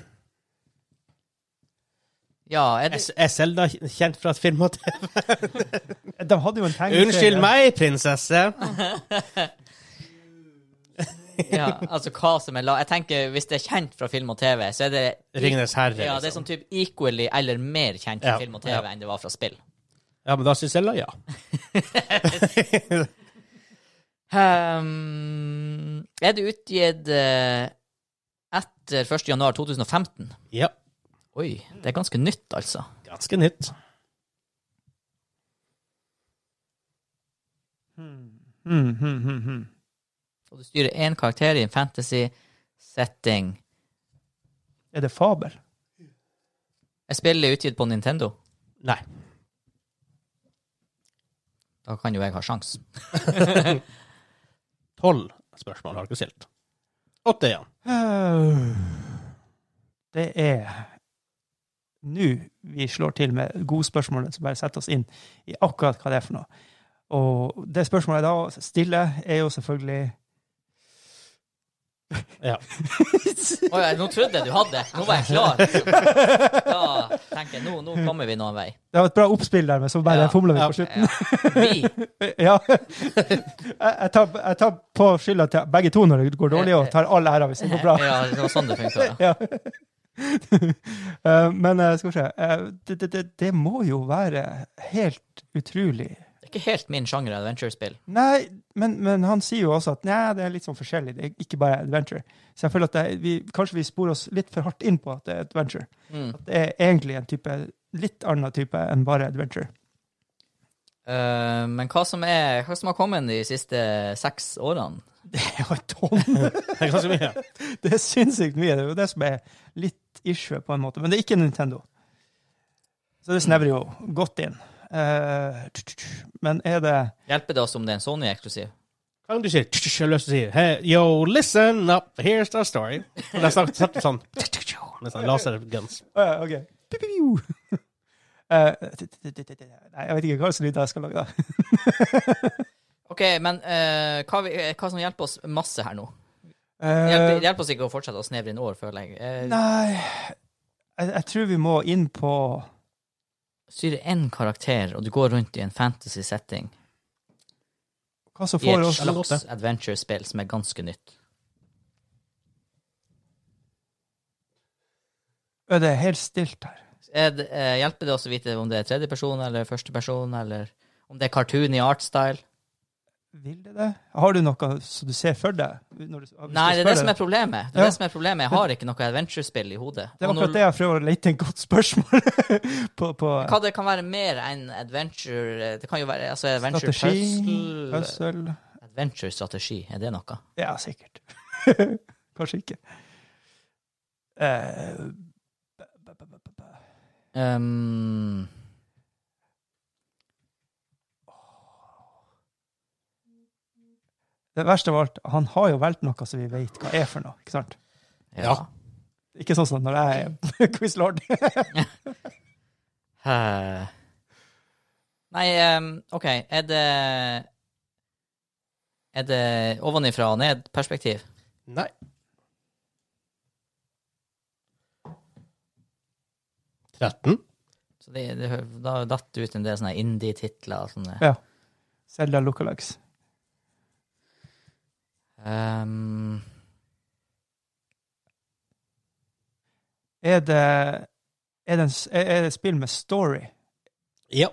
Speaker 3: ja, er det
Speaker 2: Er er Selda kjent fra et film og TV?
Speaker 1: De hadde jo en tegneserie.
Speaker 2: Unnskyld meg, prinsesse.
Speaker 3: ja, Altså hva som er la... Jeg tenker, hvis det er kjent fra film og TV, så er det
Speaker 2: Ringenes herre. liksom.
Speaker 3: Ja, det er sånn type equally eller mer kjent fra
Speaker 2: Ja,
Speaker 3: film og TV
Speaker 2: ja.
Speaker 3: enn det var sånn- fra spill.
Speaker 2: ja men da sier Selda ja.
Speaker 3: Ehm, er det utgitt eh, etter 1. januar 2015?
Speaker 2: Ja.
Speaker 3: Oi, det er ganske nytt, altså.
Speaker 2: Ganske nytt.
Speaker 1: Hmm, hmm, hmm, hmm.
Speaker 3: Og du styrer én karakter i en fantasy-setting.
Speaker 1: Er det fabel?
Speaker 3: Er spillet utgitt på Nintendo?
Speaker 2: Nei.
Speaker 3: Da kan jo jeg ha sjans.
Speaker 2: Tolv spørsmål har du ikke stilt. Åtte igjen.
Speaker 1: Øh, Det er nå vi slår til med gode spørsmål som bare setter oss inn i akkurat hva det er for noe. Og det spørsmålet jeg da stiller, er jo selvfølgelig
Speaker 2: Ja.
Speaker 3: Å ja, nå trodde jeg du hadde. Nå var jeg klar. Da tenker jeg, nå, nå kommer vi noen vei.
Speaker 1: Det var et bra oppspill der, men så bare
Speaker 3: Ja,
Speaker 1: fomla vi
Speaker 2: ja.
Speaker 1: på slutten.
Speaker 3: Ja. Vi
Speaker 1: Eh, Ja. Jeg jeg tar, jeg tar på skylda til begge to når det går dårlig, og tar all æra hvis det går bra.
Speaker 3: Ja, det var sånn det funka.
Speaker 1: Ja. Eh, Men eh, skal vi se eh, det, det, det, det må jo være helt utrolig
Speaker 3: Det er ikke helt min sjanger adventure-spill.
Speaker 1: Nei, men, men han sier jo også at nei, det er litt sånn forskjellig. Det er ikke bare adventure. Så jeg føler at det, vi, kanskje vi sporer oss litt for hardt inn på at det er adventure.
Speaker 3: Mm.
Speaker 1: At det er egentlig en type, litt annen type enn bare adventure.
Speaker 3: Eh, men hva som, er, hva som har kommet de siste seks årene?
Speaker 1: Det er jo et tonn!
Speaker 2: Det er ganske mye.
Speaker 1: Det er sinnssykt mye. Det er jo det som er litt issue, på en måte. Men det er ikke Nintendo. Så det snevrer jo godt inn. Eh, tsk, tsk, tsk. men er det
Speaker 3: Hjelper det oss om det er en Sony-eksklusiv?
Speaker 2: Kan du si tsk, Jeg har lyst til å si hey, Yo, listen up, here's the story. Og der snakket snakket sånn med sånn laserguns.
Speaker 1: Å ja, OK. Piu, piu, piu. Eh, t- t- t- t- t- Nei, jeg vet ikke hva slags lyd jeg skal lage. da.
Speaker 3: OK, men eh, hva, vi, eh, hva som hjelper oss masse her nå?
Speaker 1: Eh,
Speaker 3: Hjelper, hjelper oss ikke å fortsette å snevre inn år, føler jeg. Uh,
Speaker 1: Nei jeg, jeg tror vi må inn på
Speaker 3: styrer én karakter, og du går rundt i en fantasy-setting
Speaker 1: hva som
Speaker 3: i
Speaker 1: får
Speaker 3: et
Speaker 1: oss
Speaker 2: Eller
Speaker 3: slags
Speaker 2: åtte.
Speaker 3: adventure-spill som er ganske nytt.
Speaker 1: Ø, Det er helt stilt her.
Speaker 3: Er det, eh, hjelper det oss å vite om det er tredjeperson eller førsteperson, eller om det er cartoon i art-style?
Speaker 1: Vil det det? Har du noe som du ser for deg? Når du, hvis du
Speaker 3: Nei, det er det
Speaker 1: spør
Speaker 3: som er
Speaker 1: deg?
Speaker 3: problemet. Det er
Speaker 1: Ja.
Speaker 3: det som er problemet. Jeg har ikke noe adventure-spill i hodet.
Speaker 1: det var
Speaker 3: Og når-
Speaker 1: akkurat det jeg prøver å lete et godt spørsmål på. på
Speaker 3: Hva det kan være mer enn adventure eh, Det kan jo være altså adventure
Speaker 1: strategi,
Speaker 3: puzzle
Speaker 1: puzzle
Speaker 3: Adventure strategi, er det noe?
Speaker 1: Ja, sikkert. Kanskje ikke. Eh, ba- ba- ba- ba- ba.
Speaker 3: Um,
Speaker 1: det verste av alt, han har jo valgt noe som vi vet hva er for noe. Ikke sant?
Speaker 3: ja.
Speaker 1: Ikke sånn som når jeg er quizlord.
Speaker 3: Eh, Nei, um, OK, er det Er det ovenifra og ned-perspektiv?
Speaker 2: Nei. Tretten.
Speaker 3: Så det, det, Da datt det ut en del sånne indie-titler. og Sånne.
Speaker 1: Selda Lookalikes.
Speaker 3: Um,
Speaker 1: Er det, er, det en, s- er er det et spill med story?
Speaker 2: Ja.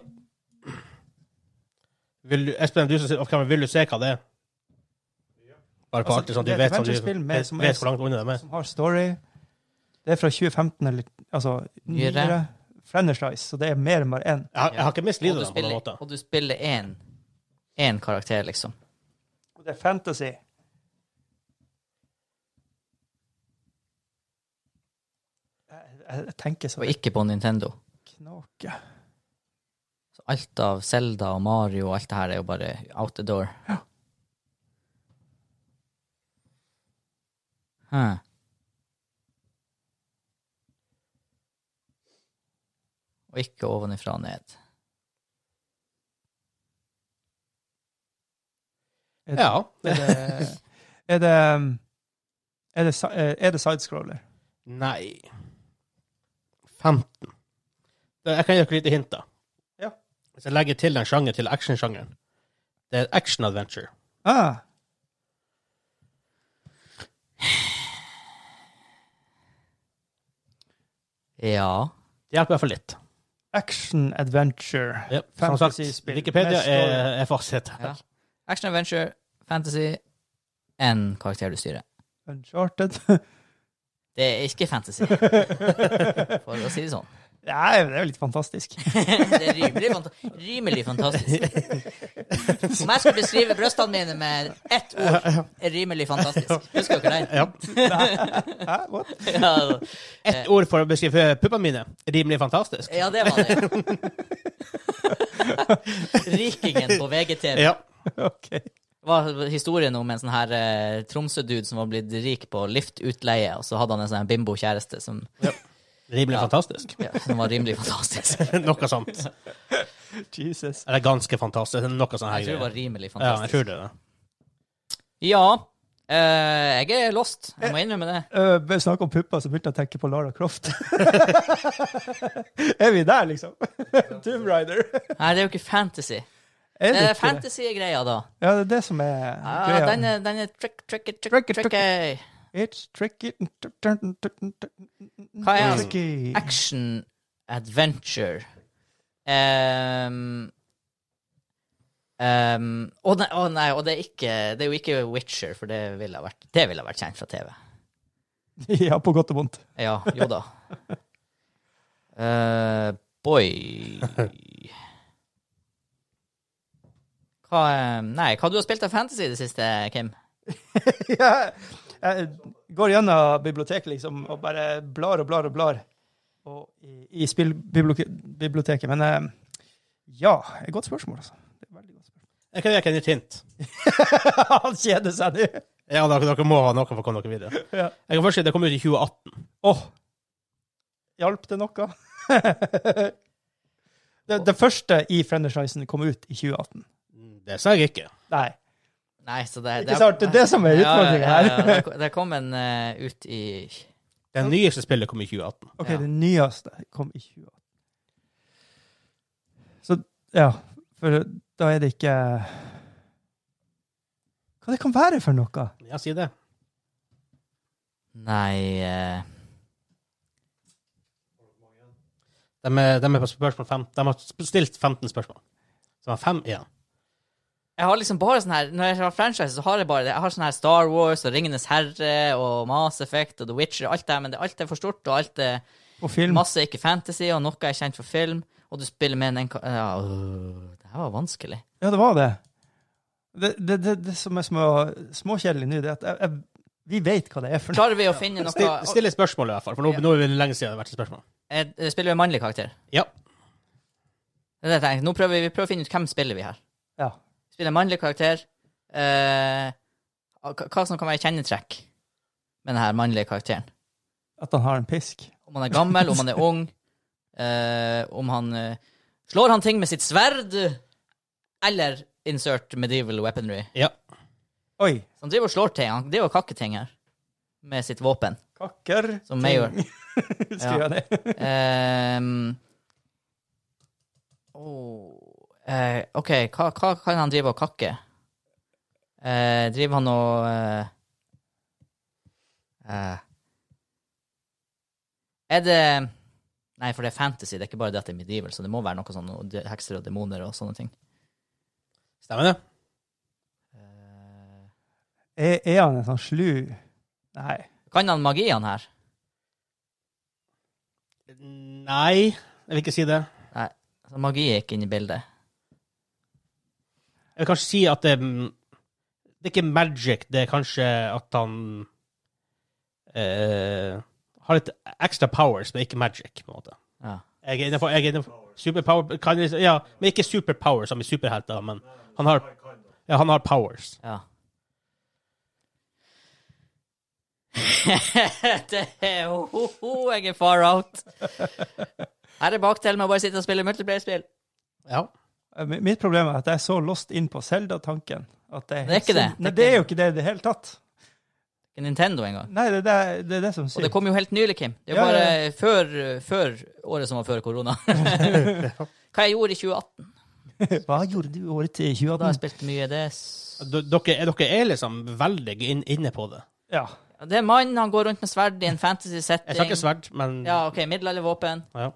Speaker 2: Vil du, Espen, du som sitter off camera, vil du se hva det er? Bare på
Speaker 1: Altså,
Speaker 2: artig, sånn at
Speaker 1: det er
Speaker 2: du
Speaker 1: et
Speaker 2: vet, sånn, at
Speaker 1: adventure-spill
Speaker 2: du,
Speaker 1: med-
Speaker 2: vet,
Speaker 1: som er-
Speaker 2: vet hvor langt unna de er.
Speaker 1: som har story. Det er fra 2015, eller altså
Speaker 3: Nyere.
Speaker 1: nyere. Frennerslice, så det er mer enn bare én.
Speaker 2: Jeg, har- jeg har ikke
Speaker 3: og
Speaker 2: mislidd
Speaker 3: du
Speaker 2: den på noen
Speaker 3: spiller-
Speaker 2: måte.
Speaker 3: og du spiller én én karakter, liksom.
Speaker 1: Og det er fantasy. Jeg, jeg, jeg tenker så
Speaker 3: Og ikke på Nintendo.
Speaker 1: knake.
Speaker 3: Så alt av Zelda og Mario og alt det her er jo bare out the door.
Speaker 1: Ja.
Speaker 3: Huh. Og ikke ovenifra og ned.
Speaker 2: Ja.
Speaker 1: Er det, er det, um, er det, si- eh, er det sidescroller?
Speaker 2: Nei. 15. Da, Jeg kan gi dere litt hint, da.
Speaker 1: Ja.
Speaker 2: Hvis jeg legger til den sjanger til actionsjangeren Det er action adventure.
Speaker 1: Ah,
Speaker 3: Ja.
Speaker 2: Det hjelper i hvert fall litt.
Speaker 1: action adventure.
Speaker 2: Ja. Som sagt,
Speaker 1: Fantasyspill.
Speaker 2: Wikipedia
Speaker 1: Med story.
Speaker 2: er, er fasit.
Speaker 3: ja. Action adventure, fantasy, enn karakter du styrer.
Speaker 1: Uncharted.
Speaker 3: Det er ikke fantasy, for å si det sånn.
Speaker 1: Nei, det er jo litt fantastisk.
Speaker 3: Det er rimelig, fanta rimelig fantastisk. Om jeg skulle beskrive brystene mine med ett ord, er rimelig fantastisk. Husker dere den?
Speaker 2: Ja.
Speaker 1: Hæ, what?
Speaker 3: Ja,
Speaker 2: Ett ord for å beskrive puppene mine. Rimelig fantastisk.
Speaker 3: ja det var det. Rikingen på
Speaker 1: Eh.
Speaker 3: VGTV
Speaker 2: Ja.
Speaker 1: Ok.
Speaker 3: var historien om en sånn her eh, Tromsø-dude som var blitt rik på liftutleie, og så hadde han en sånn her bimbo-kjæreste som,
Speaker 2: Rimelig fantastisk.
Speaker 3: ja, som var rimelig fantastisk.
Speaker 2: Noe sånt.
Speaker 1: Jesus.
Speaker 2: Eller ganske fantastisk. Noe sånt her.
Speaker 3: Jeg tror det var
Speaker 2: ja,
Speaker 3: rimelig
Speaker 2: jeg
Speaker 3: fantastisk.
Speaker 2: tror det. er det.
Speaker 3: Ja, eh, jeg er lost. Jeg må innrømme det.
Speaker 1: Uh, Snakk om pupper, så begynte jeg å tenke på Lara Croft. er vi der, liksom? Tomb Rider.
Speaker 3: Nei, det er jo ikke fantasy.
Speaker 1: Er
Speaker 3: Det
Speaker 1: det
Speaker 3: er
Speaker 1: ikke det?
Speaker 3: fantasy-greia, Eh, da.
Speaker 1: Ja, det er det som Ah, er
Speaker 3: Ja,
Speaker 1: greia.
Speaker 3: den er, den er trick, tricky, trick,
Speaker 1: Tricky,
Speaker 3: tricky,
Speaker 1: tricky. It's tricky Ah,
Speaker 3: Hva er den?
Speaker 1: Tricky.
Speaker 3: Action adventure. Ehm, ehm, å nei, å nei, og det er, ikke, det er jo ikke Witcher, for det ville ha vært, det ville ha vært kjent fra TV.
Speaker 1: Ja, på godt og vondt.
Speaker 3: Ja, jo da. Eh, boy Hva eh, Nei, hva du har spilt av fantasy i det siste, Kim?
Speaker 1: Ja, jeg går gjennom biblioteket liksom, og bare blar og blar og blar og i, i spillbiblioteket. Men eh, ja, et godt spørsmål, altså. Det er et veldig godt
Speaker 2: Jeg kan gi dere et nytt hint.
Speaker 1: spørsmål. Han kjeder seg nå.
Speaker 2: Ja, dere, dere må ha noe for å komme dere videre.
Speaker 1: Ja.
Speaker 2: Jeg kan først si Det kom ut i 2018.
Speaker 1: Åh, hjalp det noe? det, det første i franchisen kom ut i 2018.
Speaker 2: Det sa jeg ikke.
Speaker 1: Nei,
Speaker 3: Nei, så det,
Speaker 1: ikke sant? Det er det som er utfordringen
Speaker 3: Ja, ja, ja,
Speaker 1: her.
Speaker 3: det kom- Det kom en eh, ut i
Speaker 2: Det nyeste spillet kom i 2018.
Speaker 1: OK,
Speaker 3: Ja.
Speaker 1: det nyeste kom i 2018. Så ja, for da er det ikke Hva det kan være for noe?
Speaker 2: Ja, si det.
Speaker 3: Nei eh,
Speaker 2: De er, de er på spørsmål fem. De har sp- stilt 15 spørsmål. Så de har fem igjen.
Speaker 3: Jeg har liksom bare sånn her Når jeg har franchise, så har jeg bare det. Jeg har sånn her Star Wars og Ringenes herre og Mass Effect og The Witcher og alt det her, men det, alt er for stort, og alt er
Speaker 1: På film?
Speaker 3: masse er ikke fantasy, og noe er kjent for film, og du spiller med en enka- ja, øh, Det her var vanskelig.
Speaker 1: Ja, det var det. Det, det, det, det som er små, småkjedelig nå, det er at jeg, jeg, vi vet hva det er for noe.
Speaker 3: Klarer vi å finne noe
Speaker 2: Still, still et spørsmål, i hvert fall. For nå,
Speaker 3: Ja.
Speaker 2: nå er det lenge siden det har vært et spørsmål.
Speaker 3: Jeg, jeg Eh, spiller jo en mannlig karakter.
Speaker 2: Ja.
Speaker 3: Det er det jeg tenker. Nå prøver vi, vi prøver å finne ut hvem spiller vi her.
Speaker 1: Ja.
Speaker 3: Spiller en mannlig karakter. Eh, hva hva som kan være kjennetrekk med denne mannlige karakteren?
Speaker 1: At han har en pisk.
Speaker 3: Om han er gammel, om han er ung, eh, om han eh, Slår han ting med sitt sverd? Eller insert medieval weaponry?
Speaker 2: ja.
Speaker 1: Oi!
Speaker 3: Så han driver og slår ting. Han driver og kakker ting her. Med sitt våpen,
Speaker 1: Kakker.
Speaker 3: som jeg gjør.
Speaker 1: Skriver jeg ned.
Speaker 3: Ehm, åh, eh, OK, hva, hva kan han drive og kakke? Eh, driver han og eh, eh, Er det Nei, for det er fantasy. Det er ikke bare det at det er medieval, så det må være noe sånn og de- hekser og demoner og sånne ting.
Speaker 2: Stemmer det?
Speaker 3: Eh,
Speaker 1: Er, er han en sånn slu Nei.
Speaker 3: kan han magi, han her?
Speaker 2: Nei, jeg vil ikke si det.
Speaker 3: Nei, så Altså, magi er ikke inne i bildet.
Speaker 2: Jeg vil kanskje si at det, mm, det er ikke magic, det er kanskje at han eh, har litt ekstra powers, men ikke magic, på en måte.
Speaker 3: Ja.
Speaker 2: Jeg er innenfor, jeg er innenfor superpower kan, jeg- Ja, men ikke superpower som i superhelter, men han har, ja, han har powers.
Speaker 3: Ja. det er ho, ho, ho, jeg er far out. Her er bakdelen med å bare sitte og spille multiplayer-spill.
Speaker 2: Ja.
Speaker 1: Mi- Mitt problem er at jeg er så lost inn på Zelda-tanken. at Det,
Speaker 3: Det er ikke det.
Speaker 1: helt sin- Nei, det er jo ikke det i det hele tatt.
Speaker 3: Ikke Nintendo engang.
Speaker 1: Nei, det, er det, det er det som
Speaker 3: Og
Speaker 1: sier.
Speaker 3: det kom jo helt nylig, Kim. Det er
Speaker 1: Ja,
Speaker 3: bare
Speaker 1: ja,
Speaker 3: Før, før året som var før korona. Hva jeg gjorde i 2018.
Speaker 1: Hva gjorde du året til
Speaker 3: Da har
Speaker 1: 2018?
Speaker 3: jeg spilt mye DS.
Speaker 2: D dere, er- dere er liksom veldig inn, inne på det.
Speaker 1: Ja.
Speaker 3: Ja, Det er en mann, han går rundt med sverd i en
Speaker 2: Jeg snakker
Speaker 3: fantasy-setting.
Speaker 2: sverd, men
Speaker 3: Ja, OK, middelaldervåpen.
Speaker 2: Ja.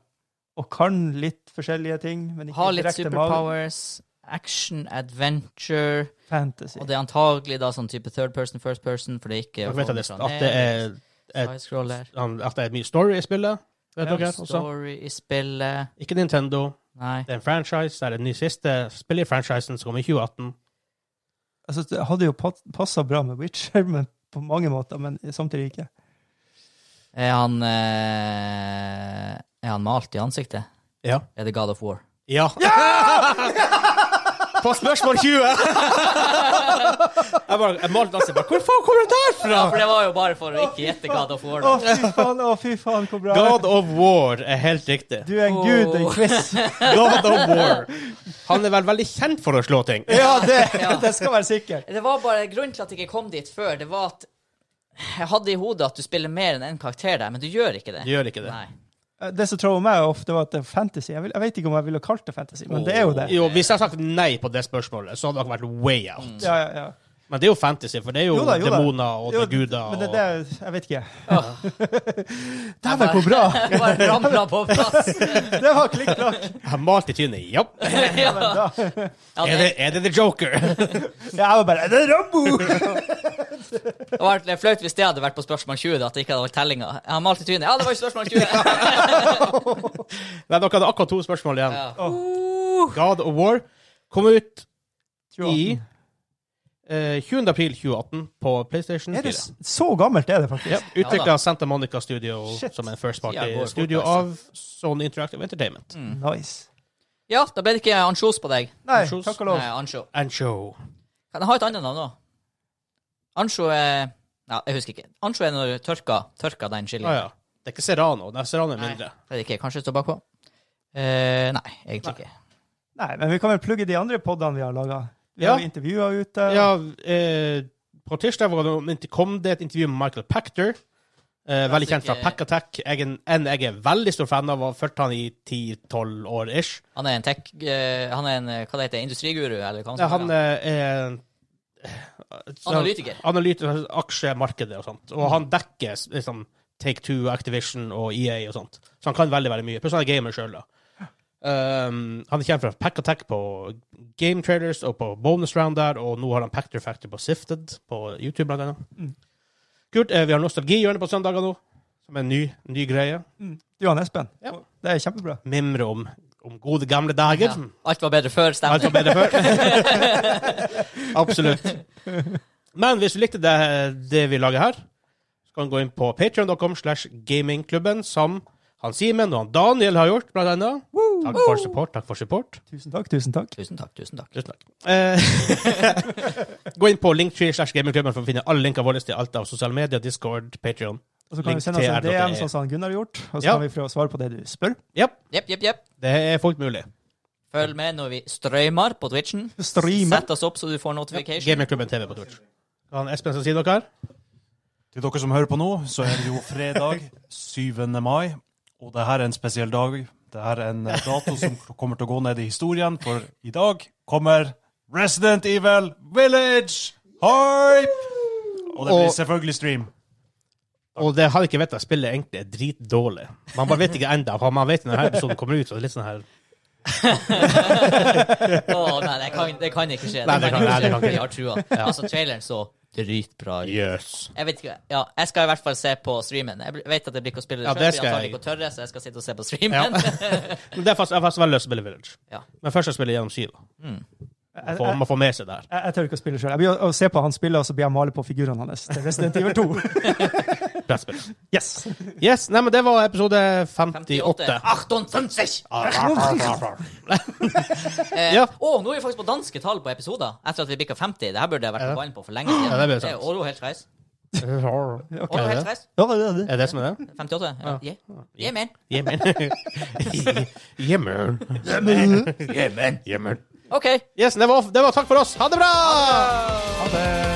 Speaker 1: Og kan litt forskjellige ting, men ikke
Speaker 3: Har litt
Speaker 1: direkte mag-
Speaker 3: superpowers. action, adventure
Speaker 1: Fantasy.
Speaker 3: Og det er antagelig da sånn type third person, first person, for det er sånn. ikke
Speaker 2: Dere vet at det, at det er et-
Speaker 3: Sidescroller.
Speaker 2: han- At det er mye story i spillet. Vet
Speaker 1: Ja,
Speaker 2: dere også?
Speaker 3: Story i spillet
Speaker 2: Ikke Nintendo.
Speaker 3: Nei.
Speaker 2: Det er en franchise. Det er den nye siste spill i franchisen som kom i 2018.
Speaker 1: Altså, det hadde jo passa bra med Witcher men på mange måter, men samtidig ikke.
Speaker 3: Er han eh, Er han malt i ansiktet?
Speaker 2: Ja.
Speaker 3: Er det God of War?
Speaker 2: Ja! På spørsmål 20! jeg bare, jeg malte ansiktet. bare, Hvor faen kommer det der fra?
Speaker 3: Ja, for det var jo bare for å ikke gjette God of War.
Speaker 1: Å,
Speaker 3: Da.
Speaker 1: fy faen, å, fy faen, hvor bra!
Speaker 2: God of War er helt riktig.
Speaker 1: Du er en gud, en
Speaker 3: Åh.
Speaker 1: quiz.
Speaker 2: God of War. Han er vel veldig kjent for å slå ting.
Speaker 1: Ja, det,
Speaker 3: Ja.
Speaker 1: det skal være sikkert.
Speaker 3: Det var bare Grunnen til at jeg ikke kom dit før, det var at jeg hadde i hodet at du spiller mer enn én karakter der, men du gjør ikke det.
Speaker 2: Gjør ikke det.
Speaker 3: Nei.
Speaker 1: Det som traua meg ofte, var at det er fantasy. Jeg, vil, jeg vet ikke om jeg ville kalt det fantasy, men det er jo det.
Speaker 2: Jo, Hvis jeg hadde sagt nei på det spørsmålet, så hadde dere vært way out.
Speaker 1: Ja, ja, ja.
Speaker 2: Men det er jo fantasy, for det er jo,
Speaker 1: Jo da, jo da.
Speaker 2: demoner og det
Speaker 1: Jo,
Speaker 2: er guder.
Speaker 1: Men det, det er, jeg vet ikke.
Speaker 3: Åh.
Speaker 1: Dæven, hvor bra!
Speaker 3: Det bare ramla på plass.
Speaker 1: Det var klikk klakk.
Speaker 2: og... Jeg malte i trynet. Ja.
Speaker 3: ja.
Speaker 1: Da-
Speaker 3: Ja,
Speaker 2: Er, det,
Speaker 3: det,
Speaker 2: er det The Joker?
Speaker 1: Ja, Jeg var bare Det er Rambo!
Speaker 3: det var litt flaut hvis det hadde vært på spørsmål 20, da, at jeg ikke hadde valgt tellinga. Jeg har malt i trynet. Ja, det var jo spørsmål 20!
Speaker 2: Nei, dere hadde akkurat to spørsmål igjen.
Speaker 3: Ja.
Speaker 2: God of War kom ut
Speaker 1: 2018.
Speaker 2: i eh, 20. april 2018 på PlayStation
Speaker 1: Er
Speaker 2: 4.
Speaker 1: det s- så gammelt er det faktisk?
Speaker 2: Ja, Utvikla
Speaker 3: Ja da.
Speaker 2: Santa Monica Studio
Speaker 1: Shit.
Speaker 2: som en first
Speaker 3: Ja, går
Speaker 2: party
Speaker 3: fort,
Speaker 2: studio
Speaker 3: altså. Mm.
Speaker 2: av Sony Interactive Entertainment.
Speaker 1: Nice.
Speaker 3: ja, da ble det ikke ansjos på deg.
Speaker 1: Nei,
Speaker 2: Kjos.
Speaker 1: takk og
Speaker 3: Nei,
Speaker 1: lov.
Speaker 3: ansjo.
Speaker 2: And show.
Speaker 3: Kan jeg ha et annet navn òg? Ansjo er Ja, jeg husker ikke. Ansjo er når du tørker, tørker den chilien.
Speaker 2: Ah, ja. Det er ikke Serrano. Nei, Serrano er
Speaker 3: Nei.
Speaker 2: mindre.
Speaker 3: Det er det ikke. Kanskje det står bakpå? Eh, nei, egentlig ikke.
Speaker 1: Nei, men vi kan vel plugge de andre podene vi har laga. Vi
Speaker 2: Ja.
Speaker 1: har jo intervjuer ute.
Speaker 2: Ja, eh, på tirsdag var det, om ikke kom det et intervju med Michael Pactor. Eh, veldig kjent fra
Speaker 3: Klassiker.
Speaker 2: Pack Attack. Jeg er en, en jeg er veldig stor fan av. og Har fulgt han i 10-12 år ish.
Speaker 3: Han er en tech... eh, han er en eh, hva det heter industriguru, eller hva han
Speaker 2: Nei,
Speaker 3: skal
Speaker 2: han
Speaker 3: være.
Speaker 2: eh, er en-
Speaker 3: Analytiker.
Speaker 2: Analytiker, aksjemarkedet og sånt. Og han dekker liksom Take Two, Activision og EA og sånt. Så han kan veldig veldig mye. Pluss han er gamer sjøl, da. Um, han er kjent fra Pack Attack på Game Trailers og på Bonus Round der, og nå har han Pactor Factor på Sifted på YouTube, blant annet.
Speaker 1: Mm.
Speaker 2: Kult. Eh, vi har Nostalgihjørnet på søndager nå, som er en ny, ny greie.
Speaker 1: Mm. Du og Espen.
Speaker 2: Ja.
Speaker 1: Det er kjempebra.
Speaker 2: Mimre om, om gode, gamle dager.
Speaker 3: Ja. Alt var bedre før,
Speaker 2: Alt
Speaker 3: stemmer
Speaker 2: var bedre før. Absolutt. Men hvis du likte det, det vi lager her, så kan du gå inn på patreon.com slash gamingklubben, som han Simen og han Daniel har gjort, blant annet. Takk for support. Takk for support.
Speaker 1: Tusen takk, tusen takk.
Speaker 3: Tusen takk, tusen takk.
Speaker 2: Tusen takk. Eh, gå inn på linktree slash gamingklubben for å finne alle linkene våre til alt av sosiale medier, Discord, Patreon.
Speaker 1: Og så kan
Speaker 2: Link
Speaker 1: du sende oss en
Speaker 2: til
Speaker 1: DM,
Speaker 2: r.e.
Speaker 1: sånn som Gunnar har gjort, og så
Speaker 2: Ja.
Speaker 1: kan vi prøve å svare på det du spør.
Speaker 2: Ja,
Speaker 3: Jepp, jepp, jepp.
Speaker 2: det er fullt mulig.
Speaker 3: Følg med når vi strømmer på Twitchen.
Speaker 1: Streamer.
Speaker 3: Sett oss opp så du får notification.
Speaker 2: Gamingklubben TV på Twitch. Kan Espen skal si noe her?
Speaker 4: Til dere som hører på nå, så er det jo fredag 7. mai, og det her er en spesiell dag. Det her er en eh, dato som kommer til å gå ned i historien, for i dag kommer Resident Evil Village! Hype! Og det
Speaker 2: Og-
Speaker 4: blir selvfølgelig stream.
Speaker 2: Og det har jeg ikke vet at spillet egentlig er dritdårlig. Man bare vet ikke enda, for man vet når denne episoden kommer ut, så det er litt sånn her
Speaker 3: Å, nei, det kan, det kan ikke skje.
Speaker 2: Nei, det kan- nei,
Speaker 3: ikke
Speaker 2: det
Speaker 3: skje.
Speaker 2: kan ikke.
Speaker 3: Vi har trua. Altså, traileren så dritbra ut.
Speaker 2: Yes.
Speaker 3: Jeg vet ikke, ja, jeg skal i hvert fall se på streamen. Jeg bl- vet at jeg blir ikke å spille det
Speaker 2: Ja,
Speaker 3: selv,
Speaker 2: det
Speaker 3: for
Speaker 2: skal
Speaker 3: jeg har
Speaker 2: jeg.
Speaker 3: ikke å tørre, så jeg skal sitte og se på streamen.
Speaker 2: Men det er fast, jeg har faktisk veldig lyst til å spille Village.
Speaker 3: Ja.
Speaker 2: Men først skal jeg spille gjennom syv.
Speaker 1: Jeg,
Speaker 2: For
Speaker 1: Altså, jeg,
Speaker 2: man får med seg det her.
Speaker 1: jeg, jeg tør ikke å spille sjøl. Jeg blir å, å se på han spille, og så blir jeg male på figurene hans. Det er Resident Evil 2.
Speaker 2: Brettspill.
Speaker 1: Yes!
Speaker 2: Yes, nei, men det var episode 58.
Speaker 3: 58. 58!
Speaker 2: Ah,
Speaker 3: Eh,
Speaker 2: Ja.
Speaker 3: Å, nå er vi faktisk på danske tall på episoder, etter at vi bikka 50. Det her burde jeg vært på ballen på for lenge siden.
Speaker 2: Ja, det blir
Speaker 3: det er
Speaker 2: sant.
Speaker 3: Ålo helt reis.
Speaker 2: Ok,
Speaker 3: Ålo
Speaker 2: er
Speaker 3: helt
Speaker 2: det-
Speaker 3: reis.
Speaker 1: Ja,
Speaker 2: er det som er det?
Speaker 3: 58? Ja. Yeah. yeah, man.
Speaker 2: Jemen. Jemen. Jemen. Jemen.
Speaker 3: OK.
Speaker 2: Yes, det var, det var takk for oss. Ha det bra!
Speaker 1: det.